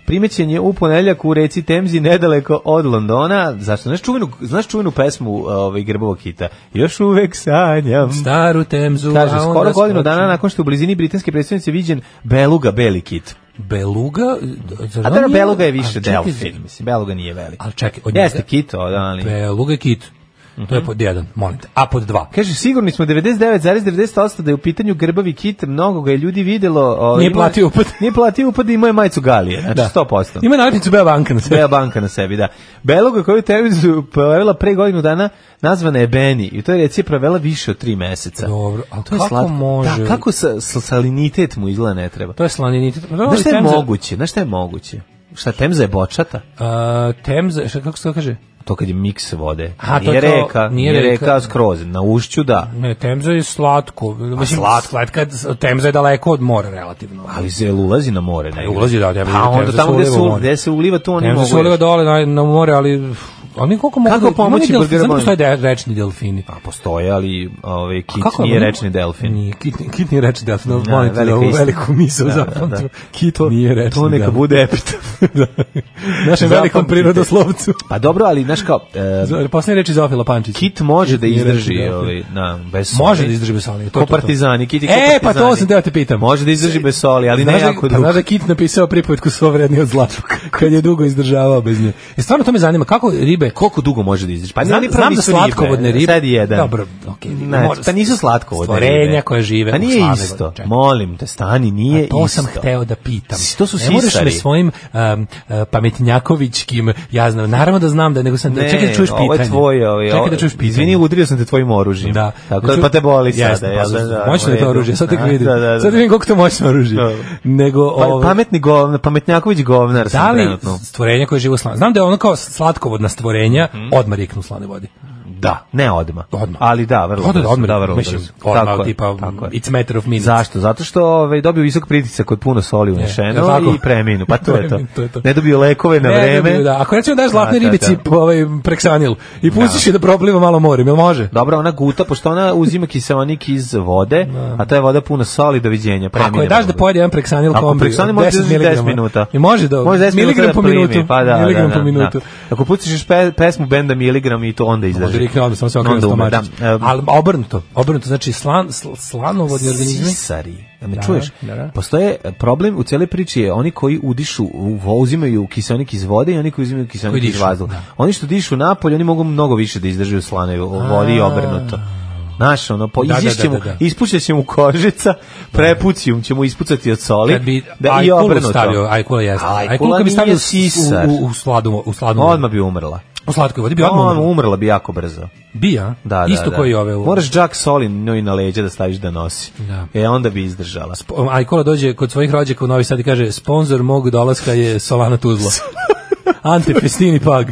Primećen je u ponedeljak u reci Temzi nedaleko od Londona. Zašto? Znaš čuvenu, znaš čuvenu pesmu ovaj, Grbavog kita? Još uvek sanjam. Staru Temzu. Kaže, a onda skoro godinu skoči. dana nakon što je u blizini britanske predstavnice viđen Beluga, beli kit. Beluga, zar A on da, nije- Beluga je više A čekaj, delfin, mislim, Beluga nije veliki. Ali čekaj, od Jeste Mhm. njega- kito, da, ali... Beluga je kit. To je pod jedan, molim te. A pod dva. Kaže, sigurni smo 99,90% da je u pitanju grbavi kit, mnogo ga je ljudi videlo. O, Nije platio upad. <laughs> Nije platio upad i imao je majicu Galije, znači Da. 100%. Ima nalepnicu Bea banka na sebi. Bea banka na sebi, da. Beloga koju je televiziju pojavila pre godinu dana nazvana je Beni i to je reci provela više od tri meseca. Dobro, ali to je kako slatko. može? Da, kako sa, sa- salinitet mu izgleda ne treba. To je slaninitet. Pa dobro, Znaš šta je Temza- moguće? Znaš šta je moguće? Šta, Temza je bočata? A, Temza, šta, kako se to kaže? To kad je miks vode. A, to nije, je to- reka, nije, nije reka, reka. skroz. Na ušću, da. Ne, Temza je slatko. Mislim, slatko. slatka, Temza je daleko od mora relativno. Ali se jel ulazi na more. Ne? ulazi, da, ja bih- Pa onda Temza tamo se gde se, uliva u u- more. gde se uliva, tu oni Temza mogu. se uliva dole na, na more, ali uf, oni koliko mogu... Kako da- ima pomoći neki delfin- Burgeru Znam Boy? što je de- rečni delfini. Pa postoje, ali ovaj, kit kako je nije ono? rečni delfin. Nije, kit, kit nije reči delfin, ali Da, molim te velika da ovu istina. veliku misao Da, da, zapamtim. <laughs> da. Kit nije reči To neka bude <laughs> epitaf. Našem velikom Zapamtite. prirodoslovcu. Pa dobro, ali znaš kao, e, Za- Posljednje reči Zofila Pančića. kit može da nije izdrži, rečni delfin. ovaj, na, bez soli. Može da izdrži bez soli. to je Ko to, to. partizani, kit je ko E, pa to partizani. sam teo te pitam. Može da izdrži bez soli, ali ne znaš da, jako pa drugo. znaš da je Kit napisao pripovetku svo vrednije od zlatog, kad je dugo izdržavao bez nje. I stvarno to me zanima, kako ribe... Koliko dugo može da izdrži? Pa Znam- oni znam pravi za su ribe, slatkovodne ribe. Sad jedan. Dobro, okej, Ne, može- pa nisu slatkovodne ribe. Stvorenja koja žive Pa u nije sladovodu, isto. čekaj. Molim te, stani, nije A isto. to sam hteo da pitam. To su ne moraš sisari. me svojim um, uh, pametnjakovićkim, ja znam, naravno da znam da, nego sam, Ne, čekaj da čuješ pitanje. Ovo je tvoje, ovaj, ovo je- čekaj da čuješ pitanje. Izvini, udario sam te tvojim oružjem. Da. Tako Znači, da, pa te boli jasno, sada. pa, jel znači, da, moćno je to u redu. oružje, sad tek Da, vidim. da, da, Sad da. vidim koliko to moćno oružje. Dobro. Nego, Pa, ovaj, pametni govnar, pametnjaković govnar da sam li trenutno. stvorenja koje žive u slanoj? Znam da je ono kao slatkovodna stvorenja, odmah riknu u slanoj vodi. Da, ne odma. Odmah. Mhm. Ali da, vrlo. Da, da, brzo, odmah. da, vrlo. Mislim, brzo. odmah, Tako je, tipa, tako je. it's a matter of minutes. Zašto? Zato što ovaj dobio visok pritisak od puno soli jel unešeno tako? i preminu. Pa <laughs> to je to. Preminu, to je to. Ne dobio lekove na Ne, vreme. dobiju, da. Ako recimo daš Da, zlatne da, ribici da. p- ovaj, preksanil i pustiš je da propliva malo morem, jel može? Dobro, ona guta, pošto ona uzima kiseonik iz vode, a ta je voda puna soli, doviđenja. Ako je premine daš da brzo. pojede jedan preksanil Ako kombi, preksani može 10 izdrži 10 miligrama. minuta. I može da, Može 10 miligram minuta po da primi, minutu. Pa da, miligram da, po da, minutu. Da. Ako pustiš pe, pesmu benda miligram i to onda izdrži. Može rikne odmah, samo se okrene Onda umre, stomačić. da. Um, Ali obrnuto, obrnuto, znači slan, sl- slanovodni organizmi. Sisari. Da me Da, čuješ? da, da. Postoje e, problem u cijeloj priči je oni koji udišu, u- vo- uzimaju kiselnik iz vode i oni koji uzimaju Koji kiselnik dišu, iz vazduha. da. Oni što dišu napolje, oni mogu mnogo više da izdrže u slanoj vodi i obrnuto. Naš, ono, po, Da, da, izješćemo, da, da, da. ispušćat ćemo kožica, prepucijum ćemo ispucati od soli, Kad bi da i ajkulu obrnuto. stavio, ajkula jeste. A, ajkula Ajkula kad bi stavio nije sisar. u, u, u, sladu, u, sladu, Pa Odmah bi umrla. u slatkoj vodi, bi odmah Odmah umro. umrla bi jako brzo. Bi, a? Da, da, Isto da. koji i ove. u- Moraš džak soli njoj na leđa da staviš da nosi. Da. E, onda bi izdržala. Ajkola dođe kod svojih rođaka u Novi Sad i kaže sponzor mog dolaska je Solana <laughs> Tuzla. Ante Festini Pag.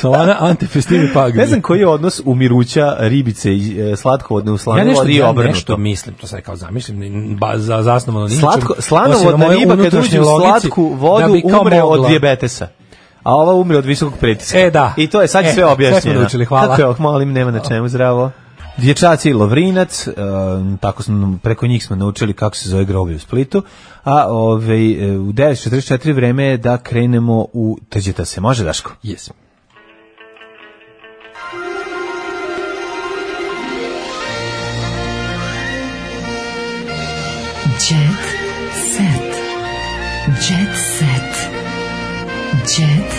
Solana Ante Festini Pag. Ne znam koji je odnos umiruća ribice i e, slatkovodne u ja slanoj nešto, vodi i ja obrnuto. nešto mislim, to sad kao zamislim, n- ba, za, zasnovano na ničem. Slatko, osim na slanovodna mojoj riba kad uđe unutrašnjoj u logici, slatku da vodu bi kao umre od mogla. dijabetesa. A ova umre od visokog pritiska. E, da. I to je sad E, sve objašnjeno. sve smo naučili, hvala. Tako je, oh, molim, nema na čemu, zdravo. Dječaci i Lovrinac, e, tako smo, preko njih smo naučili kako se zove grobi u Splitu, a ovaj, e, u 9.44 vreme je da krenemo u Teđeta se. Može, Daško? Yes. Jet set. Jet set. Jet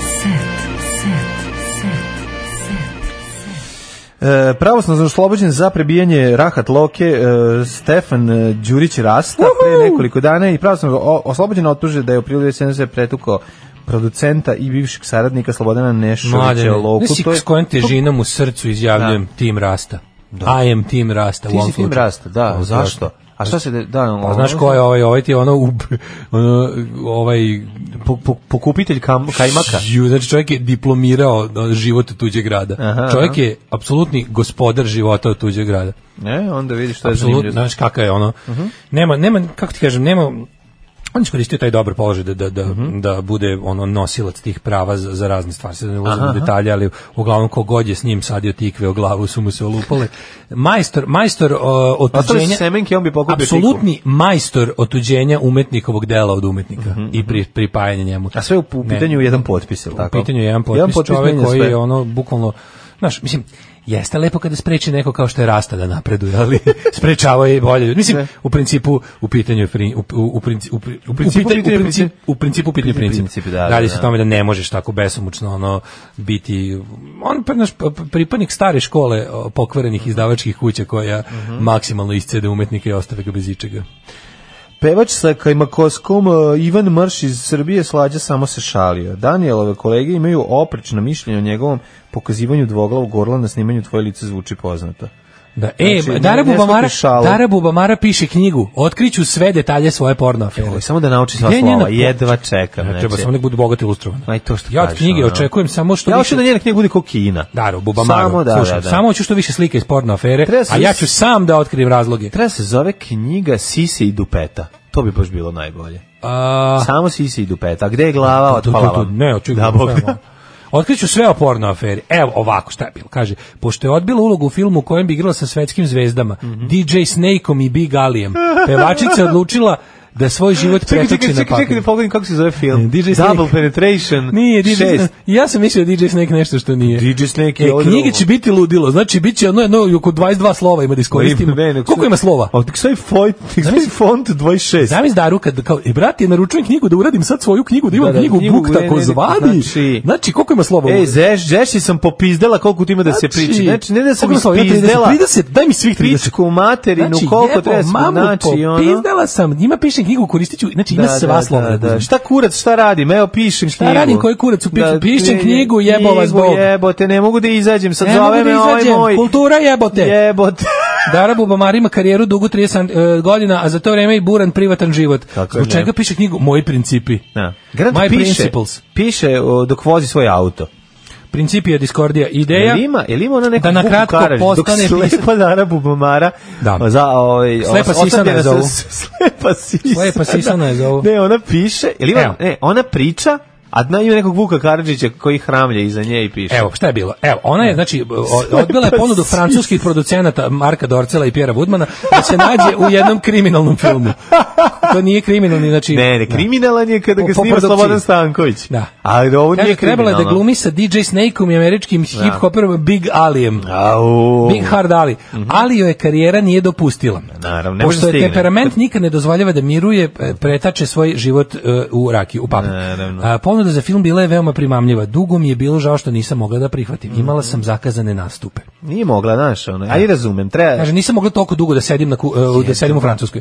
set. Set. Set. E, pravosnažno oslobođen za prebijanje Rahat Loke e, Stefan e, Đurić Rasta pre nekoliko dana i pravosnažno o- oslobođen optuže da je u prilu se pretukao producenta i bivšeg saradnika Slobodana Mladen, Nešovića Loku. ne si To je- s kojom težinom u srcu izjavljujem tim rasta. I am tim rasta. u Ti ovom si tim slučaju. Rasta, da, Ovo, zašto? A šta se de- da, ono- Pa znaš ko je ovaj, ovaj ti je ono, ub, ono ovaj, Po- po- pokupitelj kam, kajmaka? Ju, znači čovjek je diplomirao no, život od tuđeg grada. Aha, čovjek aha. je apsolutni gospodar života od tuđeg grada. Ne, onda vidiš što je Apsolutno, zanimljivo. znaš kakav je ono. Mhm. Nema, nema, kako ti kažem, nema, on je iskoristio taj dobar položaj da, da, da, Mhm. da bude ono nosilac tih prava za, za razne stvari. Sad ne ulazim u detalje, ali uglavnom kogod je s njim sadio tikve o glavu su mu se olupale. Majstor, majstor uh, Ostale su otuđenja... semenke, on bi pokupio tikvu. Apsolutni majstor otuđenja umetnikovog dela od umetnika i pri, pripajanja njemu. Mhm, A sve u, u Ne. pitanju jedan potpis, je li tako? U pitanju je jedan potpis, čovjek menja koji sve. je ono bukvalno, znaš, mislim, Jeste lepo kada spreči neko kao što je Rasta da napreduje, <laughs> ali sprečava je bolje. Mislim, u principu u pitanju je frin- u, u, u, princi- u, pri- u, principu pitanju- pitanje u principu, princip. u principu pitanje Pitanje princip. princip, da, da, Radi se da. o tome da ne možeš tako besomučno ono biti on pa naš p- p- pripadnik stare škole o, Mhm. pokvarenih izdavačkih kuća koja maksimalno iscede umetnika i ostave ga bez ičega. Pevač sa Kajmakoskom e, Ivan Mrš iz Srbije slađa samo se šalio. Danielove kolege imaju oprečno mišljenje o njegovom pokazivanju dvoglavog gorla na snimanju Tvoje lice zvuči poznato. Da, e, Znači, ne- Dara, ne Bubamara, shvatiš šalu. Dara Bubamara piše knjigu Otkriću sve detalje svoje porno afere. Samo da nauči sva Gde je njena slova, po- jedva čekam. znači. Ne, treba neće. samo nek budu bogati ilustrovani. Ma i to što Ja od kažeš, knjige ono. očekujem samo što Ja više... hoću da njena knjiga bude kokina. Daro, Bubamaru. Samo da, Slušaj, da, da. Samo hoću što više slike iz porno afere, Treba se- a ja ću sam da otkrijem razloge. Treba se zove knjiga Sise i Dupeta. To bi baš bilo najbolje. A, Pa, Samo Sise i Dupeta. A Gde je glava to, to, otpala to, Pa, vam? ne, očekujem. Da, Bog da. Otkriću sve o porno aferi. Evo ovako šta je bilo. Kaže, pošto je odbila ulogu u filmu u kojem bi igrala sa svetskim zvezdama, Mhm. DJ Snakeom i Big Alijem, pevačica je odlučila da svoj život <laughs> Čekaj, čekaj, pretoči na čekaj, čekaj, papir. da pogledam kako se zove film. DJ Double Snake. Penetration Nije DJ 6. Snake. Ja sam mislio da je DJ Snake nešto što nije. DJ Snake je e, ovo knjige drugo. će biti ludilo. Znači biće ono jedno oko 22 slova ima da iskoristimo. Ne, ne, ne, Koliko ima slova? A tek stavi font, tek stavi font 26. Zamisli Daru kad kao e brate naručujem knjigu da uradim sad svoju knjigu da imam Da, da, knjigu knjigu, Buk ne, ne, tako ne, zvani. znači- E, Znači, koliko ima slova? Ej, zeš, zeši sam popizdela koliko ti ima da se priča. Znači, ne da sam koliko ima slova? Ima 30, ispizdela 30, daj mi svih 30. pičku materinu, Znači, koliko jebo treba se mamu, znači, ono. popizdala sam, njima pišem knjigu, koristit ću, znači ima sva slova. Da, da. Šta kurac, šta radim? Evo pišem Šta knjigu. radim, koji kurac u pišu? Pišem knjigu, knjigu, jebo vas Bog. Jebote, ne mogu da izađem, sad Ne mogu zove da me ovaj izađem, moj. kultura jebote. Jebote. Dara Bubamar ima karijeru dugu 30 e, godina, a za to vreme i buran privatan život. Kako Zbog ne? čega piše knjigu Moji principi? Da. Grant My piše, principles. piše o, dok vozi svoj auto. Principi je diskordija ideja. Jel ima, jel ima ona neka E Da na kratko dok postane slepa Dara Bubamara Da. za, ovaj, Slepa os- sisana je ostavljena zovu. sa- <laughs> slepa sisana. Slepa sisana je zovu. Ne, ona piše, jel ima, Evo. ne, ona priča, a dna ima nekog Vuka Karadžića koji hramlja iza nje i piše. Evo, šta je bilo? Evo, ona je, znači, <laughs> o- odbila je ponudu francuskih producenata Marka Dorcela i Pjera Woodmana da se nađe u jednom kriminalnom filmu. To nije kriminalni, znači... Ne, ne, kriminalan je kada Po- ga po snima produkciji. Slobodan Stanković. Da. Ali ovo Kaže, nije trebala je da kriminalno. glumi sa DJ Snakeom i američkim hip-hoperom Big Alijem. Au. Big Hard Ali. Ali joj je karijera nije dopustila. Mhm. Naravno, ne može Pošto je stigne. temperament nikad ne dozvoljava da miruje, e, pretače svoj život e, u raki, u papir. Naravno. A, ponuda za film bila je veoma primamljiva. Dugo mi je bilo žao što nisam mogla da prihvatim. Mhm. Imala sam zakazane nastupe. Nije mogla, znaš, ono. Ja i razumem, treba... Kaže, nisam mogla toliko dugo da sedim, na, ku- e, da sedim u Francuskoj.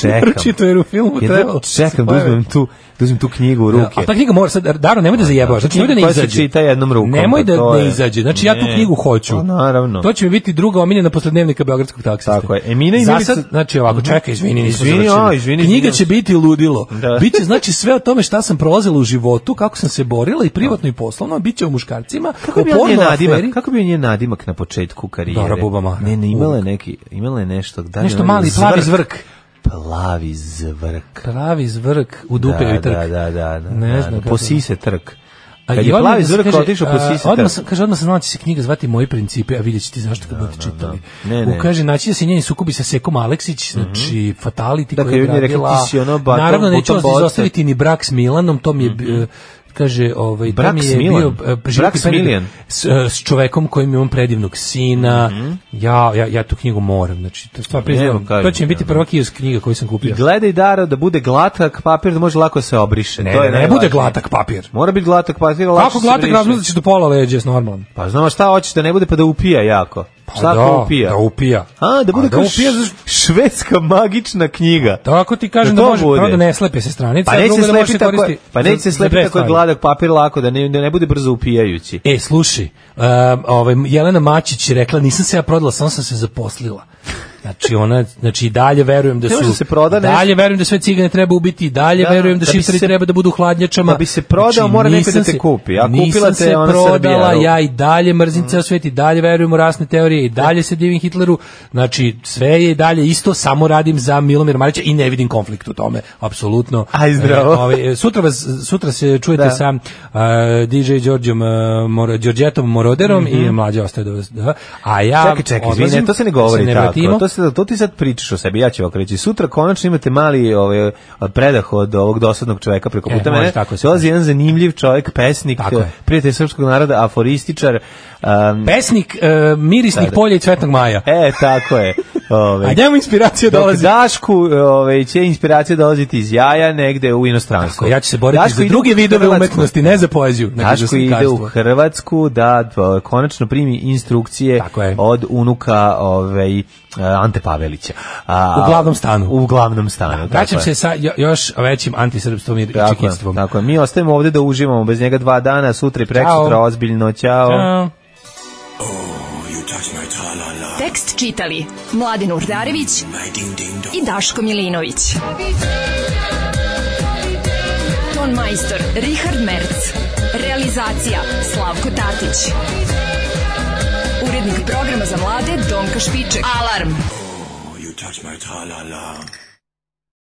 čekam. <laughs> Čito jer u filmu Jedno trebalo. čekam da uzmem tu, da uzmem tu knjigu u ruke. A ta knjiga mora sad, Daro, nemoj da zajebavaš, znači nemoj da ne Koja se izađe. čita jednom rukom, Nemoj pa to da je. ne izađe, znači ja tu Ne. knjigu hoću. Pa naravno. To će mi biti druga omiljena posle dnevnika Beogradskog taksista. Tako je. Emina i Za Milica- Mhm. sad, znači ovako, čekaj, izvini, nismo Izvini, završili. a, izvini, Knjiga izvinjam se. će biti ludilo. Da. Biće, znači, sve o tome šta sam prolazila u životu, kako sam se borila i privatno i poslovno, biće o muškarcima, Kako o bi on njen porno nadimak, aferi. kako bi on njen nadimak na početku karijere? Dara Bubamara. Ne, ne, imala je neki, imala je nešto, da li Nešto onaj mali plavi zvrk. Plavi zvrk. Pravi zvrk u dupe da, i trk. Da, da, da, da. Ne da, znam da, kako- Po sise trk. A Kad i je odmah plavi da se zvrk kaže, otišao po a, sise Odmah trk. sam, kaže, odmah sam znala da će se knjiga zvati Moji principi, a vidjet ćete zašto kad budete čitali. da. Ne, ne. U, kaže, naći da se njeni sukobi sa Sekom Aleksić, znači Fatality Dakle, koji je on je rekao, radila. ti si ono bottom- Naravno, neću vas bottom box. izostaviti ni brak s Milanom, to mi je... eh, kaže ovaj Brak to mi s je Mhm. Milan? bio eh, Brak životni s period Milijan? s, eh, s čovekom kojim je on predivnog sina Mhm. ja, ja, ja tu knjigu moram znači to stvarno priznajem kažem to će mi ti, biti ono. prva kiosk knjiga koju sam kupio Gledaj Dara da bude glatak papir da može lako se obriše. ne, to je ne, ne najvažnije. bude glatak papir Mora biti glatak papir, lako kako se glatak briše. razmrzaćeš do pola leđa je normalno Pa znamo šta hoćeš da ne bude pa da upija jako. šta Pa da, ako Pa upija? Da upija. A, da bude A kao upija, š- švedska magična knjiga. Tako ti kažem Da da, to može, bude. prvo da ne slepe se stranice, Pa a neće drugo se da može slepiti se tako, koristi. pa neće se za- za dve slepiti tako stvari. gladak papir lako da ne, da ne bude brzo upijajući. E, slušaj, um, ovaj, Jelena Mačić je rekla, nisam se ja prodala, samo sam se zaposlila. Znači ona, znači i dalje verujem da Ne može su se proda nešto. dalje verujem da sve cigane treba ubiti, i dalje Da, verujem da, da bi šiptari se- treba da budu u hladnjačama. Znači, da bi se prodao, mora neko da nisam te se- kupi, a kupila te nisam se ona prodala, Srbija. ja i dalje mrzim ceo svet i dalje verujem u rasne teorije i dalje se divim Hitleru. Znači sve je i dalje isto, samo radim za Milomir Marića i ne vidim konflikt u tome. Apsolutno. Aj, zdravo. E, ovaj, sutra vas sutra se čujete Da. sa e, a, DJ Đorđom uh, Mor Đorđetom Moroderom i mlađe ostaje do vas. Da. A ja Mhm. Čekaj, čekaj, izvini, odlazim, to se ne govori tako, vratimo. to sad, to ti sad pričaš o sebi, ja ću ovako reći. Sutra konačno imate mali ovaj, predah od ovog dosadnog čoveka preko puta E, može mene. tako se Dolazi jedan zanimljiv čovek, pesnik, Tako je. prijatelj srpskog naroda, aforističar. Um, Pesnik e, mirisnih Da, da. polja i cvetnog maja. E, tako <laughs> je. Ovaj. A njemu inspiracija Dok dolazi. Dašku ovaj, će inspiracija dolaziti iz jaja negde u inostranstvu. Ja ću se boriti Daško za ide druge u vidove Hrvatsku. umetnosti, ne za poeziju. nego za Daško ide u slikarstvo. Hrvatsku da d- konačno primi instrukcije od unuka ovaj, Ante Pavelića. A, U glavnom stanu. U glavnom stanu. tako Vraćam je. se sa jo- još većim antisrpstvom i Tako je, čekistvom. tako je. Mi ostajemo ovde da uživamo bez njega dva dana, sutra i preksutra, Ćao. ozbiljno, ćao. Ćao. Tekst čitali Mladin Urdarević i Daško Milinović. Ton majstor Richard Merc. Realizacija Slavko Tatić. Urednik programa za mlade Donka Špiček. Alarm! You touch my tra-la-la.